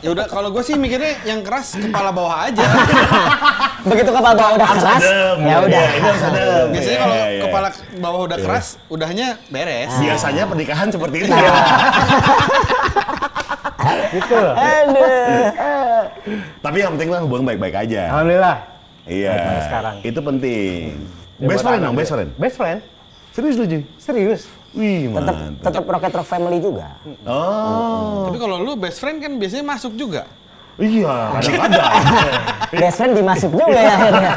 S1: Ya udah kalau gue sih mikirnya yang keras kepala bawah aja.
S2: begitu kepala bawah udah keras ya udah
S3: ini harus adem.
S1: Biasanya
S3: Iya,
S1: kalau
S3: iya, iya.
S1: kepala bawah udah keras, udahnya beres.
S3: Biasanya pernikahan seperti itu.
S4: Gitu loh.
S2: aduh
S3: Tapi yang penting lah hubungan baik-baik aja.
S4: Alhamdulillah.
S3: Iya.
S4: Sampai sekarang.
S3: Itu penting.
S4: Ya,
S3: best
S4: buat
S3: friend
S4: anak
S3: dong,
S4: gue.
S3: best friend.
S4: Best friend.
S3: Serius lu, Ji?
S4: Serius.
S3: Wih,
S2: tetap
S3: mantap.
S2: tetap Rocket Rock Family juga.
S3: Oh,
S1: Tapi kalau lu best friend kan biasanya masuk juga.
S3: iya, kadang-kadang.
S2: Best friend dimasuk juga ya (laughs) akhirnya.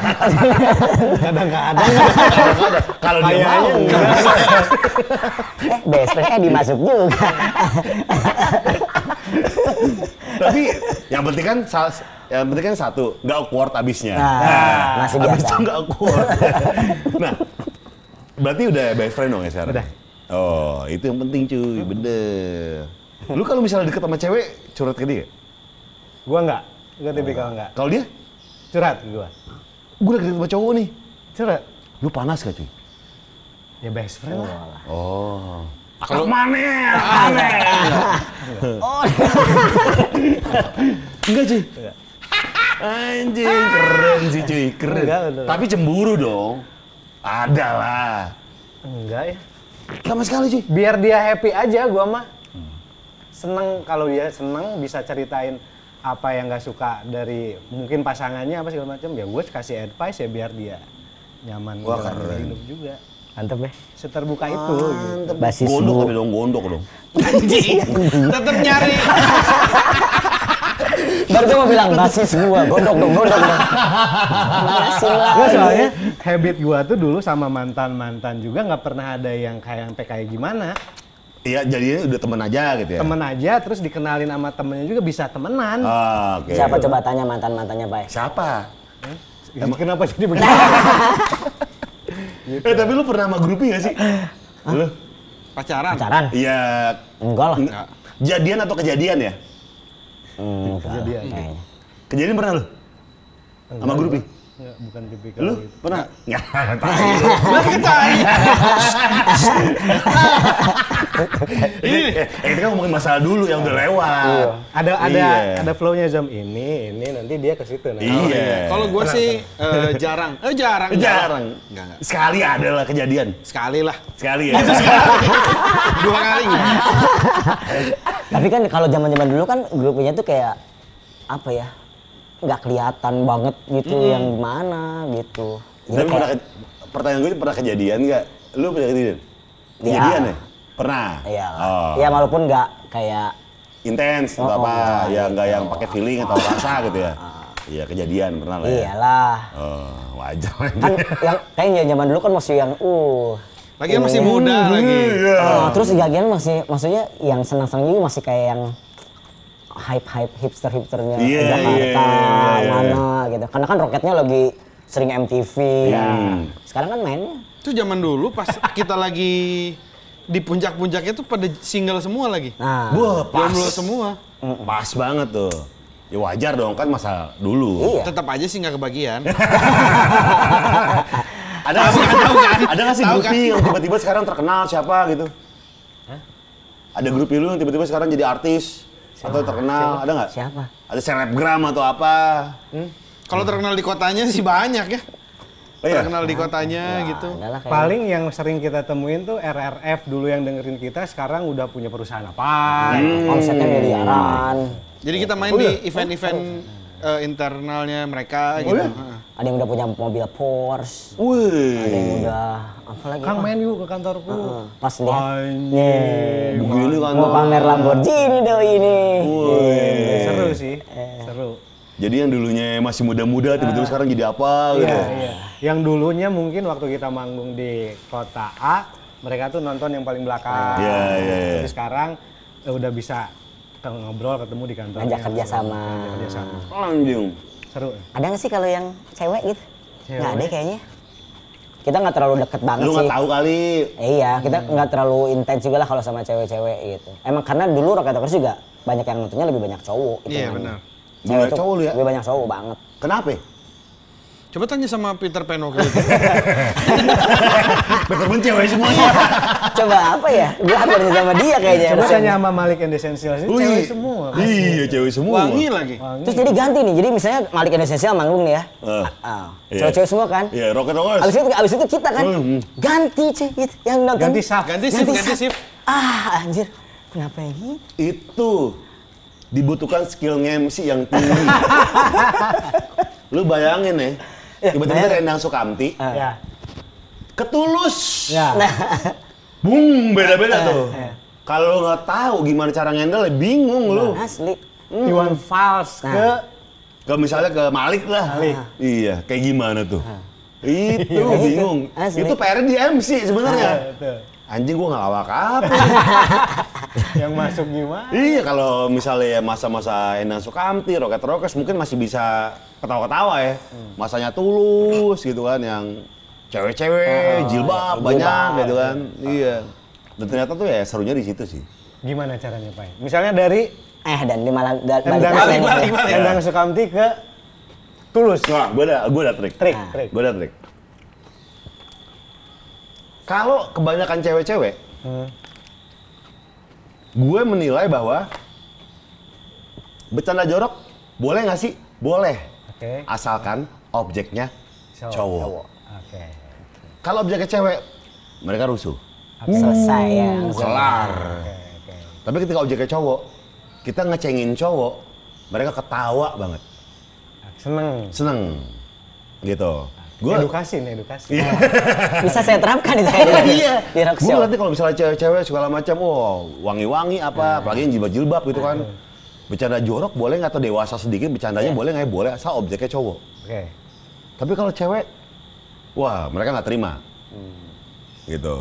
S4: Kadang-kadang
S3: Kalau dia
S4: Kayaknya
S3: mau.
S2: eh best friend eh dimasuk juga.
S3: Tapi yang penting kan sa- yang penting kan satu, nggak awkward abisnya.
S2: Nah, masih
S3: abis
S2: biasa.
S3: itu nggak awkward. (laughs) nah, berarti udah best friend dong ya sekarang?
S4: Udah.
S3: Oh, itu yang penting cuy, bener. Lu kalau misalnya deket sama cewek, curhat ke dia?
S4: gua enggak. Gua tipikal enggak.
S3: Kalau dia,
S4: Curhat gua.
S3: gue deket sama cowok nih.
S4: Curhat.
S3: Lu panas gak cuy?
S4: Ya best friend lah.
S3: Oh.
S1: Kalau-
S3: Kalau mana? Aneh. Enggak cuy. Anjing, keren sih cuy, keren.
S4: Enggak, enggak.
S3: Tapi cemburu dong. Ada lah.
S4: Enggak ya.
S3: Sama sekali cuy.
S4: Biar dia happy aja gua mah.
S3: Hmm.
S4: Seneng kalau dia seneng bisa ceritain apa yang nggak suka dari mungkin pasangannya apa segala macam ya gue kasih advice ya biar dia nyaman
S3: Wah,
S4: jalanin
S3: keren.
S4: hidup juga
S2: Mantep ya.
S4: seterbuka itu gitu.
S2: Basis
S3: gondok
S2: bu.
S3: tapi dong, gondok dong.
S1: Tetap nyari.
S2: Baru gua mau bilang basis gua gondok dong gondok dong. Mana sih lah.
S4: Gua soalnya habit gua tuh dulu sama mantan-mantan juga nggak pernah ada yang kayak sampai kayak gimana.
S3: Iya, jadinya udah temen aja gitu ya.
S4: Temen aja terus dikenalin sama temennya juga bisa temenan.
S3: Ah, oke.
S2: Siapa coba tanya mantan mantannya Pak?
S3: Siapa?
S4: Emang Gitu. kenapa jadi begitu?
S3: Eh, tapi lu pernah sama grupi gak sih? Lu?
S1: Pacaran.
S2: Pacaran?
S3: Iya.
S2: Enggak lah.
S1: Enggak.
S3: Jadian atau kejadian ya?
S2: Hmm, enggak lah,
S4: Kejadian.
S2: kayaknya.
S3: Kejadian pernah lu? Sama grupi?
S4: Enggak, bukan tipikal
S3: Lu
S4: gitu.
S3: pernah? Nggak.
S1: Lah kita
S3: Ini, (laughs) eh, kita kan ngomongin masalah dulu yang udah lewat.
S4: Ada ada
S3: Iya.
S4: ada flow-nya jam ini, ini nanti dia ke situ nah.
S3: Iya.
S1: Kalau gue sih eh, jarang. Eh jarang.
S3: jarang.
S1: Enggak, enggak.
S3: Sekali ada lah kejadian.
S1: Sekali lah.
S3: Sekali ya. (laughs)
S1: Dua kali.
S2: Tapi kan kalau zaman-zaman dulu kan grupnya tuh kayak apa ya? Nggak kelihatan banget gitu yang gimana gitu. Jadi
S3: Tapi pernah
S2: kayak-
S3: ke- pertanyaan gue pernah kejadian nggak? Lu pernah kejadian? Kejadian ya? Pernah.
S2: Iya. lah.
S3: Oh.
S2: Ya walaupun nggak kayak
S3: Intens atau
S2: Oh,
S3: apa?
S2: enggak.
S3: ya nggak yang pakai feeling atau rasa gitu ya? Iya kejadian pernah lah. Ya.
S2: iyalah.
S3: Oh, wajar.
S2: Kan yang kayaknya zaman dulu kan masih yang uh
S1: Lagian masih muda lagi.
S3: Iya.
S2: Oh, terus gagian masih maksudnya yang senang-senang juga masih kayak yang hype-hype hipster-hipsternya
S3: Iya,
S2: Jakarta
S3: iya, iya.
S2: mana gitu. Karena kan roketnya lagi sering MTV.
S3: Iya.
S2: Sekarang kan mainnya
S1: Itu zaman dulu pas kita lagi di puncak-puncaknya tuh pada single semua lagi.
S2: nah
S3: Wah, pas.
S1: Jomblo semua.
S3: Pas banget tuh. Ya wajar dong kan masa dulu.
S2: Iya.
S1: Tetap aja sih nggak kebagian.
S3: Ada nggak sih,
S1: Tahu kan?
S3: ada nggak sih
S1: Tahu
S3: grupi
S1: kan?
S3: yang tiba-tiba sekarang terkenal siapa gitu? Ada grup lu yang tiba-tiba sekarang jadi artis atau terkenal, ada nggak?
S2: Siapa?
S3: Ada selebgram atau apa?
S1: Kalau terkenal di kotanya sih banyak ya.
S3: Oh iya?
S1: Terkenal di kotanya
S2: Ya,
S1: gitu.
S2: adalah kayak-
S4: Paling yang sering kita temuin tuh RRF dulu yang dengerin kita sekarang udah punya perusahaan apa?
S2: Hmm. gitu. omsetnya
S3: Hmm.
S2: miliaran.
S1: Jadi kita main di event-event eh, internalnya mereka gitu. Heeh.
S2: Ada yang udah punya mobil Porsche. Ada yang
S3: Wih,
S2: udah apa lagi?
S4: Kang
S2: Pak?
S4: main yuk ke kantorku.
S2: Heeh, Pas lihat
S4: Anjing.
S3: begini kan.
S2: mau pamer Lamborghini doi ini.
S3: Wih.
S4: Seru sih, seru.
S3: Jadi yang dulunya masih muda-muda tiba-tiba sekarang jadi apa gitu.
S4: Iya, iya. Yang dulunya mungkin waktu kita manggung di kota A, mereka tuh nonton yang paling belakang.
S3: Iya, iya, iya.
S4: Tapi sekarang eh, udah bisa ke- ngobrol ketemu di kantor.
S2: Ngajak kerja sama.
S4: Ngajak kerja sama.
S3: Anjing.
S4: Seru.
S2: Ada nggak sih kalau yang cewek gitu?
S4: Cewek.
S2: Nggak ada kayaknya. Kita nggak terlalu deket banget
S3: Lu
S2: sih.
S3: nggak tahu Hmm. kali.
S2: Eh, iya, kita nggak terlalu intens juga lah kalau sama cewek-cewek gitu. Emang karena dulu Rocket Rockers juga banyak yang nontonnya lebih banyak cowok.
S1: Iya,
S2: hitungannya.
S1: benar.
S2: Cewek
S3: Banyak
S2: tuh
S3: cowok lu ya?
S2: Lebih banyak cowok banget.
S3: Kenapa?
S1: Coba tanya sama Peter Pan waktu itu.
S3: Bener bener cewek semuanya.
S2: Coba apa ya? Gue hampir sama dia kayaknya.
S4: Coba
S2: rasanya.
S4: tanya sama Malik and Essentials, ini
S3: Wih.
S4: cewek semua.
S3: Iya, cewek semua.
S1: Wangi lagi.
S4: Wangi.
S2: Terus jadi ganti nih. Jadi misalnya Malik and Essential manggung nih ya.
S3: Eh.
S2: Ah,
S3: Iya.
S2: Cewek-cewek semua kan.
S3: Iya, rocket rockers.
S2: Abis itu, abis itu kita kan
S3: Hmm.
S2: ganti cuy, gitu. yang nonton.
S4: Ganti saf.
S1: Ganti shift,
S2: Ganti
S1: ganti
S2: saf.
S1: shift.
S2: Ah anjir, kenapa yang ini?
S3: itu dibutuhkan skill MC yang tinggi. lu bayangin ya, Tiba-tiba Rendang Sukamti.
S4: Ya.
S3: Ketulus.
S4: Iya.
S5: Ya.
S2: Nah,
S3: Bung, beda-beda
S2: Eh,
S3: tuh.
S2: eh.
S3: Kalau nggak tahu gimana cara ngendel, bingung lu.
S2: asli. Hmm.
S5: Iwan Fals ke
S2: Nah.
S3: Kalau misalnya ke Malik lah. Iya, kayak gimana tuh? Itu
S2: (laughs) Iya, itu.
S3: bingung.
S2: Asli.
S3: Itu PR di MC sebenarnya.
S5: Betul.
S3: Anjing gua ngelawak
S2: (laughs)
S3: apa?
S5: yang masuk gimana?
S3: iya, kalau misalnya ya masa-masa Endang Sukamti, Roket Rokes mungkin masih bisa ketawa-ketawa ya.
S2: Hmm.
S3: Masanya tulus gitu kan yang cewek-cewek, jilbab
S2: iya,
S3: banyak
S2: jilbab,
S3: gitu kan. Iya. Dan ternyata tuh ya serunya di situ sih.
S5: Gimana caranya, Pak? Misalnya dari
S2: Eh dan dia malah da- balik
S5: Endang,
S2: lagi.
S1: balik, balik.
S5: Endang Sukamti ke Tulus.
S3: Nah, gua ada gua ada trik.
S5: Trik,
S2: Nah.
S5: trik.
S3: Gue ada trik. Kalau kebanyakan cewek-cewek, gue menilai bahwa bercanda jorok boleh nggak sih? Boleh.
S5: Oke.
S3: Asalkan objeknya
S5: Cowok.
S3: cowok.
S5: Oke.
S3: Kalau objeknya cewek, mereka rusuh.
S2: Selesai ya.
S3: Hmm.
S2: langsung.
S3: Kelar. Tapi ketika objeknya cowok, kita ngecengin cowok, mereka ketawa banget.
S5: Seneng.
S3: Seneng. Gitu. Gua-
S5: Edukasi nih, edukasi.
S2: Bisa saya terapkan
S3: Iya,
S2: itu kayaknya.
S3: iya.
S2: Di rock
S3: Gue
S2: show.
S3: nanti kalau misalnya cewek-cewek segala macam, wow, wangi-wangi apa, apalagi yang jilbab-jilbab gitu kan. Bercanda jorok boleh nggak atau dewasa sedikit bercandanya boleh nggak ya? Boleh, asal objeknya cowok.
S5: Oke.
S3: Tapi kalau cewek, wah mereka nggak terima. Hmm. Gitu.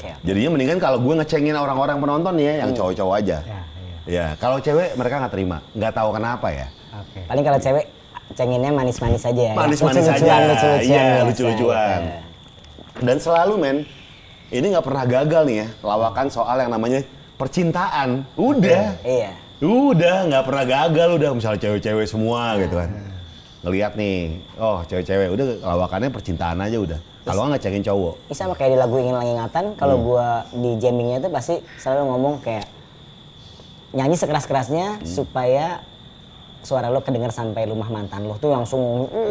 S2: Oke.
S3: Jadinya mendingan kalau gue ngecengin orang-orang penonton ya, yang cowok-cowok aja.
S5: Ya, iya.
S3: Ya, kalau cewek mereka nggak terima, nggak tahu kenapa ya.
S5: Oke.
S2: Paling kalau cewek cenginnya manis-manis aja ya.
S3: Manis-manis
S2: Lucu-lucuan,
S3: aja.
S2: lucu-lucuan ya.
S3: Iya,
S2: biasa.
S3: lucu-lucuan.
S2: Iya.
S3: Dan selalu men, ini nggak pernah gagal nih ya, lawakan soal yang namanya percintaan. Udah.
S2: Iya.
S3: Udah nggak pernah gagal udah misalnya cewek-cewek semua gitu kan. Ngeliat nih, oh cewek-cewek udah lawakannya percintaan aja udah. Kalau nggak ngecengin cowok.
S2: Ini sama kayak di lagu Ingin Lagi Ingatan, kalau gua di jammingnya itu pasti selalu ngomong kayak nyanyi sekeras-kerasnya supaya suara lo kedengar sampai rumah mantan lo tuh langsung
S3: Oh,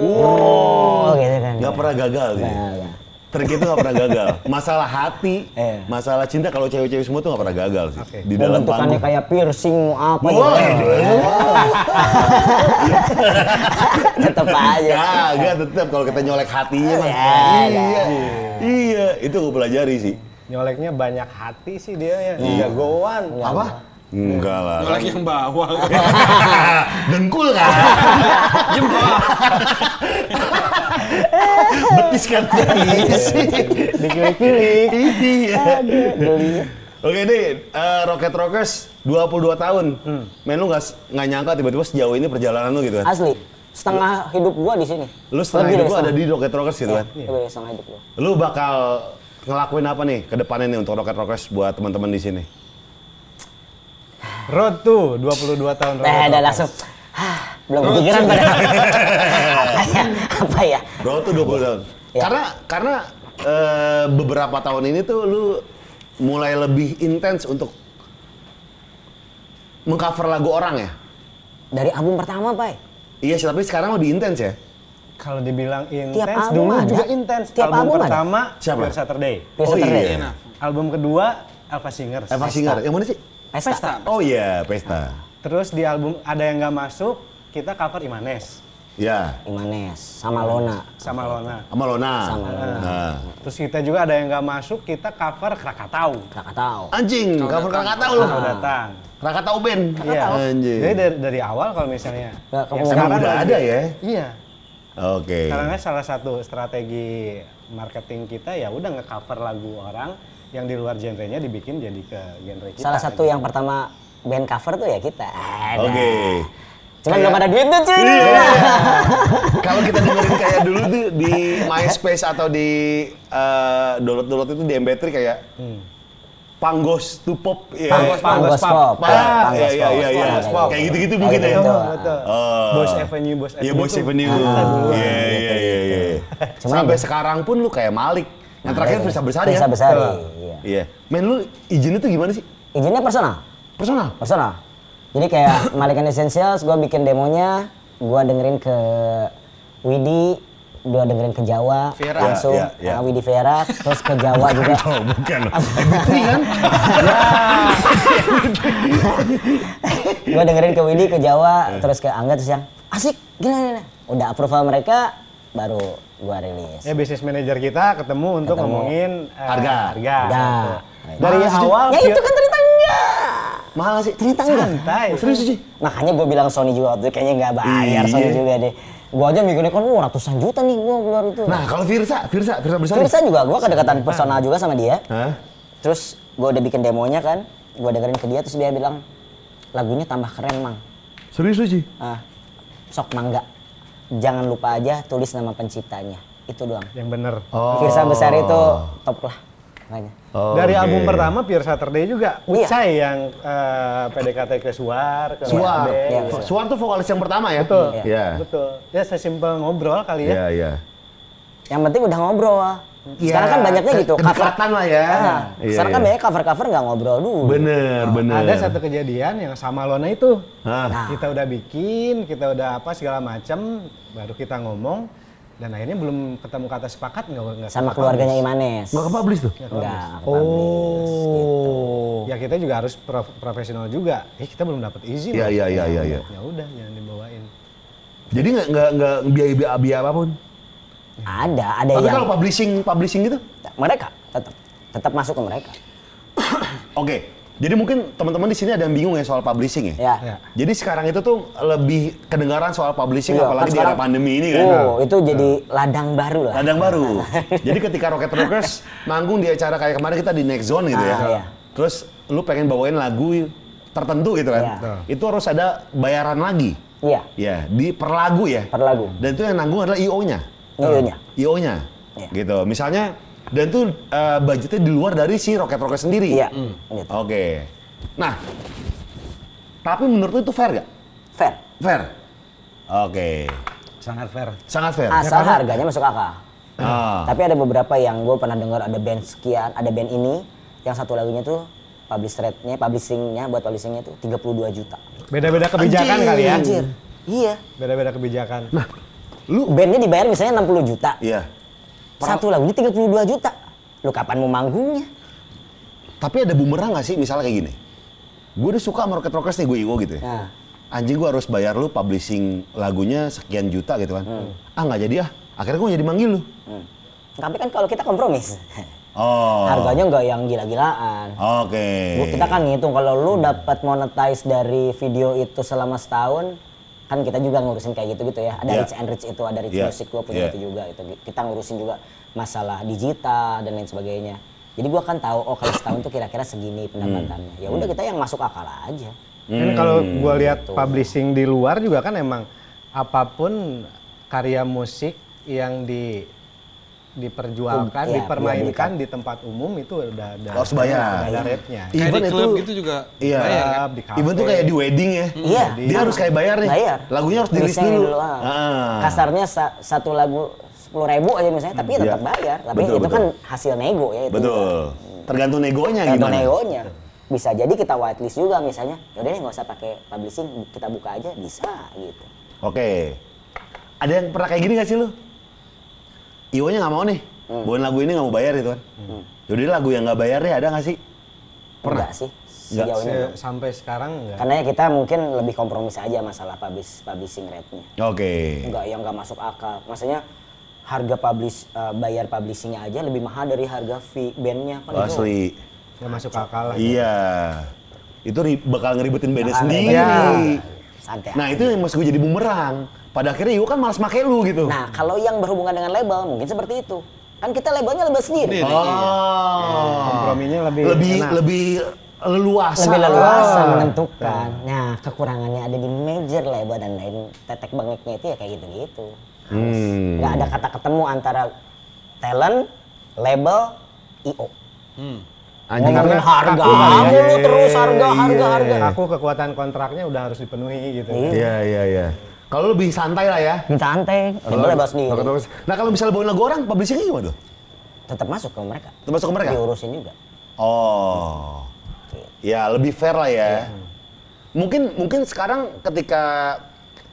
S2: wow gitu kan.
S3: Nggak pernah gagal sih.
S2: Nggak, nggak.
S3: Trik itu nggak pernah gagal. Masalah hati,
S2: Iya.
S3: masalah cinta kalau cewek-cewek semua tuh nggak pernah gagal sih. Di
S2: Mau
S3: dalam
S2: bentukannya
S3: panggung.
S2: kayak piercing mau apa
S3: Wah, ya.
S2: gitu. (laughs) Tetep
S3: Ya.
S2: aja.
S3: Gagal tetap Iya, kalau kita nyolek hatinya mas.
S2: Ah, Iya, iya.
S3: Iya, iya. Itu gue pelajari sih.
S5: Nyoleknya banyak hati sih dia ya. Jagoan.
S3: Iya. Apa?
S2: Ah.
S3: Enggak lah.
S2: Iya.
S1: Nyolek yang bawah.
S3: Dengkul
S2: (laughs)
S3: kan?
S2: Iya,
S1: Jempol.
S3: (laughs) betis
S2: (laughs)
S3: kan
S2: Iya,
S3: betis dikilik-kilik Oke nih, eh, Rocket Rockers 22 tahun.
S2: Hmm.
S3: Men lu nggak s- nggak nyangka tiba-tiba sejauh ini perjalanan lu gitu kan.
S2: Asli, setengah hidup gua di sini.
S3: Lu setengah
S2: Lebih Iya.
S3: hidup
S2: dari
S3: lu ada di Rocket Rockers gitu kan.
S2: Lebih dari setengah hidup gua.
S3: Lu bakal ngelakuin apa nih ke depannya nih untuk Rocket Rockers buat teman-teman di sini?
S5: Road tuh 22 tahun road.
S2: Nah, ada langsung. "Hah, belum kepikiran pada apa ya? Apa ya?
S3: Bro tuh 20 tahun.
S2: Ya.
S3: Karena karena eh, beberapa tahun ini tuh lu mulai lebih intens untuk mengcover lagu orang ya.
S2: Dari album pertama, Pak.
S3: Iya sih, tapi sekarang lebih intens ya.
S5: Kalau dibilang intens,
S2: album
S5: dulu
S2: ada.
S5: juga intens.
S2: Tiap
S5: album,
S2: album ada.
S5: pertama
S3: Siapa?
S5: Your Saturday.
S2: Biasa
S3: Oh,
S2: terus.
S3: iya.
S5: Album kedua Alpha Singers.
S3: Eva Singer, yang mana sih?
S2: Pesta.
S3: Oh iya, Pesta.
S5: Terus di album ada yang nggak masuk, kita cover Imanes
S3: Ya,
S2: Imanes sama Lona.
S5: sama Lona.
S3: sama Lona.
S2: Sama Lona.
S3: Nah.
S5: Terus kita juga ada yang nggak masuk, kita cover Krakatau.
S2: Krakatau.
S3: Anjing, cover Krakatau lu.
S5: Krakatau datang.
S3: Krakatau band.
S5: Iya.
S3: Anjing.
S5: Jadi dari, dari awal kalau misalnya.
S2: Nggak,
S5: yang
S2: kamu-
S5: sekarang
S3: Emang udah
S5: lagi-
S3: ada ya?
S5: Iya.
S3: Oke.
S5: Karena salah satu strategi marketing kita ya udah nge-cover lagu orang yang di luar genrenya dibikin jadi ke genre kita.
S2: Salah
S4: gitu.
S2: satu yang pertama band cover tuh ya kita. Ada.
S3: Oke. Iya.
S2: Cuman belum ada duit tuh, cuy.
S3: Kalau kita dengerin kayak dulu tuh di MySpace atau di eh, download-download itu di MP3 kayak Panggos to pop ya.
S2: Panggos, panggos, pop.
S3: Pop. Ah,
S2: Panggos,
S3: iya, iya, iya.
S2: Panggos, pop.
S3: Kayak gitu-gitu
S2: Kayak
S3: mungkin ya.
S2: gitu.
S5: Betul, betul.
S3: Oh.
S5: Bos Avenue, Bos Avenue.
S3: Iya, Bos
S5: tuh
S4: Ah,
S3: Avenue.
S4: Nah,
S5: kita dulu.
S3: Iya, iya, iya, iya.
S2: Cuman
S3: Sampai
S2: ada-
S3: sekarang pun lu kayak Malik. Yang terakhir Firsa Besari ya?
S2: Firsa Besari, iya.
S3: Iya. Men, lu izinnya tuh gimana sih?
S2: Izinnya personal.
S3: Personal?
S2: personal. Jadi kayak Malikan Essentials, gue bikin demonya, gue dengerin ke Widi, gue dengerin ke Jawa,
S1: Vera.
S2: langsung
S3: Ya, ya, ya.
S2: uh, Widi Vera, terus ke Jawa
S3: (laughs)
S2: juga.
S3: Oh, bukan. Fitri kan?
S2: Gue
S3: Ya.
S2: dengerin ke Widi, ke Jawa, terus ke Angga, terus yang asik, gila, gila, gila. Udah approval mereka, baru gua rilis.
S4: Ya bisnis manajer kita ketemu untuk
S2: Ketemu.
S4: ngomongin eh,
S3: Harga.
S4: harga.
S2: Harga.
S4: Betul. Dari
S3: Mahal sih, Ju.
S4: awal
S2: Ya itu kan ternyata enggak.
S3: Mahal nggak sih?
S2: Ternyata enggak.
S4: santai.
S3: Serius sih?
S2: Makanya gue bilang Sony juga waktu itu kayaknya nggak bayar
S3: Iya.
S2: Sony juga deh. Gue aja mikirnya kan wah ratusan juta nih gue keluar itu.
S3: Nah kalau Firsa, Firsa, Firsa bersama.
S2: Firsa juga gue kedekatan personal juga sama dia.
S3: Hah?
S2: Terus gue udah bikin demonya kan, gue dengerin ke dia terus dia bilang lagunya tambah keren mang.
S3: Serius lu sih?
S2: Ah, sok mangga. Jangan lupa aja tulis nama penciptanya. Itu doang.
S4: yang bener.
S3: Oh,
S2: Firsa besar itu top lah. Makanya.
S4: Dari
S3: oke.
S4: album pertama Pure Saturday juga
S2: Oh, iya.
S4: Ucai yang eh, PDKT ke Suar, ke
S3: Suar.
S4: Wade.
S2: Iya,
S3: Suar.
S2: betul.
S3: Suar tuh vokalis yang pertama ya?
S4: Betul.
S3: Iya.
S4: Betul. Ya sesimpel ngobrol kali
S3: Iya,
S4: ya.
S3: iya.
S2: Yang penting udah ngobrol. Sekarang
S3: Iya,
S2: kan banyaknya
S3: ke-
S2: gitu.
S3: kedekatan lah ya.
S2: Ah,
S3: Iya,
S2: sekarang kan
S3: iya.
S2: banyak cover-cover nggak ngobrol dulu.
S3: Bener, bener.
S4: Ada satu kejadian yang sama Lona itu.
S3: Hah?
S2: Nah.
S4: Kita udah bikin, kita udah apa segala macam, baru kita ngomong dan akhirnya belum ketemu kata sepakat nggak nggak
S2: Sama
S4: sepakat.
S2: keluarganya Imanes.
S3: Nggak kepublish tuh?
S2: Nggak, nggak kepublish, gitu.
S3: Oh.
S4: Ya kita juga harus prof- profesional juga. Eh kita belum dapat izin.
S3: Iya,
S4: loh.
S3: iya, iya, iya, iya.
S4: Ya udah jangan dibawain.
S3: Jadi nggak nggak nggak biaya biaya apapun.
S2: Iya. Ada, ada
S3: Tapi
S2: yang
S3: kalau publishing publishing gitu,
S2: mereka tetap tetap masuk ke mereka.
S3: oke. Jadi mungkin teman-teman di sini ada yang bingung ya soal publishing ya.
S2: Ya.
S4: Ya.
S3: Jadi sekarang itu tuh lebih kedengaran soal publishing
S2: Iya,
S3: apalagi
S2: kan
S3: di era
S2: sekarang-
S3: pandemi ini kan.
S2: Oh, itu jadi ladang baru lah.
S3: Ladang
S2: (laughs)
S3: baru. Jadi ketika Rocket Rockers manggung di acara kayak kemarin kita di Next Zone gitu ya.
S2: Ah, iya.
S3: Terus lu pengen bawain lagu tertentu gitu kan.
S2: Iya.
S3: Itu harus ada bayaran lagi.
S2: Iya,
S3: Ya, di per lagu ya.
S2: per lagu.
S3: Dan itu yang nanggung adalah IO-nya.
S2: Iya.
S3: IO-nya.
S2: Iya.
S3: Gitu. Misalnya dan itu eh, budgetnya di luar dari si Rocket Rockers sendiri.
S2: Iya. Gitu.
S3: Oke. Nah, tapi menurut lu itu fair gak?
S2: Fair.
S3: Fair. Oke.
S4: Sangat fair.
S3: Sangat fair.
S2: Asal harganya masuk akal.
S3: Ah.
S2: Tapi ada beberapa yang gue pernah dengar ada band sekian, ada band ini yang satu lagunya tuh publish rate-nya, publishing-nya buat publishing-nya tuh 32 juta.
S4: Beda-beda kebijakan
S3: Anjing.
S4: kali ya.
S2: Anjir. Iya.
S4: Beda-beda kebijakan.
S3: Lu
S2: Bandnya dibayar misalnya 60 juta.
S3: iya.
S2: Satu lagunya 32 juta. Lu kapan mau manggungnya?
S3: Tapi ada bumerang gak sih misalnya kayak gini? Gue udah suka sama Rocket Rockers nih, gue IO gitu ya.
S2: Nah.
S3: Anjing gue harus bayar lu publishing lagunya sekian juta gitu kan.
S2: Hmm.
S3: Ah nggak jadi ah, akhirnya gue jadi manggil lu.
S2: Tapi kan kalau kita kompromis,
S3: Oh,
S2: harganya nggak yang gila-gilaan.
S3: oke. iya.
S2: Gua- Kita kan ngitung kalau lu dapat monetize dari video itu selama setahun, kan kita juga ngurusin kayak gitu-gitu ya. Ada
S3: Iya.
S2: rich and rich itu, ada rich
S3: Iya.
S2: music gua punya
S3: Iya.
S2: itu juga. Itu kita ngurusin juga masalah digital dan lain sebagainya. Jadi gua kan tahu oh kalau setahun tuh kira-kira segini
S3: Hmm.
S2: pendapatannya. Ya udah kita yang masuk akal aja.
S4: Kan kalau gua lihat publishing di luar juga kan emang apapun karya musik yang di diperjualkan,
S2: Iya,
S4: dipermainkan di tempat umum itu udah ada
S3: Oh, Harus bayar.
S4: udah
S2: kan
S4: ada rate-nya.
S5: Kayak
S3: Even
S5: di klub
S3: itu-
S5: gitu juga
S3: Iya.
S5: bayar kan?
S4: Di kafe.
S3: Even tuh kayak di wedding ya.
S2: Iya.
S3: Dia harus kayak bayar nih.
S2: Bayar.
S3: Lagunya harus di-list
S2: Release-nya
S3: dulu.
S2: ah.
S3: Ah.
S2: Kasarnya sa- satu lagu sepuluh ribu aja misalnya, tapi ya tetap
S3: Iya.
S2: bayar. Tapi
S3: Betul,
S2: itu
S3: betul.
S2: kan hasil nego ya. Itu
S3: Betul. Tergantung negonya
S2: Tergantung
S3: gimana.
S2: neonya. Bisa jadi kita whitelist juga misalnya. Yaudah deh nggak usah pakai publishing, kita buka aja bisa gitu.
S3: Oke. Ada yang pernah kayak gini gak sih lu? Iwonya nggak mau nih.
S2: Hmm.
S3: Bawain lagu ini nggak mau bayar gitu kan. Jadi lagu yang nggak bayar deh ada nggak sih?
S2: Enggak sih sejauh ini.
S4: Se- sampai sekarang enggak.
S2: Karena ya kita mungkin lebih kompromis aja masalah publish publishing rate-nya.
S3: Oke.
S2: Enggak yang nggak masuk akal. Maksudnya harga publish eh, bayar publishingnya aja lebih mahal dari harga fee bandnya kan itu.
S3: Asli.
S4: Nggak masuk akal. lah.
S3: Iya. Itu ri- bakal ngeribetin beda
S2: Bakal
S3: sendiri.
S2: ngeribetin. Santai
S3: Nah itu yang maksud gue jadi bumerang. Pada akhirnya Iwo kan malas make lu gitu.
S2: Nah kalau yang berhubungan dengan label mungkin seperti itu. Kan kita labelnya label sendiri.
S5: Sendiri.
S3: oh.
S4: Komprominya lebih
S3: lebih
S4: enak.
S3: lebih leluasa.
S2: lebih leluasa menentukan. Nah, kekurangannya ada di major label dan lain tetek bengeknya itu ya kayak gitu-gitu. Harus.
S3: Hmm.
S2: Nggak ada kata ketemu antara talent, label, IO.
S3: Anjing,
S2: Ngomongin
S4: karena
S2: harga,
S4: kaku kali ya.
S2: mulu terus harga,
S3: Iya,
S2: harga,
S3: iya,
S2: harga.
S4: Aku kekuatan kontraknya udah harus dipenuhi gitu.
S3: Iya iya iya. Kalau lebih santai lah ya.
S2: Minta santai, label label sendiri.
S3: Nah kalau misalnya bawain lagu orang, publishingnya gimana tuh?
S2: Tetap masuk ke mereka.
S3: Tetap masuk ke mereka?
S2: Diurusin juga.
S3: Oh, ya lebih fair lah ya. Mungkin mungkin sekarang ketika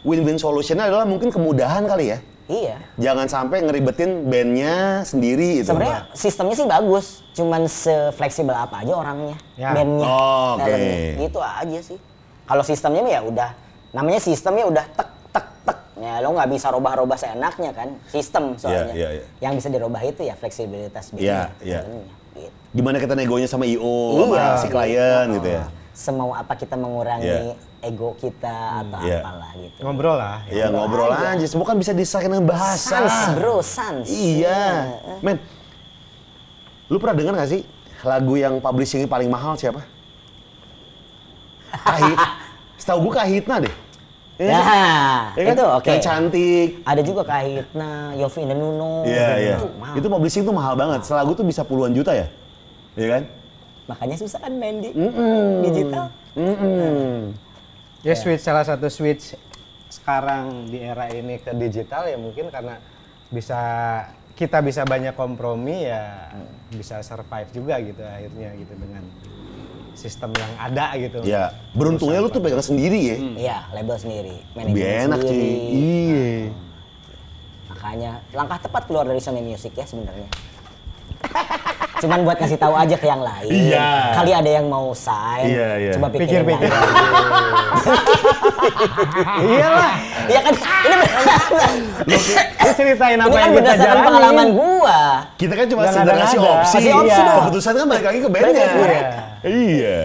S3: win-win solutionnya adalah mungkin kemudahan kali ya.
S2: Iya.
S3: Jangan sampai ngeribetin bandnya sendiri gitu. itu.
S2: Sebenarnya sistemnya sih bagus, cuman sefleksibel apa aja orangnya,
S4: Ya.
S2: bandnya,
S3: Oh, oke.
S2: talentnya. gitu aja sih. Kalau sistemnya mah ya udah, namanya sistemnya udah ya tek tek tek Ya lo nggak bisa robah-robah seenaknya kan, sistem
S3: Iya,
S2: soalnya.
S3: iya, iya.
S2: Yang bisa dirubah itu ya
S3: Iya,
S2: fleksibilitas bandnya,
S3: iya.
S2: sebenarnya, gitu.
S3: Gimana kita negonya sama
S2: Iya.
S3: IO, sama Oh, si klien gitu ya.
S2: oh, Semau apa kita mengurangi ego kita atau
S3: Iya.
S2: apalah gitu.
S5: Ngobrol lah.
S3: Ya ngobrol aja, semua kan bisa disahkan dengan bahasa.
S2: Sans bro, sans.
S3: Iya. Men, lu pernah dengar gak sih lagu yang publishingnya paling mahal
S2: (laughs)
S3: siapa? Kahit. Setahu gua Kahitna deh. Iya
S2: Ya,
S3: kan? Iya kan?
S2: itu oke.
S3: Yang cantik.
S2: Ada juga Kahitna, Yofi dan Nuno.
S3: Iya, iya.
S2: Itu mahal.
S3: Itu publishing tuh mahal banget. Selagu tuh bisa puluhan juta ya? Iya kan?
S2: Makanya susah kan main di digital.
S3: Iya.
S5: Ya switch salah satu switch sekarang di era ini ke digital ya mungkin karena bisa kita bisa banyak kompromi ya
S3: Hmm.
S5: bisa survive juga gitu akhirnya gitu dengan sistem yang ada gitu.
S3: Iya. Beruntungnya lu tuh pegang sendiri ya.
S2: Iya, label sendiri,
S3: Lebih
S2: manajemen
S3: enak cuy.
S2: sendiri.
S3: Iya.
S2: Makanya langkah tepat keluar dari Sony Music ya sebenarnya. (laughs) Cuman buat kasih tahu aja ke yang lain.
S3: Iya.
S2: Kali ada yang mau sign,
S3: Iya, iya.
S2: coba pikirin
S5: Pikir-pikir.
S2: lagi.
S5: (laughs) Iyalah,
S2: Iya kan? Ini
S5: lu ceritain
S2: ini kan
S5: apa yang kita
S2: berdasarkan
S5: jalanin.
S2: pengalaman gua.
S3: Kita kan cuma
S5: Jangan
S3: sekedar
S5: ada
S3: ngasih
S5: nada.
S3: opsi.
S2: Kasih opsi
S3: Iya.
S2: dong.
S3: Keputusan kan balik lagi ke bandnya.
S2: Balik lagi.
S3: Iya.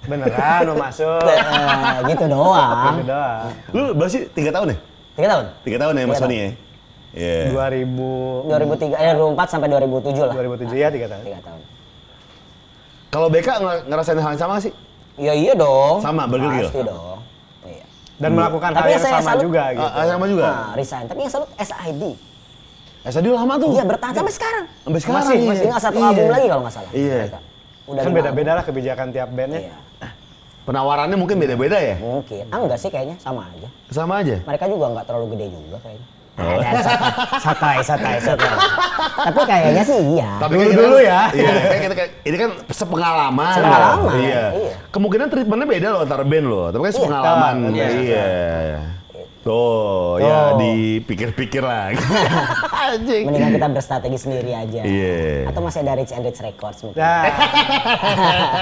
S5: Beneran mau masuk.
S2: Eh, gitu doang.
S5: Gitu doang.
S3: Lu berarti tiga tahun ya?
S2: Tiga tahun.
S3: Tiga tahun ya Mas
S2: Tiga
S3: Sony ya? Iya.
S5: 2000
S2: 2003, eh, 2004 sampai 2007 lah.
S5: 2007
S3: iya.
S5: ya tiga tahun.
S2: Tiga tahun.
S3: Kalau BK nger- ngerasain hal yang sama nggak sih?
S2: Iya iya dong.
S3: Sama, gitu? bergeril.
S2: Pasti dong. Iya.
S5: Dan melakukan hal
S2: Tapi
S5: yang
S2: saya
S5: sama
S2: salut-
S4: Iya,
S5: juga gitu.
S3: Hmm. Ah, ah, sama juga?
S2: Nah, resign. Tapi yang selalu SID.
S3: Eh, tadi lama tuh.
S2: Iya bertahan sampai sekarang.
S3: Sampai sekarang.
S2: Masih,
S3: iya.
S2: masih tinggal satu
S3: Iya.
S2: album lagi kalau nggak salah.
S3: Iya.
S2: mereka. Udah
S5: Kan
S2: lima
S5: beda-beda
S2: album.
S5: lah kebijakan tiap ya. bandnya.
S2: Iya.
S3: Penawarannya mungkin beda-beda ya?
S2: Mungkin. Ah enggak sih kayaknya sama aja.
S3: Sama aja?
S2: Mereka juga nggak terlalu gede juga kayaknya.
S3: Oh.
S2: Ada
S3: (laughs)
S2: santai, santai, santai, santai. Tapi kayaknya sih iya.
S3: kan
S5: Dulu-
S3: kita-
S5: dulu ya.
S3: (laughs) Iya, kan kita, ini kan sepengalaman.
S2: Sepengalaman,
S3: Iya.
S2: iya.
S3: Kemungkinan treatmentnya beda loh antara band loh, tapi kan sepengalaman. Iya.
S5: Iya.
S3: Tuh, ya dipikir-pikir lah. Anjing.
S2: Mendingan kita berstrategi sendiri aja.
S3: Iya. Ya,
S2: Atau masih ada Rich and Rich Records mungkin.
S5: Nah,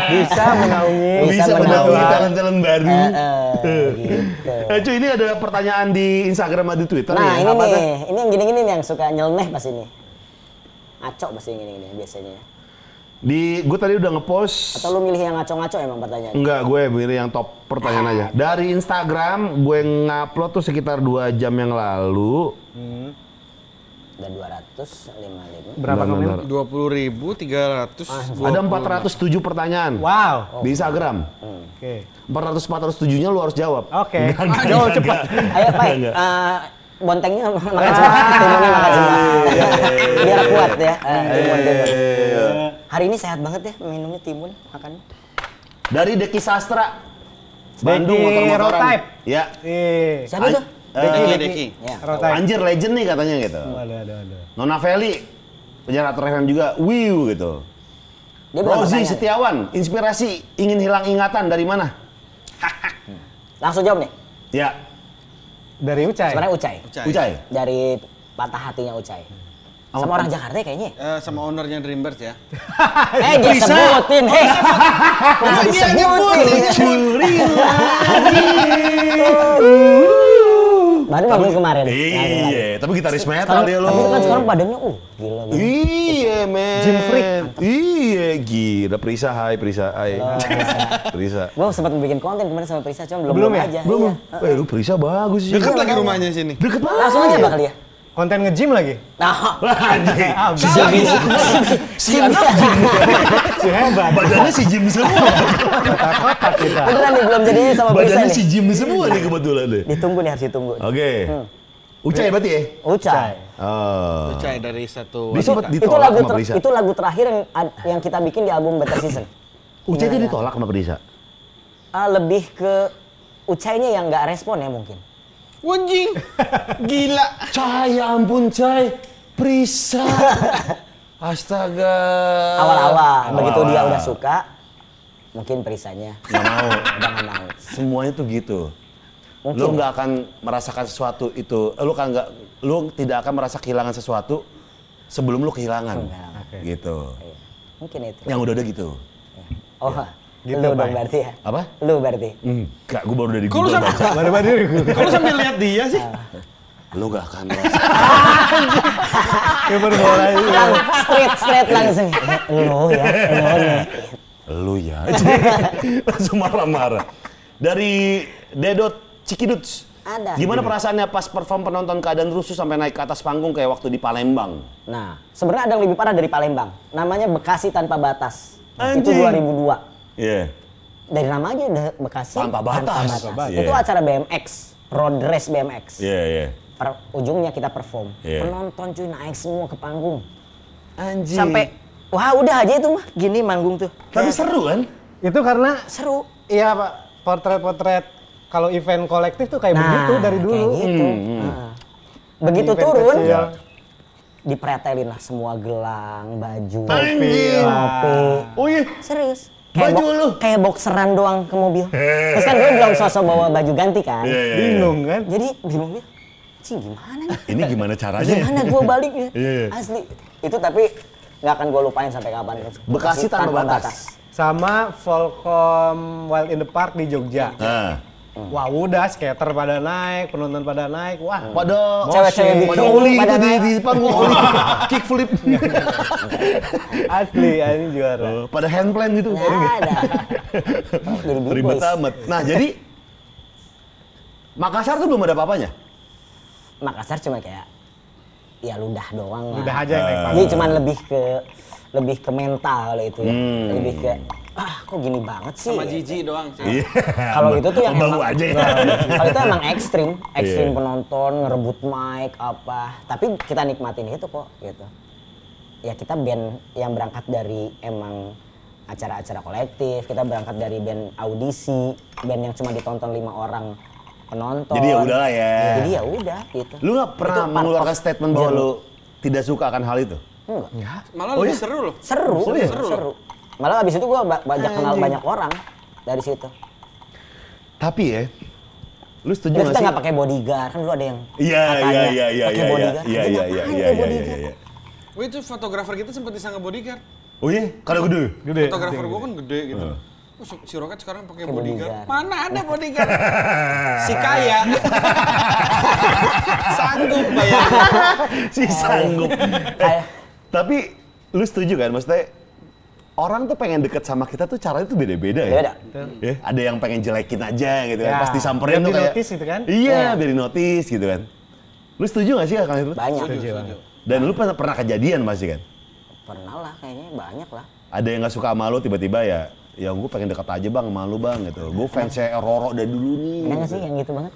S5: bisa menaungi
S3: Bisa
S2: Bisa
S3: menaungi
S2: menaungi.
S3: talent-talent baru.
S2: Eh, eh, gitu.
S3: Eh, cuy, ini ada pertanyaan di Instagram atau di Twitter
S2: Nah
S3: nih.
S2: ini
S3: Apa
S2: nih,
S3: tuh?
S2: ini yang gini-gini nih yang suka nyeleneh pas ini. Ngaco pasti yang gini-gini biasanya. ya.
S3: Di gue tadi udah ngepost
S2: Atau lu milih yang ngaco-ngaco emang pertanyaan?
S3: Enggak, gue milih yang top pertanyaan aja. Dari Instagram, gue ngupload tuh sekitar dua jam yang lalu.
S2: Udah 255.
S5: berapa
S3: Bentar,
S5: komen?
S3: bentar.
S1: Dua puluh ribu tiga ratus.
S3: Ada 407 pertanyaan
S2: Oh.
S5: Wow.
S3: di Instagram.
S5: Oke.
S3: 400-407-nya lu harus jawab.
S5: Oke. Ah,
S3: Enggak, enggak,
S5: Jawab
S3: enggak,
S5: cepat.
S3: enggak.
S2: Ayo, Pak.
S3: Enggak, Ah. enggak.
S2: eh, bontengnya (laughs) makan semua, timunnya makan semua.
S3: Iya,
S2: Biar kuat ya. eh, timun, timun.
S3: Iya.
S2: Hari ini sehat banget ya, minumnya timun, makan.
S3: Dari Deki Sastra. Bandung
S5: Deki
S3: motor-motoran.
S5: Rotype.
S3: Ya.
S5: Ih.
S2: Siapa
S3: An-
S2: tuh?
S3: eh,
S1: Deki, Deki.
S2: Ya.
S5: Rotai.
S3: Anjir legend nih katanya gitu.
S5: Aduh, aduh, aduh.
S3: Nona Feli, penyiar Atur FM juga. Wiu gitu.
S2: Dia bilang
S3: Rozi
S2: pertanyaan.
S3: Setiawan, inspirasi ingin hilang ingatan dari mana?
S2: Langsung jawab nih.
S3: Ya,
S5: Dari Ucai.
S2: Sebenarnya Ucai.
S3: Ucai.
S2: Dari patah hatinya Ucai. Sama orang Jakarta ya kayaknya. ya?
S1: Eh, sama ownernya Dreambirds ya.
S2: Eh, dia sebutin. Hei. Nah, disebutin. Baru bangun kemarin. Nah,
S3: Iya, tapi gitaris metal
S2: Sekarang,
S3: dia
S2: tapi itu kan sekarang
S3: lo.
S2: badannya uh gila. gila.
S3: Iya, men.
S5: Gym freak.
S3: Iya, gila. Prisa, hai, Prisa, hai. Prisa.
S2: Gue sempat bikin konten kemarin sama Prisa, cuma belum,
S5: Belum ya?
S2: aja.
S3: Belum.
S2: Iya.
S3: Eh, lu Prisa bagus sih.
S1: Deket lagi rumahnya sini.
S3: Deket banget.
S2: Langsung aja bakal ya.
S5: Konten nge-gym lagi.
S3: (laughs)
S2: Nah,
S3: Anjing.
S4: Ah,
S5: Abis.
S2: si Bi- si (laughs) Bi-
S5: Si hebat.
S3: Badannya si Jim semua.
S5: Kotak-kotak kita.
S2: Beneran nih belum jadinya sama Prisa
S3: Badannya
S2: nih.
S3: si Jim semua nih kebetulan deh.
S2: Ditunggu nih harus ditunggu.
S3: Oke. Ucai berarti ya?
S2: Ucai.
S3: Hmm. Oh.
S1: Ucai dari satu
S3: Dia sempet
S1: wanita.
S2: Itu
S3: ditolak
S2: lagu
S3: sama
S2: ter-
S3: Prisa.
S2: itu lagu terakhir yang ad- yang kita bikin di album Better Season.
S3: Ucai itu ditolak sama Prisa.
S2: Ah, lebih ke Ucainya yang nggak respon ya mungkin.
S1: Wanjing. Gila.
S3: Cai, ya ampun Cai. (laughs) Prisa. Astaga. Eh,
S2: Awal-awal begitu dia udah suka, mungkin Prisanya
S3: Gak mau.
S2: udah nggak mau.
S3: Semuanya tuh gitu. Lu nggak akan merasakan sesuatu itu. Lu kan nggak, lu tidak akan merasa kehilangan sesuatu sebelum lu kehilangan.
S2: Kehilangan.
S3: Gitu.
S2: Mungkin itu.
S3: Yang udah-udah gitu.
S2: Oh,
S5: Gitu,
S2: lu dong
S5: Bay.
S2: berarti ya?
S3: Apa?
S2: Lu berarti.
S3: Enggak, gue baru dari
S1: Kok lu
S3: Google
S1: sampai
S3: baca.
S5: Baru-baru
S1: Kok lu sambil lihat dia sih?
S3: Lu gak akan merasa. (laughs)
S4: Kiper bola itu.
S2: Lang, straight straight
S3: (laughs)
S2: langsung. Eh, Lo ya, lo nih.
S3: Lu ya. (laughs) Langsung marah-marah. Dari Dedot Cikiduts.
S2: Ada.
S3: Gimana perasaannya pas perform penonton keadaan rusuh sampai naik ke atas panggung kayak waktu di Palembang?
S2: Nah, sebenarnya ada yang lebih parah dari Palembang. Namanya Bekasi tanpa batas. Itu
S3: Anjing.
S2: 2002.
S3: Iya.
S2: Dari nama aja udah Bekasi
S3: Tanpa batas. Tanpa batas.
S2: Itu
S3: Iya.
S2: acara BMX, road race BMX.
S3: Iya, iya.
S2: Per- ujungnya kita perform.
S3: Iya.
S2: Penonton cuy naik semua ke panggung.
S3: Anjing.
S2: Sampai wah udah aja itu mah gini manggung tuh.
S3: Tapi seru kan?
S4: Itu karena
S2: Seru.
S4: iya Pak, portret-portret kalau event kolektif
S3: Eh,
S4: tuh kayak begitu dari dulu.
S2: Nah,
S1: Iya,
S2: Kayak gitu.
S3: Hmm.
S2: Nah. Begitu
S4: Event
S2: turun,
S4: kecil.
S3: Iya.
S2: dipretelin lah semua gelang, baju,
S3: Anjing.
S2: topi.
S3: Oh iya.
S2: Serius.
S3: Baju
S2: bo-
S3: lu.
S2: Kayak boxeran doang ke mobil. Terus kan gue belum sosok bawa baju ganti kan.
S3: Iya,
S1: iya.
S4: Bingung kan?
S2: Jadi di mobil, cing gimana
S3: (laughs)
S2: nih?
S3: Ini gimana caranya?
S2: Gimana gue balik ya?
S3: Iya, iya.
S2: Asli. Itu tapi nggak akan gue lupain sampai kapan.
S3: Bekasi tanpa batas.
S4: Sama Volcom Wild in the Park di Jogja.
S3: Nah.
S1: Hmm.
S4: Wah udah skater pada naik, penonton pada naik. Wah,
S1: Hmm.
S3: Pada
S2: Cewek-cewek
S3: Moshing.
S2: bikin
S3: pada oli
S2: pada
S3: itu di,
S2: naik.
S3: di panggung
S2: (laughs)
S3: oli. Kickflip.
S4: asli Iya, ini juara.
S3: pada handplan gitu.
S2: Nggak ada. Jadi big
S3: Ribet
S2: boys.
S3: amat. Nah, jadi Makassar tuh belum ada apa-apanya.
S2: Makassar cuma kayak ya ludah doang lah.
S4: Udah aja yang naik
S2: Dia
S4: panggung.
S2: cuma lebih ke lebih ke mental kalau itu ya.
S3: Hmm.
S2: Lebih ke ah kok gini banget sih.
S5: Sama Jiji doang. sih.
S3: Iya.
S2: Kalau itu tuh yang
S3: Bau
S2: emang- Nah, iya.
S3: aja. (laughs) ya.
S2: Kalau itu emang ekstrim, ekstrim
S3: Iya.
S2: penonton, ngerebut mic apa. Tapi kita nikmatin itu kok gitu. Ya kita band yang berangkat dari emang acara-acara kolektif, kita berangkat dari band audisi, band yang cuma ditonton lima orang penonton.
S3: Jadi ya udahlah ya.
S2: Jadi ya udah gitu.
S3: Lu nggak pernah
S2: Itu part
S3: mengeluarkan
S2: of
S3: statement bahwa
S2: journey.
S3: lu tidak suka akan hal itu?
S2: Enggak.
S5: Malah
S3: Oh
S5: lebih
S3: iya?
S5: seru loh.
S2: Seru,
S3: Seru ya?
S2: seru, seru. Malah abis itu gua ba- banyak kenal
S3: Anjing.
S2: banyak orang dari situ.
S3: Tapi ya, lu setuju nggak
S2: Dan kita
S3: Iya sih?
S2: nggak pakai bodyguard kan lu ada yang
S3: Iya,
S2: katanya,
S3: iya, iya,
S2: pakai
S3: iya, iya,
S2: bodyguard.
S3: iya,
S2: Anjing,
S3: iya,
S2: apaan
S3: iya,
S2: tuh
S3: iya, iya,
S2: bodyguard?
S3: iya.
S5: Gue itu fotografer kita sempat disangka bodyguard.
S3: Oh iya, kalau gede.
S4: Gede.
S5: Fotografer gue kan gede gitu. Oh, si- Si Roket sekarang pakai
S2: bodyguard.
S5: bodyguard. Mana ada
S4: (laughs)
S5: bodyguard? si kaya. (laughs) Sanggup ya. bayar.
S2: (laughs)
S3: Si sanggup. Eh, Tapi lu setuju kan? Maksudnya orang tuh pengen deket sama kita tuh caranya tuh beda-beda ya.
S2: Beda.
S3: Ya, ada yang pengen jelekin aja gitu kan.
S4: Ya,
S3: Pas disamperin
S4: biar
S3: tuh kayak.
S4: di-notice gitu kan?
S3: Iya, biar notice gitu kan. Lu setuju gak sih akan itu?
S2: Banyak.
S3: Dan lu pernah, pernah kejadian pasti kan?
S2: Pernah lah kayaknya banyak lah.
S3: Ada yang gak suka sama lu tiba-tiba ya ya gue pengen deket aja bang sama lu bang gitu. Gue fansnya Roro dari dulu nih.
S2: Ada nggak sih yang gitu banget?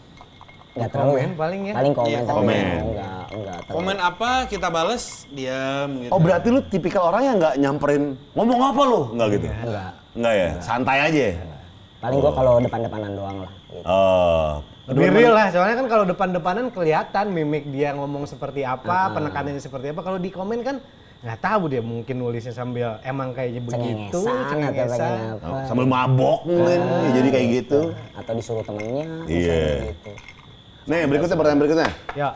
S2: Nggak terlalu
S4: Komen paling ya.
S2: Paling komen.
S5: Iya,
S2: tapi
S3: komen.
S2: nggak- Nggak, nggak terlalu.
S5: Komen apa kita bales, diam gitu.
S3: Oh berarti lu tipikal orang yang nggak nyamperin ngomong apa lu nggak gitu?
S2: Nggak.
S3: Nggak ya, santai aja. ya?
S2: Paling gua kalau depan-depanan doang lah. Gitu.
S3: Oh,
S4: Lebih real lah, soalnya kan kalau depan-depanan kelihatan mimik dia ngomong seperti apa, penekanannya seperti apa. Kalau di komen kan nggak tahu dia mungkin nulisnya sambil emang kayaknya begitu,
S2: Cengengesan atau pengen
S4: cengengesan.
S2: apa.
S3: Oh, sambil mabok mungkin ya, jadi kayak gitu.
S2: Atau disuruh temennya.
S3: Iya.
S2: misalnya Gitu.
S3: Nih berikutnya pertanyaan berikutnya.
S4: Ya,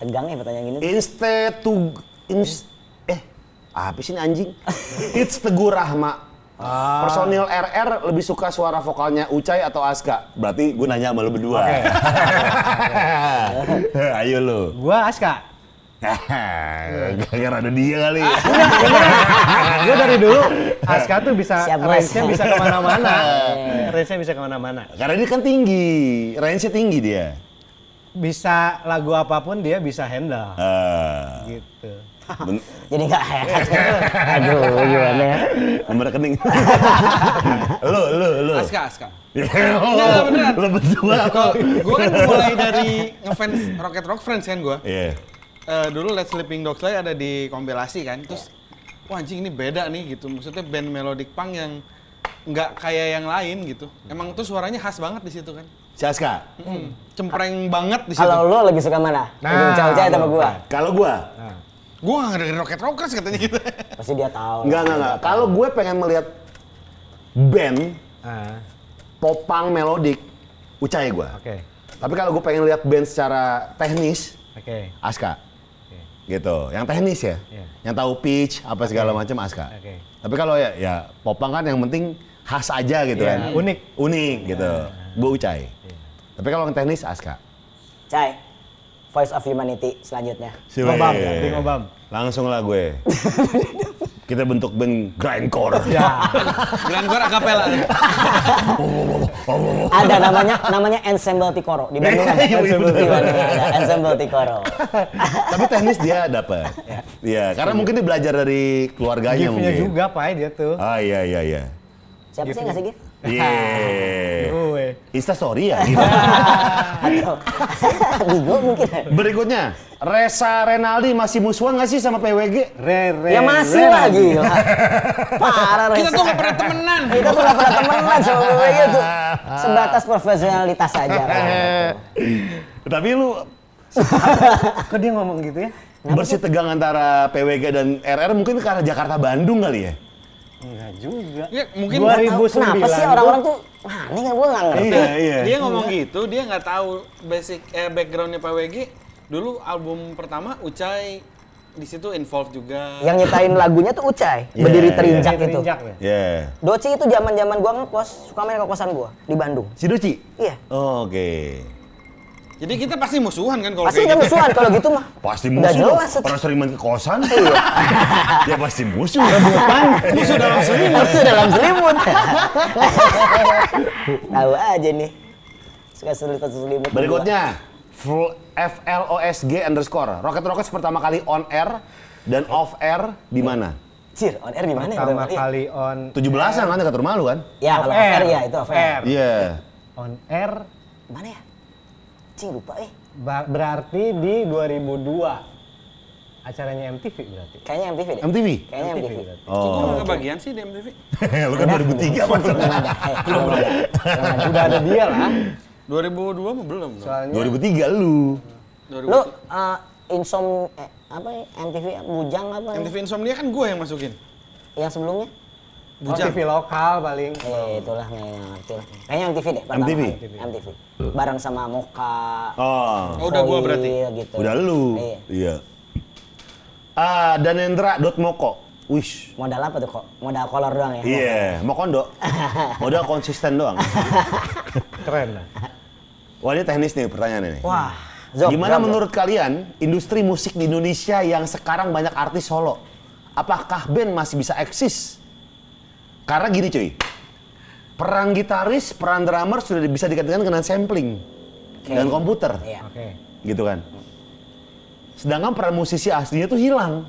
S2: Tegang ya pertanyaan gini.
S3: Insta to ins- eh apa sih ini
S4: (laughs)
S3: anjing? It's Teguh Rahma.
S4: Ah.
S3: Personil RR lebih suka suara vokalnya Ucai atau Aska? Berarti gue nanya sama lu berdua. (laughs) Ayo
S4: (laughs)
S3: lu.
S4: gua Aska.
S3: Gara-gara ada dia kali.
S4: Ah. Nah, Gua dari
S2: (laughs)
S4: dulu Aska tuh bisa
S2: Siap, Iya. Mas.
S4: range-nya bisa
S2: (laughs)
S4: kemana-mana, range-nya bisa kemana-mana.
S3: Karena dia kan tinggi, range-nya tinggi dia.
S4: Bisa lagu apapun dia bisa handle.
S3: Ah,
S4: Gitu.
S3: ben-
S2: Jadi nggak (laughs) gitu. enak. Aduh gimana ya.
S3: nomor rekening. (laughs) lu, lu, lu.
S5: Aska, Aska.
S3: Enggak,
S5: beneran.
S3: Lu berdua kok.
S5: Gue kan mulai dari ngefans Rocket Rock Friends kan gue.
S3: Iya.
S5: Eh, dulu Let Sleeping Dogs Lie ada di kompilasi kan, terus wah anjing ini beda nih gitu. Maksudnya band melodic punk yang nggak kayak yang lain gitu. Emang tuh suaranya khas banget di situ kan.
S3: Si Aska.
S5: Mm. Cempreng banget di situ.
S2: Hmm. Kalau lu lebih suka mana?
S4: Nah,
S2: Lebih Ucah-ucah sama
S4: lu.
S2: gua?
S3: Kalau gua,
S5: Gua nggak dengerin Rocket Rockers katanya (laughs) gitu.
S2: Pasti dia tahu.
S3: enggak, enggak, enggak. Kalau gue pengen melihat band
S4: Ah,
S3: popang melodik, Ucai gua.
S4: oke.
S3: Tapi kalau gue pengen lihat band secara teknis,
S4: Oke.
S3: Aska. Gitu. Yang teknis ya.
S4: Iya.
S3: Yang tahu pitch apa segala macam Aska.
S4: Oke.
S3: Tapi kalau ya ya popang kan yang penting khas aja gitu
S4: Iya,
S3: kan.
S4: unik.
S3: Unik gitu. Gue Ucai. Tapi kalau yang teknis Aska.
S2: Cai, Voice of Humanity selanjutnya.
S3: Ngobam,
S4: Bing Obam.
S3: Iya. Langsung lah
S4: (laughs)
S3: gue. Kita bentuk band grindcore.
S4: Iya. Ya,
S2: (laughs)
S5: Grandcore akapela.
S2: Ada namanya namanya Ensemble Tikoro di Bandung ada.
S3: Iya, iya, bener.
S2: Di Bandung ada Ensemble Tikoro.
S3: Tapi teknis dia dapat. Iya, karena mungkin dia belajar dari keluarganya
S4: Gift-nya
S3: mungkin.
S4: juga Pak dia tuh.
S3: Ah iya iya
S4: (laughs)
S3: iya.
S2: Siapa sih yang ngasih gift?
S3: Yeah.
S4: Gue.
S3: Insta story ya gitu.
S4: (laughs)
S2: Atau (laughs) Bigo mungkin.
S3: Berikutnya, Resa Renaldi masih musuhan nggak sih sama PWG?
S4: Re re.
S2: Ya masih
S4: re-
S2: lagi. Parah
S5: Kita
S2: Reza.
S5: tuh nggak pernah temenan.
S2: Kita tuh gak pernah temenan sama gue gitu. Sebatas profesionalitas aja. Pak.
S3: Tapi lu
S4: Kok dia ngomong gitu ya?
S3: bersih tegang antara PWG dan RR mungkin karena Jakarta Bandung kali ya.
S4: Enggak juga.
S5: Ya, mungkin
S4: Gua-
S5: dia-
S2: Kenapa
S4: 2009
S2: sih orang-orang tuh aneh nggak gue nggak ngerti.
S3: Iya iya.
S5: dia ngomong gitu, dia nggak tahu basic eh, backgroundnya Pak WG. Dulu album pertama Ucai di situ involved juga.
S2: Yang nyetain lagunya tuh Ucai,
S3: Iya,
S2: berdiri
S3: iya.
S2: terinjak
S4: Dia
S2: itu.
S4: terinjak ya?
S3: Ya.
S2: Doci itu zaman-zaman gua ngekos, suka main ke kosan gua di Bandung.
S3: Si Doci?
S2: Iya.
S3: Oh, Oke.
S5: Jadi kita pasti musuhan kan kalau
S2: Pasti
S5: kayak
S2: udah
S5: gitu.
S2: musuhan kalau gitu mah.
S3: Pasti
S2: Udah
S3: musuh dong.
S2: jelas itu.
S3: Orang sering main ke kosan (laughs) tuh ya. ya pasti musuh. musuh dalam selimut.
S2: Musuh dalam selimut. (laughs) Tahu aja nih. Suka selimut selimut.
S3: Berikutnya, full FLOSG underscore. Rocket Rockets pertama kali on air dan off air di mana?
S2: berdua. Cir, on air di mana ya?
S4: Pertama
S2: Iya.
S4: kali on
S3: 17-an kan dekat rumah lu kan?
S2: Ya, kalau off air ya itu off air.
S3: Iya.
S4: on air
S2: Mana ya? Cing lupa eh.
S4: ba- berarti di 2002. Acaranya MTV berarti.
S2: Kayaknya MTV deh.
S3: MTV.
S2: Kayaknya MTV.
S5: Kok gua
S3: Oh.
S5: nggak kebagian sih di MTV?
S3: (laughs) lu kan 2003
S2: (laughs) Belum
S3: masuk.
S2: ada. Eh, belum ada. (laughs) Belum ada.
S4: Nah, Udah ada dia lah.
S5: 2002 mah belum. dong.
S4: Soalnya
S3: 2003 lu.
S5: 2000.
S2: Lu eh, insom eh, apa ya? MTV bujang apa? ya?
S5: MTV Insomnia kan gue yang masukin.
S2: Yang sebelumnya?
S4: oh,
S5: Bujang.
S4: TV lokal paling.
S2: Ya itulah nggak nggak ngerti lah. Kayaknya MTV deh. pertama
S3: MTV?
S2: kali. MTV. Bareng sama Moka.
S3: Oh.
S5: Oh, udah gua
S2: Koil,
S5: berarti.
S2: Gitu.
S3: Udah lu.
S2: Iya.
S3: Iya. Ah, danendra.moko. Wish.
S2: Modal apa tuh kok? Modal kolor doang ya?
S3: Iya, mau
S2: (laughs)
S3: kondo. Modal konsisten doang.
S4: Keren lah.
S3: Wah, ini teknis nih pertanyaannya nih.
S2: Wah. Zok,
S3: Gimana
S2: jawab, Zok.
S3: menurut kalian industri musik di Indonesia yang sekarang banyak artis solo? Apakah band masih bisa eksis? Karena gini cuy, peran gitaris, peran drummer sudah bisa dikatakan kena sampling
S2: Oke.
S3: dan komputer,
S2: Iya.
S4: Oke.
S3: gitu kan. Sedangkan peran musisi aslinya tuh hilang.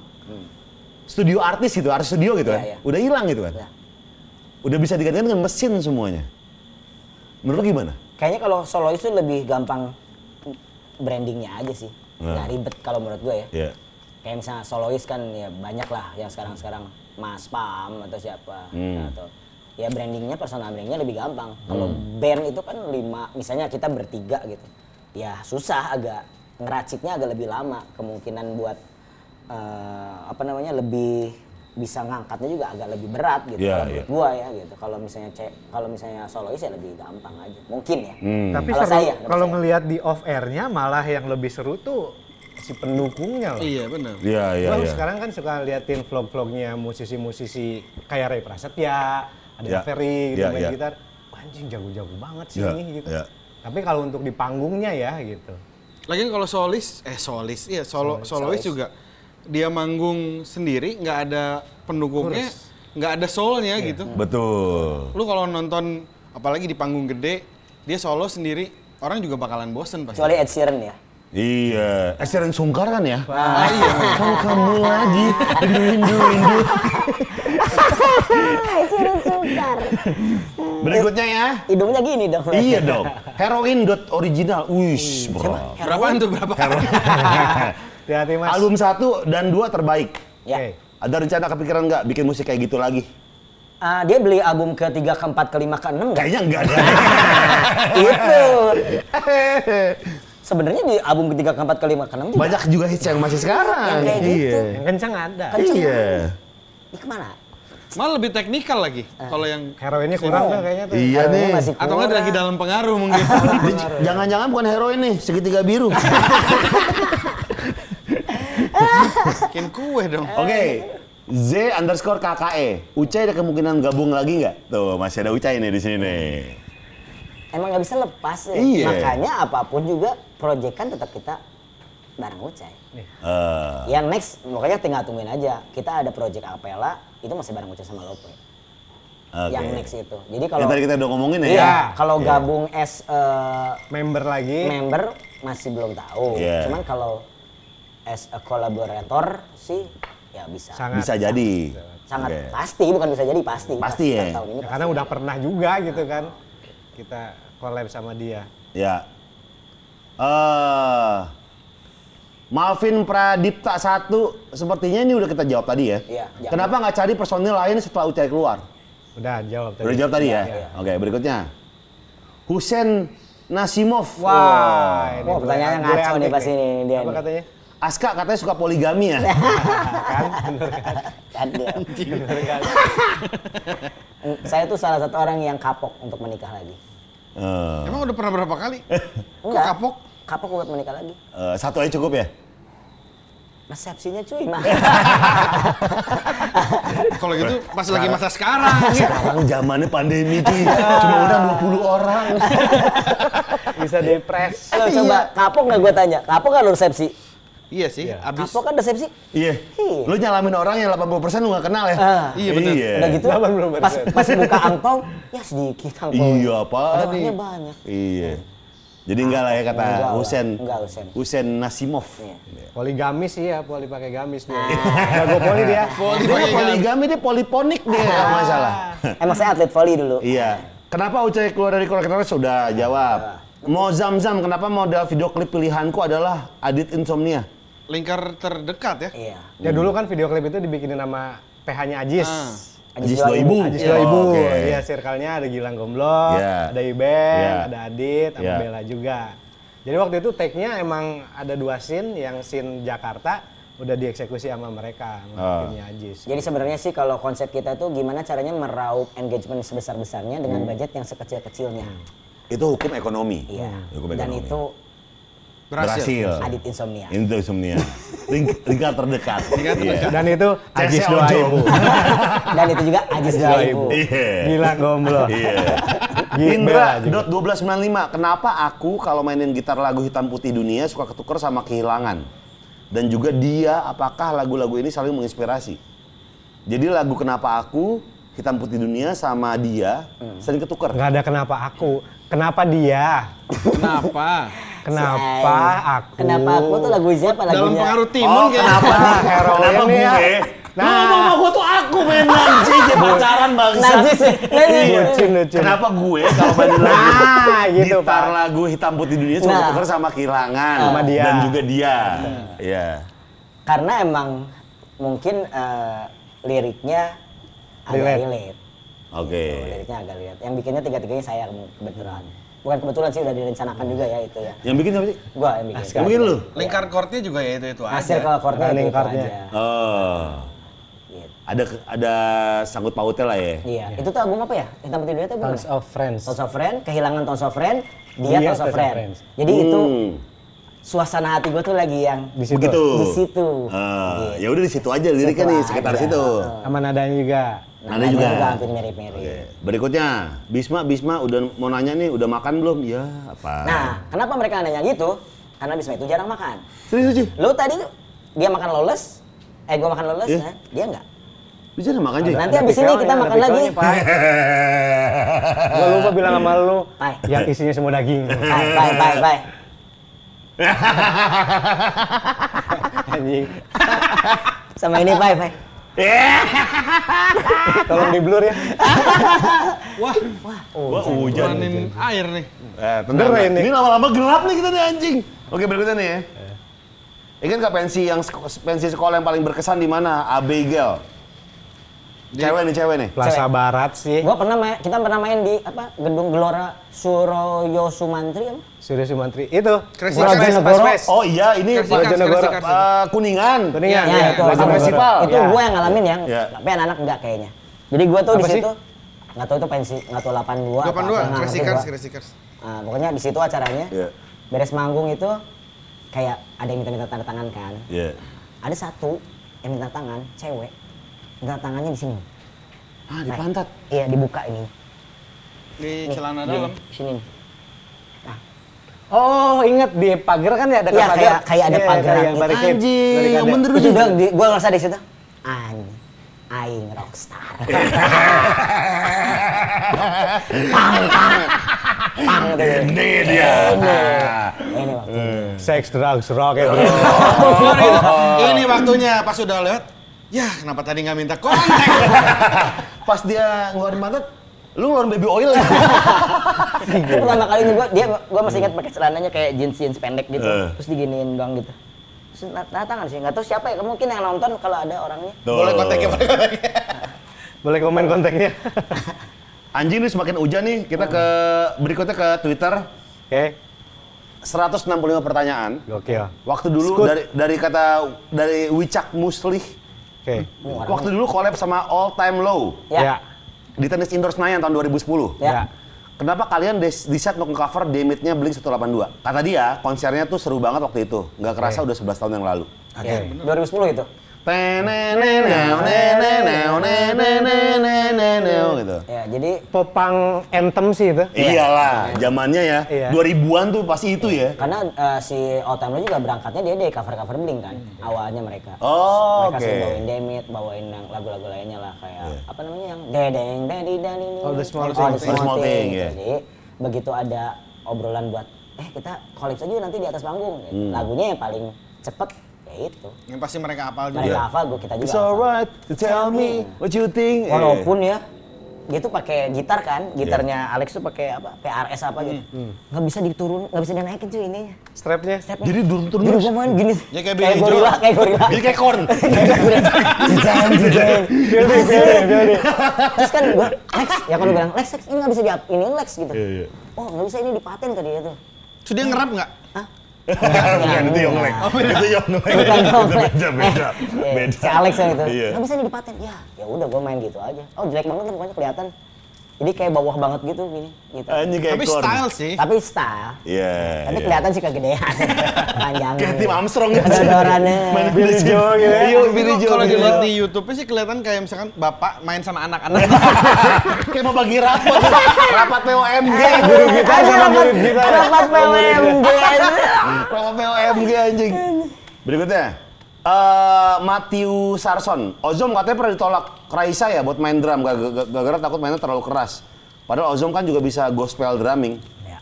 S3: Studio artis gitu, artis studio gitu kan,
S2: Iya, iya.
S3: udah hilang gitu kan.
S2: Iya.
S3: Udah bisa dikatakan dengan mesin semuanya. Menurut lu gimana?
S2: Kayaknya kalau solois itu lebih gampang brandingnya aja sih.
S3: Nah.
S2: Nggak ribet kalau menurut gue ya.
S3: Iya.
S2: Kayak misalnya solois kan ya banyak lah yang sekarang-sekarang Mas Pam atau siapa atau ya brandingnya personal brandingnya lebih gampang. Kalau band itu kan lima, misalnya kita bertiga gitu, ya susah agak ngeraciknya agak lebih lama kemungkinan buat eh, apa namanya lebih bisa ngangkatnya juga agak lebih berat gitu
S3: Iya,
S2: kalau
S3: iya.
S2: menurut gua ya gitu. Kalau misalnya cek kalau misalnya solois ya lebih gampang aja mungkin ya.
S4: Tapi
S2: Kalau
S4: seru,
S2: saya,
S4: kalau
S2: saya.
S4: ngelihat di off airnya malah yang lebih seru tuh si pendukungnya loh.
S5: Iya benar.
S3: Iya, iya,
S4: Gua
S3: iya.
S4: sekarang kan suka liatin vlog-vlognya musisi-musisi kayak Ray Prasetya, ada
S3: Ya.
S4: Ferry gitu
S3: Ya,
S4: main
S3: ya.
S4: gitar. Wah, Anjing jago-jago banget sih
S3: Ya,
S4: ini gitu.
S3: ya.
S4: Tapi kalau untuk di panggungnya ya gitu.
S5: Lagian kalau solis, eh solis, iya solo, solois juga dia manggung sendiri, nggak ada pendukungnya, nggak ada soulnya gitu.
S3: Betul.
S5: Lu kalau nonton apalagi di panggung gede, dia solo sendiri, orang juga bakalan bosen pasti.
S2: Kecuali Ed Sheeran ya.
S3: Iya, eh, Sharon Sungkar kan ya? Ah, iya. Kalau kamu lagi rindu rindu. Berikutnya ya.
S2: Hidungnya gini dong.
S3: Iya
S2: (laughs)
S3: dong. Heroin dot original.
S2: Iya.
S3: Wih, bro.
S2: Ya.
S5: Berapaan tuh berapa?
S3: (laughs)
S4: Hati-hati Mas.
S3: Album satu dan dua terbaik.
S2: Ya.
S4: Oke.
S3: Ada rencana kepikiran nggak bikin musik kayak gitu lagi?
S2: Ah, dia beli album ketiga, keempat, kelima, keenam nggak?
S3: Kayaknya enggak (laughs) ada.
S2: itu. Sebenarnya di album ketiga, keempat, kelima, keenam juga
S3: Banyak juga hits yang masih
S2: yang
S3: sekarang.
S2: kayak gitu.
S4: Yang kencang ada.
S2: Kan-
S3: Iya.
S2: Ini kemana?
S5: Malah lebih teknikal lagi
S2: Eh.
S5: kalau yang
S4: Heroinnya kurang
S2: Oh.
S4: tuh kayaknya tuh.
S3: Iya
S2: Albumnya
S3: nih.
S2: Masih
S5: atau nggak lagi dalam pengaruh mungkin.
S3: Jangan-jangan bukan heroin nih, segitiga (laughs) biru.
S5: Bikin kue dong.
S3: Oke, Z underscore E. KKE. Ucai ada kemungkinan gabung lagi nggak? Tuh, masih ada Ucai nih di sini. nih.
S2: emang nggak bisa lepas ya.
S3: Iya.
S2: Makanya apapun juga project kan tetap kita bareng Ucai.
S5: Iya.
S3: Eh,
S2: Yang next makanya tinggal tungguin aja. Kita ada project Apela itu masih bareng Ucai sama Lope.
S3: oke.
S2: Yang next itu. Jadi
S3: Ya,
S2: kalau
S3: tadi kita udah ngomongin ya.
S2: Iya, kalau gabung as eh,
S4: Member lagi.
S2: member masih belum tahu.
S3: Iya.
S2: Cuman kalau as a collaborator sih ya bisa. Sangat,
S3: Bisa jadi. Oke.
S2: pasti bukan bisa jadi pasti.
S3: Pasti ya?
S2: Tahun ini
S3: (laughs)
S4: Ya, karena udah pernah juga gitu kan. Kita collab sama dia.
S3: Ya. Eh Malvin Pradipta satu sepertinya ini udah kita jawab tadi ya.
S2: Iya, jawab.
S3: Kenapa nggak cari personil lain setelah Ucai keluar?
S4: Udah jawab tadi.
S3: Udah jawab tadi ya.
S2: Iya.
S3: Oke, berikutnya. Husen Nasimov.
S4: Wah, ini
S2: Wah,
S4: gue-
S2: pertanyaannya
S4: gue
S2: ngaco nih
S4: update
S2: pas ini, dia
S4: Apa
S2: nih.
S4: katanya?
S3: Aska katanya suka poligami ya.
S2: (laughs) Ada. (laughs) Mm, Saya tuh salah satu orang yang kapok untuk menikah lagi.
S3: Eh,
S5: Emang udah pernah berapa
S2: (laughs)
S5: kali? Kok
S2: Enggak.
S5: kapok?
S2: Kapok buat menikah lagi.
S3: eh, satu aja cukup ya.
S2: Resepsinya cuy, mah.
S3: Iya.
S2: (laughs)
S5: Kalau gitu pas lagi masa sekarang.
S2: Iya.
S5: gitu.
S3: Sekarang zamannya pandemi
S2: (laughs)
S3: cuy. Cuma udah 20 orang. Iya.
S4: Bisa depres.
S2: Lo coba kapok nggak gue tanya? Kapok nggak lo resepsi?
S5: Iya sih, abis.
S2: Kapok kan resepsi?
S3: Iya.
S2: Iya.
S3: Lu nyalamin orang yang 80% lu nggak kenal ya.
S2: Ah.
S5: Iya, bener.
S2: Udah gitu,
S4: 80%.
S2: pas pas buka angpau, ya sedikit angpau.
S3: Iya apa nih?
S2: Orangnya banyak.
S3: Iya. Jadi enggak lah ya kata
S2: Enggak lah.
S3: Husen.
S2: Enggak, Husen. Iya.
S3: Husen Nasimov.
S4: Poligamis iya, poli pakai gamis dia. Enggak gue poli dia.
S5: Poli-
S3: Dia mah Oh, poligami dia poliponik dia kalau nggak salah.
S2: Emang saya atlet volley dulu.
S3: Iya. Kenapa Ucai keluar dari Korea sudah jawab.
S2: Iya.
S3: Mau zam-zam, kenapa modal video klip pilihanku adalah Adit Insomnia?
S5: Lingkar terdekat ya.
S2: Iya.
S4: Ya dulu kan video klip itu dibikinin nama PH-nya Ajis.
S5: Ah.
S3: Ajis
S2: Ajis
S3: Ibu.
S4: Ajis dua ibu.
S3: Ah. Oh, Oke.
S4: Iya, circle-nya ada Gilang Gomblok,
S3: Iya.
S4: ada Iben,
S3: Iya.
S4: ada Adit, sama
S3: Iya.
S4: Bella juga. Jadi waktu itu take-nya emang ada dua scene, yang scene Jakarta udah dieksekusi sama mereka, sama
S3: Ah.
S4: timnya Ajis.
S2: Jadi sebenarnya sih kalau konsep kita tuh gimana caranya meraup engagement sebesar-besarnya
S3: Hmm.
S2: dengan budget yang sekecil-kecilnya.
S3: Itu hukum ekonomi.
S2: Iya.
S3: Hukum
S2: Dan
S3: ekonomi.
S2: itu (laughs)
S3: berhasil.
S5: Berhasil.
S2: Adit Insomnia.
S3: Itu Insomnia. Ling- lingkar terdekat. Iya.
S5: Lingkar terdekat.
S4: Dan itu Ajis
S3: CC
S4: dua
S3: Ojo. (laughs)
S4: ibu.
S2: Dan itu juga Ajis Ibu.
S3: Iya.
S4: Gilang (laughs) Gomblok.
S3: Iya. gitu.
S4: Gila
S3: Indra
S4: juga.
S3: dot 1295 kenapa aku kalau mainin gitar lagu hitam putih dunia suka ketuker sama kehilangan dan juga dia apakah lagu-lagu ini saling menginspirasi jadi lagu kenapa aku hitam putih dunia sama dia sering ketuker
S4: Nggak ada kenapa aku, kenapa dia,
S5: Kenapa? (laughs)
S4: kenapa aku.
S2: Kenapa aku tuh lagu siapa lagunya? Oh,
S5: Dalam pengaruh timun kayaknya.
S3: (laughs)
S4: Ah, Oh,
S3: kenapa
S4: heroin nih ya.
S3: gue
S4: Nah.
S3: nah mama gue tuh aku main najis ya pacaran bangsa
S2: Najis ya? Najis.
S3: Iya.
S4: Bucin, bucin.
S3: kenapa gue kalau mainin lagu
S4: Nah, gitu,
S3: gitar
S4: Pak.
S3: lagu hitam putih dunia suka
S2: Nah.
S3: ketuker sama kehilangan
S4: Sama dia.
S3: dan juga dia Iya.
S2: Karena emang mungkin eh, liriknya agak
S4: Relate.
S2: relate.
S3: Oke.
S2: Liriknya agak relate. Yang bikinnya tiga-tiganya saya kebetulan. Bukan kebetulan sih udah direncanakan juga ya itu ya.
S3: Yang bikin siapa sih?
S2: Gua yang bikin.
S3: Yang bikin lu?
S5: Lingkar chordnya juga ya itu-itu aja.
S2: Hasil kalau chordnya itu,
S4: Running
S2: itu
S4: chordnya.
S2: aja.
S3: Oh.
S2: Gitu.
S3: Ada ada sangkut pautnya lah ya.
S2: Iya, itu tuh album apa ya? Hitam putih dunia itu album
S4: Tons
S2: apa?
S4: of Friends.
S2: Tons of Friend, kehilangan Tons of Friend, dia,
S4: Dia
S2: Tons of
S4: Tons Iya, of
S2: Friend.
S4: Friends.
S2: Jadi itu
S3: Hmm,
S2: suasana hati gue tuh lagi yang
S4: Di situ.
S3: begitu.
S2: di situ.
S3: Ah,
S2: Gitu.
S3: gitu. ya udah di situ aja liriknya
S2: Situ
S3: nih
S2: aja.
S3: sekitar situ.
S4: Sama nadanya juga.
S3: Ada juga.
S2: Nah, hampir mirip-mirip.
S3: Oke. Berikutnya, Bisma, Bisma udah mau nanya nih, udah makan belum? Ya, apa?
S2: Nah, kenapa mereka nanya gitu? Karena Bisma itu jarang makan.
S3: Serius cuy,
S2: Lu tadi tuh, dia makan loles, eh gue makan loles,
S3: Iya.
S2: nah, dia enggak.
S3: bisa udah makan cuy.
S2: Nanti habis ini kita makan lagi.
S4: Gua lupa bilang sama lu
S2: Pai.
S4: yang isinya semua (laughs) daging.
S2: Bye, bye, bye, bye.
S4: (laughs) Anjing.
S2: Sama ini bye, bye.
S4: Tolong di blur ya.
S5: Wah,
S3: (laughs) Wah, hujan.
S5: mainin air nih.
S3: Eh, tenang.
S4: Bener ya
S3: ini.
S4: ini?
S3: lama-lama gelap nih kita nih anjing. Oke, berikutnya nih ya. Ingat nggak pensi yang sek- pensi sekolah yang paling berkesan di mana? Abigail. Cewek nih, cewek nih.
S4: Plaza
S2: Cewek.
S4: Barat sih.
S2: Gua pernah main, kita pernah main di apa? Gedung Gelora Suroyo Sumantri apa?
S4: Surya Sumantri itu.
S5: Crazy
S4: Bukan
S5: Crazy
S4: Jenegoro.
S5: Fast
S3: Oh iya, ini
S5: Kasih
S3: Pak
S5: kas,
S3: Jonegoro.
S5: kasih kas.
S3: Eh, kuningan.
S4: Kuningan.
S2: Ya,
S4: Iya,
S2: itu
S4: Plaza
S2: apa-
S3: Festival.
S2: Itu
S4: Ya.
S2: gue yang ngalamin yang,
S3: Ya.
S2: tapi anak-anak enggak kayaknya. Jadi gue tuh di
S4: Apa sih?
S2: situ nggak tahu itu pensi, nggak tahu 82. apa
S5: 82,
S2: apa, nggak
S5: Crazy
S2: ngerti
S5: Cars,
S2: gua.
S5: Crazy Cars.
S2: Nah, pokoknya di situ acaranya.
S3: Iya.
S2: Beres manggung itu kayak ada yang minta-minta tanda tangan kan.
S3: Iya.
S2: Ada satu yang minta tangan, cewek. Minta tangannya di sini. Nah,
S3: Ah, di pantat.
S2: Iya, dibuka ini.
S5: Di
S2: Nih,
S5: celana
S2: gini,
S5: dalam.
S2: Sini. nih.
S4: Oh, ingat di pagar kan ya ada
S2: Iya
S4: pagar.
S2: kayak kayak ada
S4: Iya,
S2: pagar
S4: kayak barricade,
S5: Anjing, yang
S4: barricade.
S5: bener
S2: Terus udah di, gua ngerasa di situ anjing aing rockstar. Pang
S3: ya,
S2: gitu.
S3: Ini dia. Nah.
S2: Ini waktu.
S4: Sex, drugs, rock, ya.
S5: gitu? Ini waktunya pas udah lewat. Ya, kenapa tadi nggak minta kontak? pas dia ngeluarin mantet, lu ngeluarin baby oil
S3: ya?
S5: lagi.
S2: Itu pertama kali ini gua dia gua masih ingat pakai celananya kayak jeans jeans pendek gitu.
S3: Eh.
S2: Terus diginiin doang gitu. Terus na- tanda tangan sih, nggak tahu siapa ya, mungkin yang nonton kalau ada orangnya.
S3: Tuh.
S5: Boleh kontaknya, boleh kontaknya.
S4: Boleh komen kontaknya. (laughs)
S3: Anjing nih semakin hujan nih. Kita ke berikutnya ke Twitter.
S4: Oke,
S3: 165 pertanyaan.
S4: gokil.
S3: Waktu dulu
S4: Scoot.
S3: dari dari kata dari Wicak Muslih.
S4: Oke.
S3: Waktu dulu collab sama All Time Low
S2: Ya.
S4: Ya.
S3: di tenis indoor Senayan tahun 2010.
S2: Ya.
S4: Ya.
S3: Kenapa kalian des- decide untuk cover Demitnya Blink 182? Kata dia, konsernya tuh seru banget waktu itu. Nggak kerasa udah 11 tahun yang lalu.
S2: Ya, 2010 itu.
S3: gitu.
S2: Ya, jadi
S4: Popang anthem
S3: Iya.
S4: sih itu.
S3: Iyalah, zamannya ya.
S4: Iya.
S3: 2000-an tuh pasti itu ya.
S2: karena eh, si All Time Low juga berangkatnya dia dari cover-cover Blink kan,
S4: Hmm.
S2: awalnya mereka.
S3: Oh, oke. Iya.
S2: mereka sering bawain Demit, bawain yang lagu-lagu lainnya lah kayak apa namanya yang dedeng dedi dan ini.
S4: Oh, The
S2: Oh,
S4: Small
S2: The Small
S4: Things.
S3: The Small
S2: Things.
S3: Things, ya.
S2: Jadi begitu ada obrolan buat eh kita collab saja yuk nanti di atas panggung.
S3: Hmm.
S2: Lagunya yang paling cepet ya itu.
S5: Yang pasti mereka apal juga.
S3: Iya.
S2: Mereka hafal, gua kita juga.
S3: It's
S2: hafal.
S3: alright to tell me what you think. Eh,
S2: Walaupun ya dia tuh pakai gitar kan, gitarnya
S3: Iya.
S2: Alex tuh pakai apa? PRS apa gitu.
S4: Hmm,
S2: Nggak bisa diturun, nggak bisa dinaikin cuy ininya.
S4: Strapnya.
S2: Setnya.
S3: Jadi turun turun
S2: Jadi
S3: terus.
S2: gue main gini.
S5: Ya, kayak Billy Joel.
S2: gorila, kayak gorila.
S3: Jadi kayak corn.
S2: (laughs) Kayak gorila.
S3: (laughs)
S2: Jijang, jijang. Terus kan gue, Lex, ya kalau bilang, Lex, Lex, ini nggak bisa di ini Lex gitu.
S3: Iya, iya.
S2: Oh nggak bisa ini dipaten ke dia tuh.
S5: Terus dia ngerap nggak?
S2: Hah?
S3: Bukan itu Yonglek. Itu Yonglek.
S2: Bukan dong,
S3: Itu
S2: Lex.
S3: (laughs) Beda beda.
S2: (laughs) Eh,
S3: Beda.
S2: Si Alex yang itu.
S3: Iya.
S2: Nggak bisa ini dipaten. Ya, ya udah gue main gitu aja. Oh jelek banget lah pokoknya kelihatan. Jadi kayak bawah banget gitu gini. Gitu.
S3: Anjing kayak
S5: Tapi
S3: corn.
S5: style sih.
S2: Tapi style.
S3: Iya.
S2: Tapi
S3: iya.
S2: kelihatan sih
S3: (laughs)
S2: kegedean. Panjang.
S3: Kayak tim Armstrong gitu. (laughs)
S2: Kedodorannya.
S3: Billy Joe
S5: ya.
S3: gitu. Iya, Billy Joe.
S5: Kalau
S3: Billy
S5: dilihat
S3: Joe.
S5: di YouTube sih kelihatan kayak misalkan bapak main
S2: (laughs)
S5: sama anak-anak.
S3: Kayak mau bagi Iya. rapat. Rapat POMG.
S2: Iya, Guru kita sama murid kita. Rapat PWMG.
S3: Promo POMG anjing. Berikutnya. eh Matthew Sarson. Ozom katanya pernah ditolak Raisa ya buat main drum. Gak, gak- gak- gara takut mainnya terlalu keras. Padahal Ozom kan juga bisa gospel drumming.
S2: Ya.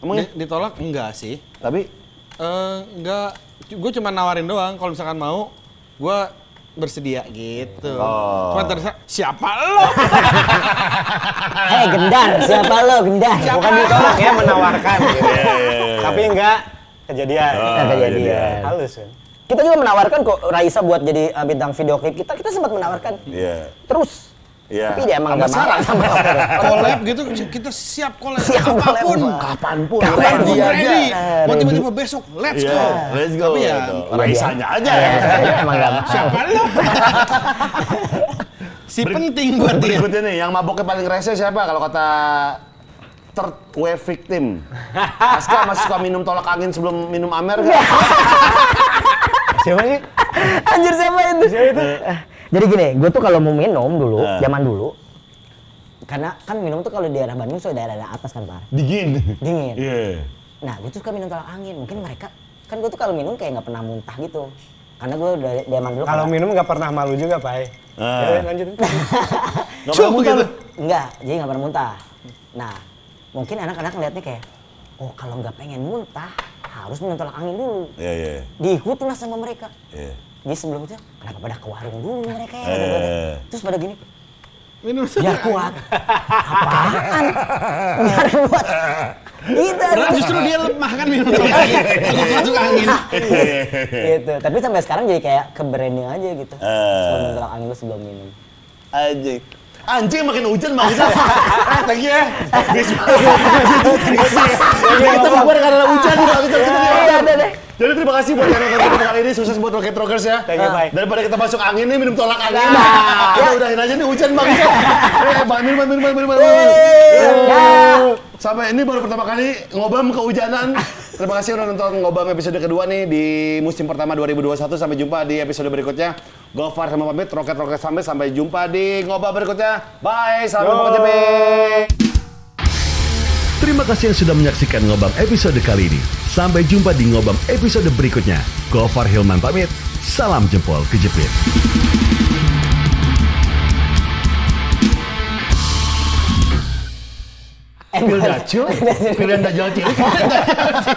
S3: Emang ya?
S5: Di- Ditolak enggak sih?
S3: Tapi
S5: Eh, enggak, gue cuma nawarin doang. Kalau misalkan mau, gue bersedia gitu.
S3: Oh.
S5: Cuma terus siapa lo?
S2: Eh gendar, siapa lo Iya, gendar?
S4: Bukan ditolak ya, menawarkan gitu. Tapi enggak kejadian.
S3: Ah, kejadian.
S4: Halus kan.
S2: Kita juga menawarkan kok Raisa buat jadi uh, bintang video klip kita. Kita sempat menawarkan.
S3: Iya.
S2: Terus.
S3: Iya.
S2: Tapi dia
S3: Sama
S2: emang nggak marah sama (laughs)
S5: collab gitu, kita siap collab.
S2: Siap
S5: Apapun.
S2: collab.
S3: kapanpun,
S5: Kapan
S3: ready
S5: pun
S3: aja.
S5: ready. Mau tiba-tiba besok, let's
S3: Iya,
S5: go.
S3: let's go.
S5: Tapi ya,
S3: gitu. Raisanya aja ya.
S2: emang nggak marah.
S5: siapa
S2: (laughs)
S5: lo? si penting buat dia.
S3: Berikutnya nih, yang maboknya paling rese siapa? Kalau kata third wave victim. Aska masih suka minum tolak angin sebelum minum amer nggak?
S4: Siapa sih?
S2: Anjir siapa itu? Nah. Eh, Jadi gini, gue tuh kalau mau minum dulu,
S3: Eh.
S2: zaman dulu, karena kan minum tuh kalau di daerah Bandung so daerah daerah atas kan par,
S3: Dingin.
S2: dingin.
S3: Iya.
S2: Nah, gue tuh suka minum tolak angin. Mungkin mereka kan gue tuh kalau minum kayak nggak pernah muntah gitu. Karena gue dari dari emang dulu kan. Eh.
S4: Kalau
S2: karena-
S4: minum nggak pernah malu juga, Pak.
S3: Ah.
S2: iya,
S4: Ya, lanjut.
S2: (laughs)
S3: Nggak pernah muntah lu?
S2: Enggak, jadi nggak pernah muntah. Nah, mungkin anak-anak ngeliatnya kayak, oh kalau nggak pengen muntah harus minum tolak angin dulu.
S3: Iya, iya.
S2: Diikuti lah sama mereka.
S3: iya.
S2: Jadi sebelum itu, kenapa pada ke warung dulu mereka ya?
S3: Eh.
S2: Terus pada gini,
S5: Minum
S2: biar kuat. Apaan? Biar kuat. Gitu.
S5: Padahal Nah, justru dia lemah kan
S2: (laughs)
S5: minum tolak angin. Cukup masuk angin.
S2: gitu. Tapi sampai sekarang jadi kayak ke branding aja gitu. Sebelum minum tolak angin lu sebelum minum.
S3: (laughs) Anjing. Anjing makin hujan makin hujan. Ah, Thank you ya. Bisma.
S2: Iya,
S3: Kita bubar karena hujan (laughs) gitu. Kita- kita- kita- Jadi terima kasih buat yang nonton kita kali ini. Sukses buat Rocket Rockers ya.
S4: Thank you, Nah. Pak.
S3: Daripada kita masuk angin nih, minum tolak angin. Kita udahin aja nih hujan
S4: (laughs)
S3: bang. Eh, bang, minum, minum, minum, minum, minum.
S4: Ya.
S3: Eh, Sampai ini baru pertama kali ngobam kehujanan. Terima kasih udah nonton ngobam episode kedua nih di musim pertama 2021. Sampai jumpa di episode berikutnya. Gofar sama pamit, Rocket Rocket sampai sampai jumpa di ngobam berikutnya. Bye, salam jumpa.
S4: Yo.
S3: Terima
S6: kasih yang sudah menyaksikan Ngobam episode kali ini. Sampai jumpa di Ngobam episode berikutnya. Gofar Hilman pamit, salam jempol kejepit.
S2: Emang-
S3: Pilihan dajal cilik.